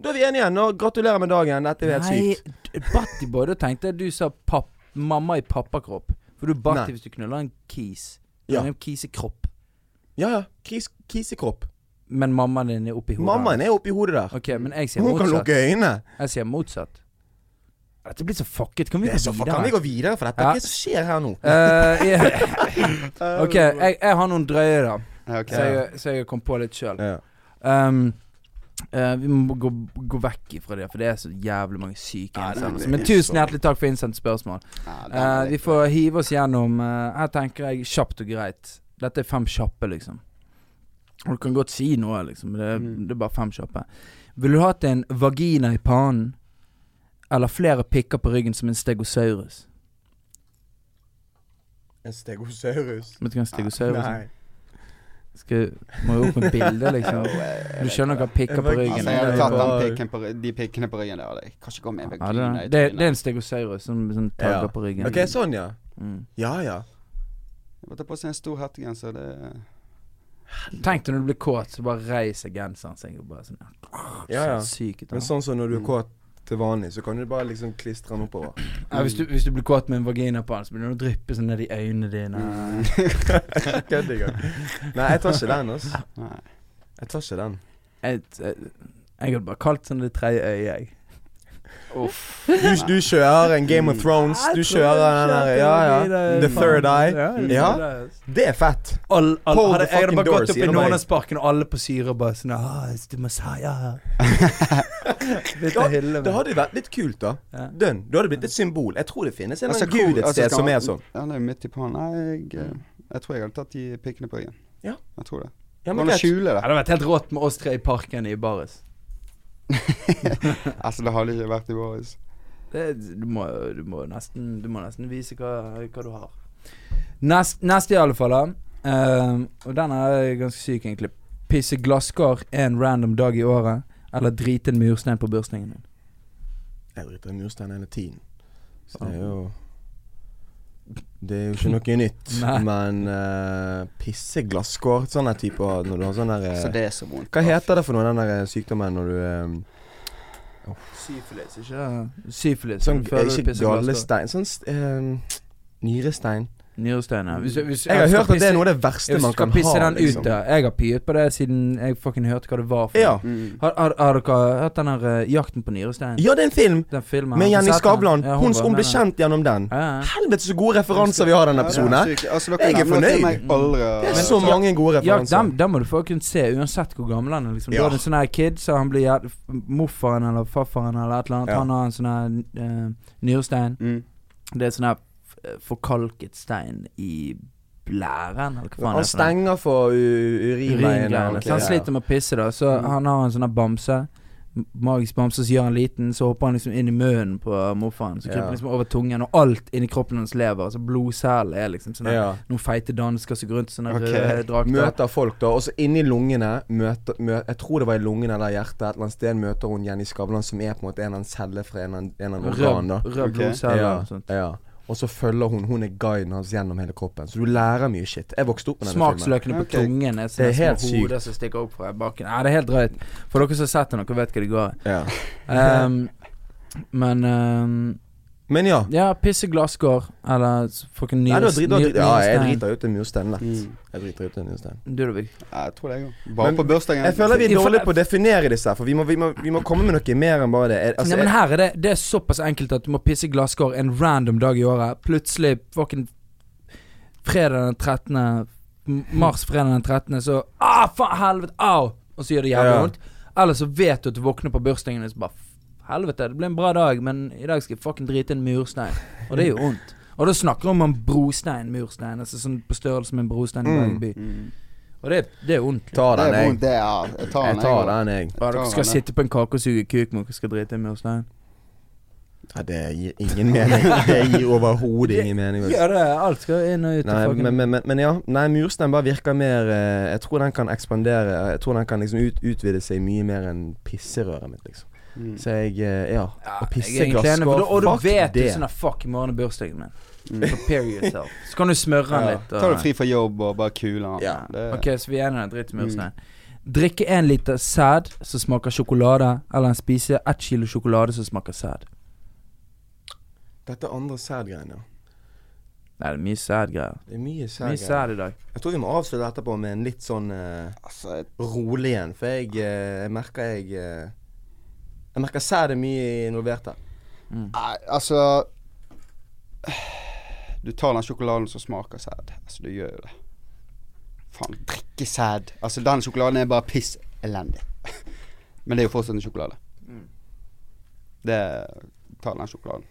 Speaker 3: Da er vi enige igjen. Og gratulerer med dagen. Dette er jo
Speaker 2: Nei,
Speaker 3: helt sykt.
Speaker 2: d- Buttyboy, da tenkte jeg du sa papp, mamma i pappakropp. For du er
Speaker 3: Nei.
Speaker 2: butty hvis du knuller en kis. Du
Speaker 3: Ja.
Speaker 2: er En kis i kropp.
Speaker 3: Ja ja. Kis, kisekropp.
Speaker 2: Men mammaen din er oppi hodet.
Speaker 3: Mammaen er oppi hodet der.
Speaker 2: Ok, men jeg sier
Speaker 3: Hun kan
Speaker 2: motsatt.
Speaker 3: lukke øynene.
Speaker 2: Jeg sier motsatt.
Speaker 4: Dette blir så fucket. Kan vi
Speaker 3: Det er
Speaker 4: gå
Speaker 3: så fuck, kan vi
Speaker 4: videre?
Speaker 3: gå videre, for dette
Speaker 2: Ja.
Speaker 3: Hva er det som skjer her nå?
Speaker 2: Eh, jeg- ok, jeg, jeg har noen drøye, da.
Speaker 1: Ja, ok.
Speaker 2: Så jeg, så jeg kom på litt sjøl.
Speaker 3: Ja.
Speaker 2: Um, eh, vi må gå, gå vekk ifra det, for det er så jævlig mange syke
Speaker 1: Ja, det er
Speaker 2: innsendelser.
Speaker 1: det.
Speaker 2: Men tusen hjertelig takk for innsendt spørsmål.
Speaker 1: Ja, den
Speaker 2: Eh,
Speaker 1: er
Speaker 2: vi
Speaker 1: litt-
Speaker 2: får hive oss gjennom eh, Her tenker jeg kjapt og greit. Dette er fem kjappe, liksom. Og du kan godt si noe, liksom. Det, er-
Speaker 1: Mm.
Speaker 2: det er bare fem kjappe. Ville du hatt en vagina i pannen eller flere pikker på ryggen som en stegosaurus?
Speaker 3: En stegosaurus.
Speaker 2: Vet du hva en stegosaurus er?
Speaker 3: Nei.
Speaker 2: Skal, må jo opp med bilde, liksom. Du skjønner hva pikker på ryggen
Speaker 1: Altså,
Speaker 2: er.
Speaker 1: jeg hadde
Speaker 2: Det er
Speaker 1: tatt
Speaker 2: bare-
Speaker 1: den pikken på, ry- de pikkene på ryggen der. hadde Jeg kanskje gå med en
Speaker 2: Ja, det,
Speaker 1: vagina
Speaker 2: er,
Speaker 1: i
Speaker 2: det, det er
Speaker 1: trynet.
Speaker 2: en stegosaurus som sånn, tagger
Speaker 3: Ja.
Speaker 2: på ryggen.
Speaker 3: Ok, sånn, ja.
Speaker 2: Mm.
Speaker 3: Ja ja.
Speaker 1: Jeg må ta på seg en stor hettegenser. Det
Speaker 2: Tenk deg når du blir kåt, så bare reiser genseren seg. Og bare sånn,
Speaker 3: ja, ja.
Speaker 2: så Syk ut, da.
Speaker 3: Men sånn som når du er kåt til vanlig, så kan du bare liksom klistre den oppover.
Speaker 2: ja, hvis, du, hvis du blir kåt med en vagina på den, så begynner det å dryppe sånn ned i øynene dine.
Speaker 3: Kødd engang. Nei, jeg tar ikke den, altså.
Speaker 1: Nei.
Speaker 3: Jeg tar ikke den.
Speaker 2: Jeg, jeg, jeg hadde bare kalt sånn det tredje øyet, jeg.
Speaker 3: Du, du kjører en Game of Thrones. Du kjører den der Ja ja. The third eye. Ja. Det er fett.
Speaker 2: All, all,
Speaker 3: Hold
Speaker 2: hadde,
Speaker 3: the
Speaker 2: jeg hadde
Speaker 3: fucking
Speaker 2: bare gått
Speaker 3: doors
Speaker 2: opp i
Speaker 3: gjennom meg.
Speaker 2: Nordlandsparken, og alle på syre bare sånn ah, it's the Messiah. Litt
Speaker 3: Ja,
Speaker 2: å hylle
Speaker 3: Det
Speaker 2: med.
Speaker 3: hadde jo vært litt kult, da.
Speaker 2: Ja.
Speaker 3: Dønn. Du hadde blitt et symbol. Jeg tror det finnes en eller
Speaker 1: Altså,
Speaker 3: annen
Speaker 1: hvor-
Speaker 3: gud et
Speaker 1: altså,
Speaker 3: sted
Speaker 1: skal
Speaker 3: som
Speaker 1: man-
Speaker 3: er sånn.
Speaker 1: Ja, det er jo midt i pannen. Nei, jeg, eh, jeg tror jeg hadde tatt de pikkene på ryggen.
Speaker 3: Ja.
Speaker 1: Jeg tror det.
Speaker 3: Ja, men
Speaker 1: Hvordan
Speaker 3: greit.
Speaker 1: skjule
Speaker 2: Det
Speaker 1: det?
Speaker 2: hadde vært helt rått med oss tre i parken i baris.
Speaker 1: Altså, det hadde ikke vært i Boris.
Speaker 2: Det, du, må, du, må nesten, du må nesten vise hva, hva du har. Nest, neste, i alle fall. da. Ehm, og den er ganske syk, egentlig. Pisse glasskar en random dag i året, eller drite en murstein på bursdagen din.
Speaker 3: Jeg driter i murstein hele tiden. Så det er jo Det er jo ikke noe nytt.
Speaker 2: Nei.
Speaker 3: Men uh, pisse glasskår, sånne typer Når du har sånn der
Speaker 1: Så
Speaker 3: eh,
Speaker 1: det er så vondt.
Speaker 3: Hva heter det for noe, den der eh, sykdommen når du eh,
Speaker 2: Syfilis, ikke Syfilis.
Speaker 3: Sånn
Speaker 2: før du
Speaker 3: Ikke
Speaker 2: pisser glasskår.
Speaker 3: gallestein Sånn st- eh, nyrestein.
Speaker 2: Nyrestein, ja. Hvis- hvis-
Speaker 3: Jeg har
Speaker 2: skal
Speaker 3: hørt at det
Speaker 2: pisse-
Speaker 3: er noe av det verste
Speaker 2: Hvis du
Speaker 3: man
Speaker 2: skal
Speaker 3: kan
Speaker 2: pisse
Speaker 3: ha.
Speaker 2: den ut,
Speaker 3: Liksom.
Speaker 2: ja. Jeg har pyet på det siden jeg fucking hørte hva det var for
Speaker 3: Ja.
Speaker 2: noe.
Speaker 1: Mm.
Speaker 2: Har, har, har dere hørt den her eh, 'Jakten på nyresteinen'?
Speaker 3: ja, det er en film
Speaker 2: Den filmen
Speaker 3: med
Speaker 2: har
Speaker 3: Jenny
Speaker 2: dere sett den?
Speaker 3: Skavlan.
Speaker 2: Ja,
Speaker 3: Hun,
Speaker 2: var
Speaker 3: hun
Speaker 2: med
Speaker 3: ble
Speaker 2: der.
Speaker 3: kjent gjennom den.
Speaker 2: Ja, ja.
Speaker 3: Helvete så gode referanser vi har i
Speaker 1: Ja,
Speaker 3: denne
Speaker 1: det er
Speaker 3: episoden. her.
Speaker 1: sykt. Altså, dere
Speaker 3: Jeg er
Speaker 1: nevner noe
Speaker 3: fornøyd.
Speaker 1: som Jeg aldri har-
Speaker 3: Det er så mange gode
Speaker 2: Ja,
Speaker 3: referanser.
Speaker 2: den, den må du fucking se, uansett hvor gammel han er. Liksom. Du
Speaker 3: Ja.
Speaker 2: har en sånn her kid, så han blir jæv- morfaren eller farfaren eller et eller annet.
Speaker 3: Ja.
Speaker 2: Han har en sånn her eh, nyrestein.
Speaker 1: Mm.
Speaker 2: Det er sånn her eh, forkalket stein i blæren, eller hva faen det
Speaker 3: Han
Speaker 2: er for noe.
Speaker 3: stenger for u- urinveien.
Speaker 2: Uringreiene.
Speaker 3: ok,
Speaker 2: Så han
Speaker 3: ja. Mm.
Speaker 2: sliter med å pisse, da. Så han har en sånn her bamse. M- Magisk bamse, så gjør han liten, så hopper han liksom inn i munnen på morfaren. Så kryper
Speaker 3: Ja.
Speaker 2: han liksom over tungen, og alt inni kroppen hans lever. Altså blodselen er liksom sånn her
Speaker 3: Ja.
Speaker 2: Noen feite dansker som går rundt i sånne
Speaker 1: Ok.
Speaker 2: røde drakter.
Speaker 3: Møter folk, da. Og så inni lungene møter, mø, Jeg tror det var i lungene eller hjertet. Et eller annet sted møter hun Jenny Skavlan, som er på en måte en av en celle fra en av en eller annen
Speaker 2: Rød,
Speaker 3: organ. da
Speaker 2: rød
Speaker 1: Ok.
Speaker 2: blodceller
Speaker 3: ja,
Speaker 2: og sånt.
Speaker 3: ja. Og så følger hun Hun er guiden hans gjennom hele kroppen. Så du lærer mye shit. Jeg vokste opp med denne filmen.
Speaker 2: Smaksløkene på
Speaker 1: Ok.
Speaker 2: tungen er
Speaker 3: Det er
Speaker 2: sånne små
Speaker 3: helt sykt.
Speaker 2: hoder som stikker opp fra baken. Nei, det er helt drøyt. For dere som har sett det, dere vet hva det går i.
Speaker 3: Ja.
Speaker 2: Ehm, men ehm,
Speaker 3: Men ja.
Speaker 2: Ja, pisse glasskår eller s- fucking
Speaker 3: Nei, da
Speaker 2: nyres-
Speaker 3: driter,
Speaker 2: ny-
Speaker 3: driter, ja, jeg
Speaker 2: nyrestein.
Speaker 3: driter ut en murstein lett.
Speaker 1: Mm.
Speaker 3: Jeg driter ut en murstein.
Speaker 2: Du, Ludvig.
Speaker 1: Ja, jeg tror det, jeg òg. Bare
Speaker 3: Men
Speaker 1: på bursdagen.
Speaker 3: Jeg føler vi er
Speaker 2: Ja, for-
Speaker 3: dårlige på å definere disse her, for vi må, vi, må, vi må komme med noe mer enn bare det. Jeg- Altså,
Speaker 2: Nei, men
Speaker 3: jeg,
Speaker 2: her er det, det er såpass enkelt at du må pisse glasskår en random dag i året. Plutselig fucking fredag den 13. m- mars, fredag den 13., så Ah, faen, helvete! Au! Og så gjør det jævlig
Speaker 3: Ja.
Speaker 2: vondt. Eller så vet du at du våkner på bursdagen din og så bare "F- Helvete, det ble en bra dag, men i dag skal jeg fucking drite i en murstein. Og det er jo vondt. Og da snakker vi om en brostein, murstein. Altså sånn på størrelse med en brostein i Bergen by.
Speaker 1: Mm.
Speaker 2: Og det, det er vondt.
Speaker 3: tar
Speaker 1: Det
Speaker 3: den,
Speaker 1: er
Speaker 3: jeg.
Speaker 1: vondt, det. Ja. Jeg tar den.
Speaker 3: Jeg tar
Speaker 1: jeg også.
Speaker 3: den, jeg.
Speaker 2: Ja, dere skal sitte på en kake og suge kuk, men dere skal drite i en murstein.
Speaker 3: Ja, det gir ingen mening. Det gir overhodet ingen mening. vet du.
Speaker 2: Ja, det er alt skal inn og ut.
Speaker 3: Nei,
Speaker 2: og fucking-
Speaker 3: men, men, men, men ja. Nei, murstein bare virker mer eh, Jeg tror den kan ekspandere. Jeg tror den kan liksom ut, utvide seg mye mer enn pisserøret mitt, liksom.
Speaker 1: Mm.
Speaker 3: Så jeg eh, Ja.
Speaker 2: Ja,
Speaker 3: Og
Speaker 2: jeg er egentlig enig, for da- Og da
Speaker 3: fuck
Speaker 2: vet du
Speaker 3: det.
Speaker 2: sånn at fuck, i morgen er bursdagen min.
Speaker 1: Mm.
Speaker 2: Prepare yourself. Så kan du smøre den
Speaker 3: Ja.
Speaker 2: litt. og-
Speaker 1: Tar du fri fra jobb og bare kuler den?
Speaker 3: Ja. Mm.
Speaker 1: Det-
Speaker 2: Ok, så vi er enige om dritt med murstein. Drikke en liter sæd som smaker sjokolade, eller en spise ett kilo sjokolade som smaker sæd.
Speaker 3: Dette andre sædgreiene.
Speaker 2: Nei, det er mye sædgreier.
Speaker 3: Det er mye
Speaker 2: Mye
Speaker 3: sædgreier.
Speaker 2: sæd i dag.
Speaker 3: Jeg tror vi må avslutte etterpå med en litt sånn eh,
Speaker 1: Altså, jeg-
Speaker 3: rolig en, for jeg, eh, jeg merker jeg eh, Jeg merker sæd er mye involvert her.
Speaker 2: Mm.
Speaker 1: Nei, altså Du tar den sjokoladen som smaker sæd. Altså, du gjør jo det. Faen, drikke sæd. Altså, den sjokoladen er bare piss elendig. Men det er jo fortsatt en sjokolade. Mm. Det Ta den sjokoladen.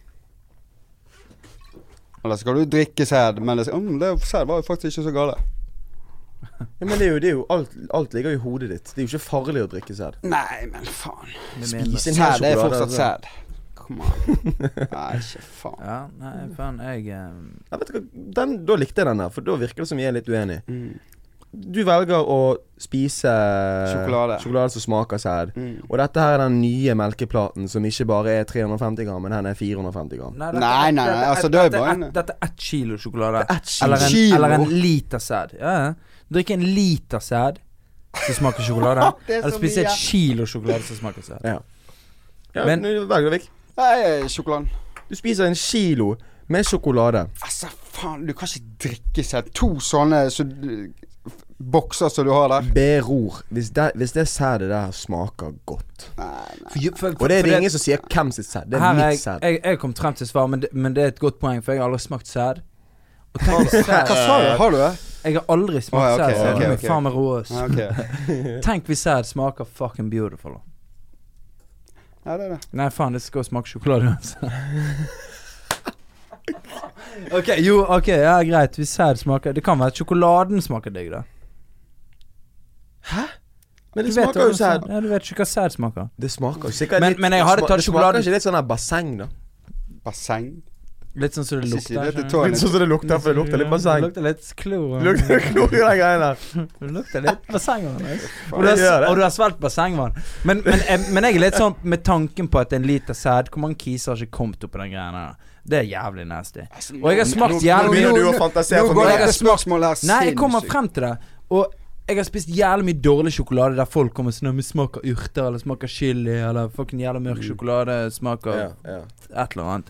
Speaker 1: Eller så skal du drikke sæd, men det, mm, det sæd var jo faktisk ikke så gale.
Speaker 3: Ja, men det er jo, det er jo alt, alt ligger jo i hodet ditt. Det er jo ikke farlig å drikke sæd.
Speaker 1: Nei, men faen.
Speaker 2: Med mindre-
Speaker 3: Spis en hel
Speaker 1: Sæd er
Speaker 3: sjokolade.
Speaker 1: fortsatt
Speaker 3: altså.
Speaker 1: sæd. Kom an. Nei, ikke faen.
Speaker 2: Ja, nei, faen, jeg eh,
Speaker 3: Nei, vet du hva, den, da likte jeg den her, for da virker det som vi er litt uenige.
Speaker 1: Mm.
Speaker 3: Du velger å spise
Speaker 1: Sjokolade.
Speaker 3: sjokolade som smaker sæd.
Speaker 1: Mm.
Speaker 3: Og dette her er den nye melkeplaten som ikke bare er 350 gram, men den er 450 gram.
Speaker 2: dette-
Speaker 1: Nei, nei, nei,
Speaker 2: dette-
Speaker 1: altså, det er
Speaker 2: dette
Speaker 1: bare
Speaker 2: ett-
Speaker 1: en-
Speaker 2: Dette er ett kilo sjokolade.
Speaker 3: Det er ett kilo.
Speaker 2: Eller en,
Speaker 1: Kilo?
Speaker 2: eller en liter sæd. Ja, ja. Drikk en liter sæd som smaker sjokolade.
Speaker 1: Det er
Speaker 2: eller
Speaker 1: så
Speaker 2: spis et
Speaker 1: mye.
Speaker 2: kilo sjokolade som smaker sæd.
Speaker 3: Ja. Ja,
Speaker 2: Men-
Speaker 3: men, velger vekk.
Speaker 1: Nei, sjokoladen.
Speaker 3: Du spiser en kilo med sjokolade.
Speaker 1: Altså, faen, du kan ikke drikke seg to sånne så, du- f- bokser som du har der.
Speaker 3: Beror. Hvis det, hvis det sædet der smaker godt
Speaker 1: Nei, nei.
Speaker 2: For, for,
Speaker 3: Og det er
Speaker 2: for
Speaker 3: det ingen som sier hvem sitt sæd. Det
Speaker 2: her
Speaker 3: er
Speaker 2: er
Speaker 3: mitt
Speaker 2: jeg,
Speaker 3: sæd.
Speaker 2: jeg, jeg kom frem til svar, men det, men det er et godt poeng, for jeg har aldri smakt sæd. Og tenk hvis
Speaker 1: Hva
Speaker 2: sæd
Speaker 1: sa du? Har du det?
Speaker 2: Jeg har
Speaker 1: Å,
Speaker 2: aldri
Speaker 1: ja,
Speaker 2: smakt
Speaker 1: ok,
Speaker 2: sæd. så
Speaker 1: ok,
Speaker 2: jeg kan
Speaker 1: ok.
Speaker 2: Faen meg rå oss.
Speaker 1: Ja, ok.
Speaker 2: Tenk hvis sæd smaker fucking beautiful. da.
Speaker 1: Ja, det er det.
Speaker 2: Nei, faen, det skal smake sjokolade uansett. ok, jo, ok, ja, greit. Hvis sæd smaker Det kan være at sjokoladen smaker digg, da.
Speaker 3: Men
Speaker 2: Du vet
Speaker 3: det smaker jo
Speaker 2: hvordan
Speaker 3: sæd.
Speaker 2: Ja, du vet ikke hva sæd smaker.
Speaker 3: Det smaker jo sikkert
Speaker 2: Men-
Speaker 3: litt
Speaker 2: men jeg hadde
Speaker 3: det sma-
Speaker 2: tatt sjokoladen-
Speaker 3: Det smaker ikke litt sånn her basseng, da.
Speaker 1: Basseng?
Speaker 2: Litt sånn som det
Speaker 1: Sissy,
Speaker 2: lukter.
Speaker 1: dette tar
Speaker 2: skjønner du.
Speaker 1: jeg litt.
Speaker 3: Sånn som det lukter, for det lukter litt basseng.
Speaker 2: Det lukter litt klor.
Speaker 3: Det lukter klor i de greiene der.
Speaker 2: Det lukter litt bassengvann. altså. Og,
Speaker 3: Det
Speaker 2: du
Speaker 3: gjør
Speaker 2: har-
Speaker 3: det.
Speaker 2: og du har svelget bassengvann. Men, men, jeg- men jeg er litt sånn med tanken på at en liter sæd Hvor mange kiser har ikke kommet opp i den greia der? Det er jævlig nasty.
Speaker 1: Altså,
Speaker 2: Og jeg har smakt
Speaker 3: Nå
Speaker 2: jævlig mye
Speaker 3: begynner du å fantasere
Speaker 1: Nå
Speaker 3: for
Speaker 1: går
Speaker 2: mye.
Speaker 1: det et spørsmål her
Speaker 2: Nei, jeg kommer
Speaker 1: sinnssykt.
Speaker 2: frem til det. Og jeg har spist jævlig mye dårlig sjokolade der folk kommer sånn med smaker urter, eller smaker chili, eller fucking jævla mørk sjokolade smaker
Speaker 3: Mm. Ja, ja.
Speaker 2: et eller annet.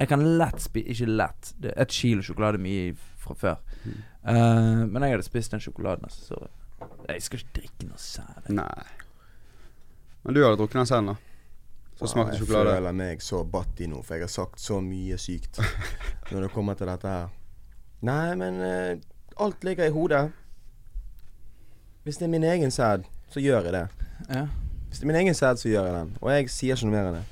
Speaker 2: Jeg kan lett spi... Ikke lett. Det er et kilo sjokolade er mye fra før.
Speaker 3: Mm.
Speaker 2: Eh, men jeg hadde spist den sjokoladen, altså, så Jeg skal ikke drikke noe sæd.
Speaker 1: Nei. Men du hadde drukket den selv, da? Så smakte
Speaker 3: Wow,
Speaker 1: sjokolade.
Speaker 3: Jeg føler meg så batti nå, for jeg har sagt så mye sykt når det kommer til dette her. Nei, men eh, alt ligger i hodet. Hvis det er min egen sæd, så gjør jeg det.
Speaker 2: Ja.
Speaker 3: Hvis det er min egen sæd, så gjør jeg den. Og jeg sier ikke noe mer enn det.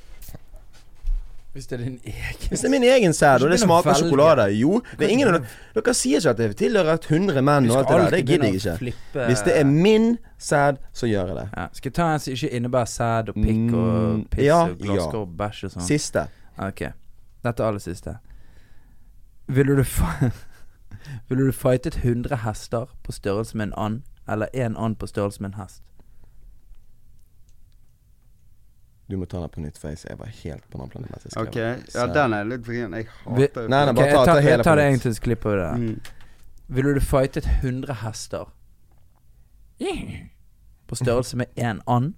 Speaker 2: Hvis det er din egen
Speaker 3: Hvis det er min egen sæd, og det
Speaker 2: Ikke begynne å
Speaker 3: smaker
Speaker 2: velge.
Speaker 3: sjokolade Jo, det er ingen av dere Dere sier ikke at det tilhører et hundre menn og alt det der. Det gidder jeg ikke. Hvis det er min sæd, så gjør jeg det.
Speaker 2: ja. Skal jeg ta en som ikke innebærer sæd og pikk og
Speaker 3: Mm,
Speaker 2: piss
Speaker 3: ja,
Speaker 2: og glasker
Speaker 3: ja.
Speaker 2: og bæsj og sånn?
Speaker 3: Siste.
Speaker 2: Ok, dette er aller siste Ville du fa- Ville du fightet 100 hester på størrelse med en and Eller en and på størrelse med en hest
Speaker 3: Du må ta den på nytt, for jeg- jeg var helt på den planen. mens jeg skrev
Speaker 1: Ok,
Speaker 3: den.
Speaker 1: ja
Speaker 3: Sæd.
Speaker 1: den er litt vrien. Jeg
Speaker 2: Vi-
Speaker 1: hater jo
Speaker 3: Nei, nei,
Speaker 2: Ok,
Speaker 3: bare ta-
Speaker 2: jeg
Speaker 3: ta
Speaker 2: tar,
Speaker 3: hele
Speaker 2: jeg tar
Speaker 3: på
Speaker 2: det
Speaker 3: nytt.
Speaker 2: egentlig så klipper vi det der.
Speaker 1: Mm.
Speaker 2: Ville du fightet 100 hester På størrelse med en and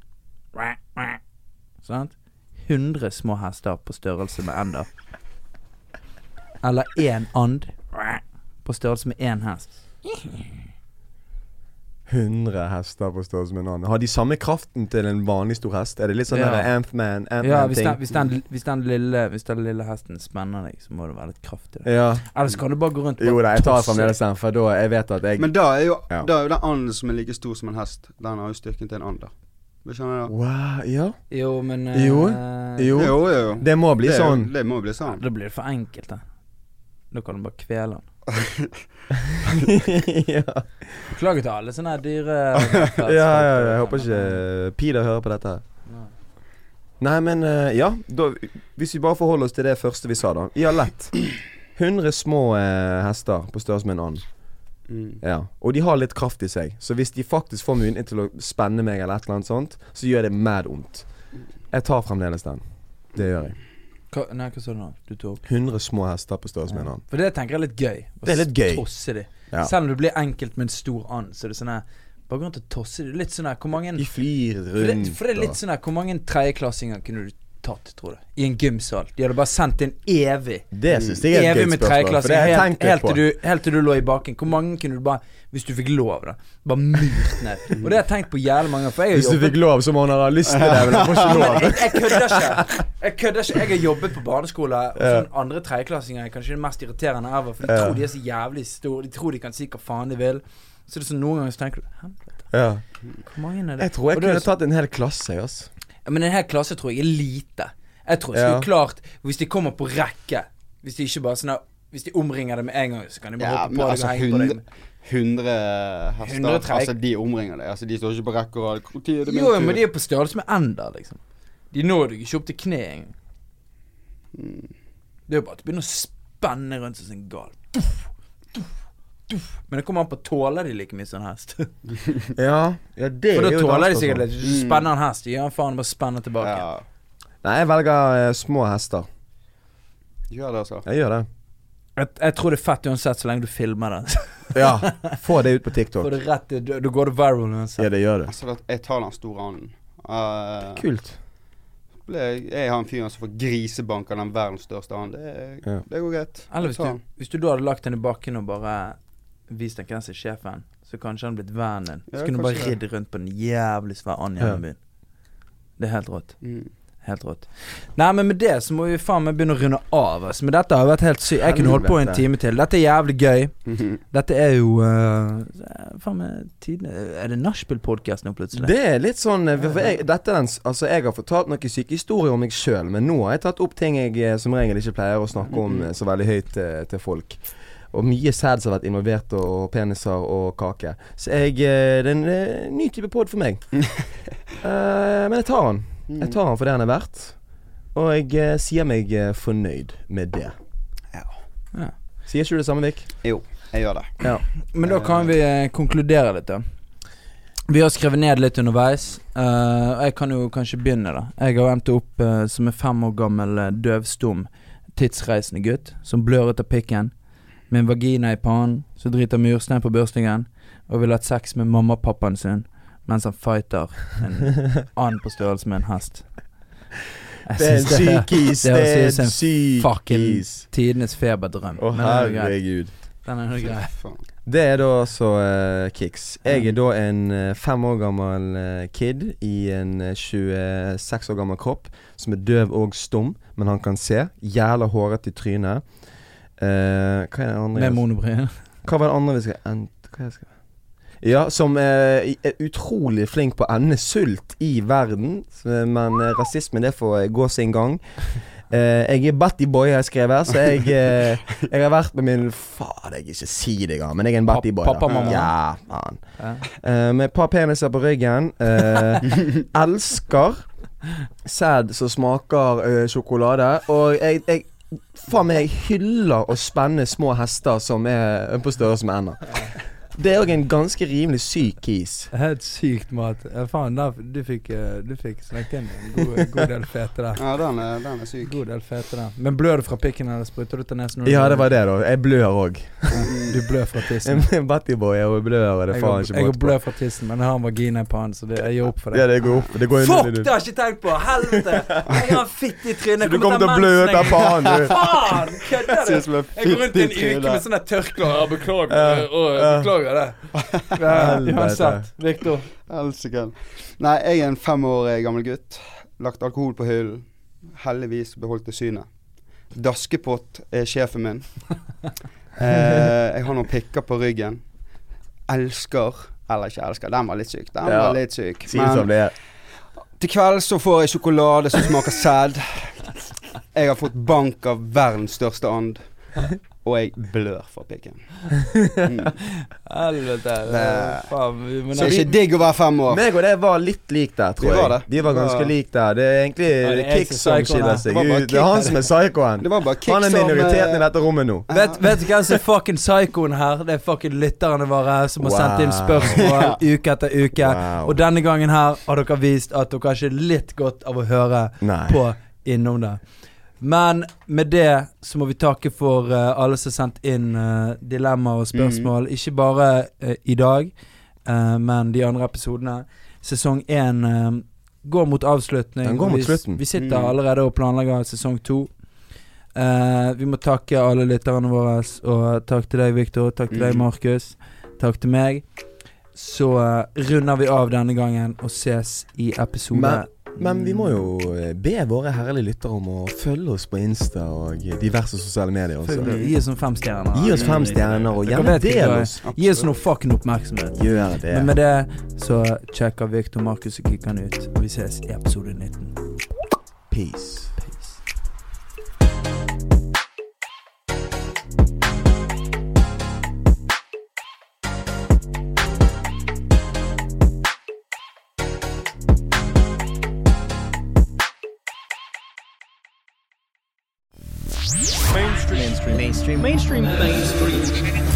Speaker 2: Sant? 100 små hester på størrelse med ender Eller en and På størrelse med en hest
Speaker 3: 100 hester på størrelse med en annen. Har de samme kraften til en vanlig stor hest? Er det litt sånn
Speaker 2: Ja.
Speaker 3: ja. Ant-Man,
Speaker 2: Ja, hvis
Speaker 3: Ant-Man-ting?
Speaker 2: den, hvis, den, hvis, den lille, hvis den lille hesten spenner deg, så må det være litt kraft i det.
Speaker 3: ja.
Speaker 2: Ellers kan du bare gå rundt og
Speaker 3: Jo da,
Speaker 2: bare
Speaker 3: jeg tar
Speaker 2: tosse.
Speaker 3: fremdeles den, for da jeg vet at jeg
Speaker 1: Men da er jo,
Speaker 3: Ja.
Speaker 1: da er jo den anden som er like stor som en hest, den har jo styrken til en and, da. Du skjønner det?
Speaker 3: Wow, ja.
Speaker 2: Jo, men eh,
Speaker 3: Jo,
Speaker 1: Jo,
Speaker 3: Jo.
Speaker 1: jo. jo.
Speaker 3: Det må bli
Speaker 1: Det er jo-
Speaker 3: sånn.
Speaker 1: Det må bli sånn.
Speaker 2: Da blir det for enkelt, da. Da kan du bare kvele den.
Speaker 3: ja.
Speaker 2: Beklager til alle sånne her dyre
Speaker 3: ja, ja, ja, jeg håper ikke Pida hører på dette. Nei, men eh, ja. Da, hvis vi bare forholder oss til det første vi sa, da. Ja, lett. 100 små eh, hester på størrelse med en and.
Speaker 1: Mm.
Speaker 3: Ja. Og de har litt kraft i seg, så hvis de faktisk får mulighet til å spenne meg, eller et eller annet sånt, så gjør det mad vondt. Jeg tar fremdeles den. Det gjør jeg.
Speaker 2: Hva, nei, hva sa du nå? Du tok
Speaker 3: 100 små hester på størrelse med en and.
Speaker 2: For det tenker jeg er litt gøy. Å
Speaker 3: Det er litt gøy.
Speaker 2: Tosse de.
Speaker 3: Ja.
Speaker 2: Selv om du blir enkelt med en stor and, så er det sånn her Bare gå rundt og tosse de. Litt sånn her Hvor mange
Speaker 3: De flyr
Speaker 2: For det,
Speaker 3: rundt
Speaker 2: for det er litt sånn her, Hvor mange tredjeklassinger kunne du tatt, tror du. I en gymsal. De hadde bare sendt en evig.
Speaker 3: Det syns jeg er et
Speaker 2: sånn evig
Speaker 3: gøy
Speaker 2: med
Speaker 3: spørsmål. For det
Speaker 2: tredjeklassinger.
Speaker 3: har jeg
Speaker 2: Helt,
Speaker 3: tenkt litt
Speaker 2: helt,
Speaker 3: på.
Speaker 2: til du- helt til du lå i baken. Hvor mange kunne du bare, hvis du fikk lov, da, bare murt ned? Og det har jeg tenkt på jævlig mange ganger. For jeg har
Speaker 3: Hvis du
Speaker 2: jobbet
Speaker 3: fikk lov, så må han ha lyst til det. Men han får ikke
Speaker 2: Men jeg, jeg kødder
Speaker 3: lov.
Speaker 2: ikke. Jeg kødder ikke. Jeg har jobbet på barneskole, og sånn andre tredjeklassinger er kanskje det mest irriterende ever. For de
Speaker 3: Ja.
Speaker 2: tror de er så jævlig store. De tror de kan si hva faen de vil. Så det er sånn noen ganger så tenker du Helvete,
Speaker 3: Ja.
Speaker 2: hvor mange er det?
Speaker 3: Jeg tror jeg
Speaker 2: Og det er
Speaker 3: kunne tatt en hel klasse, jeg, altså.
Speaker 2: ja, Men en hel klasse tror jeg er lite. Jeg tror ikke
Speaker 3: Ja.
Speaker 2: det er klart Hvis de kommer på rekke Hvis de ikke bare sånn der- Hvis de omringer det med en gang, så kan de bare
Speaker 1: Ja,
Speaker 2: hoppe
Speaker 1: men
Speaker 2: på
Speaker 1: altså
Speaker 2: deg og
Speaker 1: 100,
Speaker 2: henge på deg.
Speaker 1: 100 hester
Speaker 2: 103.
Speaker 1: Altså, de omringer deg. Altså, de står ikke på rekke og rad. Hvor tid er det min
Speaker 2: Jo, jo, men
Speaker 1: tur?
Speaker 2: de er på størrelse med ender, liksom. De når deg ikke opp til kneet engang.
Speaker 3: Mm.
Speaker 2: Det er jo bare at du begynner å spenne rundt som en gal. Duff, duff, duff. Men det kommer an på tåler de like mye som en hest. For
Speaker 3: Ja, ja det er
Speaker 2: da
Speaker 3: jo et
Speaker 2: tåler
Speaker 3: annet
Speaker 2: de sikkert
Speaker 3: spørsmål.
Speaker 2: litt. Hvis du spenner
Speaker 3: Mm.
Speaker 2: en hest, gir han faen bare spenner tilbake.
Speaker 1: Ja.
Speaker 3: Nei, jeg velger eh, små hester.
Speaker 1: Gjør det, altså.
Speaker 3: Jeg gjør det.
Speaker 2: Jeg, jeg tror det er fett uansett, så lenge du filmer det.
Speaker 3: Ja, Få det ut på TikTok.
Speaker 2: For det er rett, du, du går det viral uansett.
Speaker 3: Ja, det gjør det.
Speaker 1: altså det, jeg tar den store anden. Eh,
Speaker 3: Kult.
Speaker 1: ble, jeg har en fyr som får grisebank av den verdens største anden. Det,
Speaker 3: Ja.
Speaker 1: det går greit.
Speaker 2: Eller hvis
Speaker 1: Ta
Speaker 2: du,
Speaker 1: den.
Speaker 2: hvis du da hadde lagt den i bakken og bare vist den hvem som er sjefen, så kanskje han blitt vennen din. Så
Speaker 1: Ja,
Speaker 2: kunne du bare
Speaker 1: kanskje det.
Speaker 2: ridd rundt på den jævlig svære anden
Speaker 3: Ja.
Speaker 2: gjennom byen. Det er helt rått.
Speaker 1: Mm.
Speaker 2: Helt rått. Nei, men med det så må vi faen meg begynne å runde av. Altså. Men dette har vært helt sykt. Jeg kunne holdt på en
Speaker 3: Helvete.
Speaker 2: time til. Dette er jævlig gøy.
Speaker 1: Mhm.
Speaker 2: Dette er jo eh, Faen meg tiden Er det Nachspiel-podkast nå, plutselig?
Speaker 3: Det er litt sånn eh, for jeg, dette er den, s- Altså, jeg har fortalt noen syke historier om meg sjøl, men nå har jeg tatt opp ting jeg eh, som regel ikke pleier å snakke om eh, så veldig høyt eh, til folk. Og mye sæd som har vært involvert, og, og peniser og kake. Så jeg eh, Det er en eh, ny type pod for meg. Eh, men jeg tar den.
Speaker 1: Mm.
Speaker 3: Jeg tar den for det den er verdt. Og jeg eh, sier meg eh, fornøyd med det.
Speaker 1: Ja.
Speaker 2: Ja.
Speaker 3: Sier ikke du det samme, Vik?
Speaker 1: Jo, jeg gjør det.
Speaker 2: Men da kan vi eh, konkludere litt, da. Vi har skrevet ned litt underveis. eh, og jeg kan jo kanskje begynne, da. Jeg har endt opp eh, som en fem år gammel eh, døvstum tidsreisende gutt som blør ut av pikken, med en vagina i pannen, som driter murstein på børstingen, og vil ha sex med mammapappaen sin mens han fighter en and på størrelse med en hest. Jeg
Speaker 3: Det er en
Speaker 2: synes det er
Speaker 3: syk is.
Speaker 2: det
Speaker 3: Det er
Speaker 2: høres ut som
Speaker 3: en syk
Speaker 2: fucking
Speaker 3: is.
Speaker 2: tidenes feberdrøm.
Speaker 3: Å,
Speaker 2: Men den er jo grei.
Speaker 3: herregud.
Speaker 2: Den er jo grei.
Speaker 1: Faen.
Speaker 3: Det er da så eh, Kicks. Jeg er da en eh, fem år gammel eh, kid i en eh, 26 år gammel kropp som er døv og stum, men han kan se. Jævla hårete i trynet. Eh, hva er det andre?
Speaker 2: Med monobryn.
Speaker 3: Hva var det andre vi skal end... Hva jeg skal Ja, som eh, er utrolig flink på å ende sult i verden, så- men eh, rasisme det får eh, gå sin gang. Eh, jeg er Batty Boy, har jeg skrevet, så jeg, eh, jeg har vært med min Faen, jeg ikke si det engang, men jeg er en Batty Boy. da.
Speaker 2: Pappa, mamma.
Speaker 3: Ja, faen.
Speaker 2: Ja.
Speaker 3: Eh, med et par peniser på ryggen. eh, elsker sæd som smaker eh, sjokolade. Og jeg, jeg Faen meg, jeg hyller å spenne små hester som er på størrelse med ender. Det er òg en ganske rimelig syk kis.
Speaker 2: Helt sykt mat. Ja, Faen, der, du fikk, eh, du fikk snakket inn en god, god del fete der.
Speaker 1: Ja, den er, den er syk.
Speaker 2: God del fete der. Men blør du fra pikken, eller spruter du til nesen? når du
Speaker 3: Ja,
Speaker 2: blør?
Speaker 3: det var det, da. Jeg blør òg.
Speaker 2: Du blør fra tissen.
Speaker 3: En Battyboy og blør, og det
Speaker 2: Jeg
Speaker 3: er faen
Speaker 2: går-
Speaker 3: ikke
Speaker 2: jeg går
Speaker 3: måte på.
Speaker 2: blør fra tissen, men jeg har en vagina i pannen, så det, jeg gir opp for
Speaker 3: Ja,
Speaker 2: det.
Speaker 3: det går opp. Det går inn
Speaker 2: Fuck,
Speaker 3: i
Speaker 2: det
Speaker 3: det.
Speaker 2: har jeg ikke tenkt på! Helvete! Jeg har en fitte i trynet.
Speaker 3: Du kommer til å blø ut av pannen, du.
Speaker 2: Faen! Kødder
Speaker 1: Synes
Speaker 2: du?
Speaker 1: som en
Speaker 2: Jeg går rundt i en
Speaker 1: fitte i
Speaker 2: uke
Speaker 1: trynet.
Speaker 2: med sånne tørklær. Ja, Beklager,
Speaker 3: Ja,
Speaker 2: og
Speaker 3: ja.
Speaker 2: beklager det. Ja,
Speaker 3: Helvete.
Speaker 2: Uansett, Victor.
Speaker 1: Helsike. Nei, jeg er en fem år eh, gammel gutt. Lagt alkohol på hyllen. Heldigvis beholdt jeg synet. Daskepott er sjefen min. Eh, jeg har noen pikker på ryggen. Elsker eller ikke elsker. Den var litt syk. Den
Speaker 3: Ja.
Speaker 1: var litt syk.
Speaker 3: Si det som det er.
Speaker 1: til kveld så får jeg sjokolade som smaker sæd. Jeg har fått bank av verdens største and. Og jeg blør fra pikken. Mm.
Speaker 2: Helvete.
Speaker 1: Nei.
Speaker 2: Faen, vi må
Speaker 1: Så
Speaker 3: altså,
Speaker 1: det er ikke digg å være fem år.
Speaker 3: Meg og det var litt lik der, tror
Speaker 1: Vi
Speaker 3: jeg.
Speaker 1: var det.
Speaker 3: De var ganske
Speaker 1: Ja.
Speaker 3: lik der. Det er egentlig
Speaker 2: Ja, det er jeg
Speaker 3: Kick
Speaker 2: som er
Speaker 3: som
Speaker 2: psykoen her.
Speaker 3: skiller seg
Speaker 1: Det var bare
Speaker 3: ut. Det er han
Speaker 1: Kick.
Speaker 3: som er psykoen.
Speaker 1: Det var bare kick eh,
Speaker 3: Han er minoriteten i dette rommet nå.
Speaker 2: Vet, vet du hvem som er fucking psykoen her? Det er fucking lytterne våre som har sendt inn
Speaker 3: Wow.
Speaker 2: spørsmål uke etter uke.
Speaker 3: Wow.
Speaker 2: Og denne gangen her har dere vist at dere har ikke litt godt av å høre
Speaker 3: Nei.
Speaker 2: på innom det. Men med det så må vi takke for eh, alle som har sendt inn eh, dilemmaer og spørsmål.
Speaker 3: Mm.
Speaker 2: Ikke bare eh, i dag, eh, men de andre episodene. Sesong én eh, går mot avslutning.
Speaker 3: Den går mot
Speaker 2: og vi,
Speaker 3: slutten.
Speaker 2: Vi sitter
Speaker 1: Mm.
Speaker 2: allerede og planlegger sesong to. Eh, vi må takke alle lytterne våre, og takk til deg, Viktor. Takk til
Speaker 1: Mm.
Speaker 2: deg, Markus. Takk til meg. Så eh, runder vi av denne gangen og ses i episode
Speaker 3: Men- Men vi må jo eh, be våre herlige lyttere om å følge oss på Insta og diverse sosiale medier også.
Speaker 2: Gi oss noen fem stjerner.
Speaker 3: Gi oss fem stjerner, og
Speaker 2: Dere
Speaker 3: gjerne
Speaker 2: vet ikke
Speaker 3: del
Speaker 2: hva-
Speaker 3: oss.
Speaker 2: Gi oss noe fucking oppmerksomhet.
Speaker 3: Gjør det.
Speaker 2: Men med det så sjekker Viktor Markus og Kikkan ut, og vi ses i episode 19.
Speaker 3: Peace.
Speaker 2: Peace.
Speaker 5: mainstream mainstream mainstream mainstream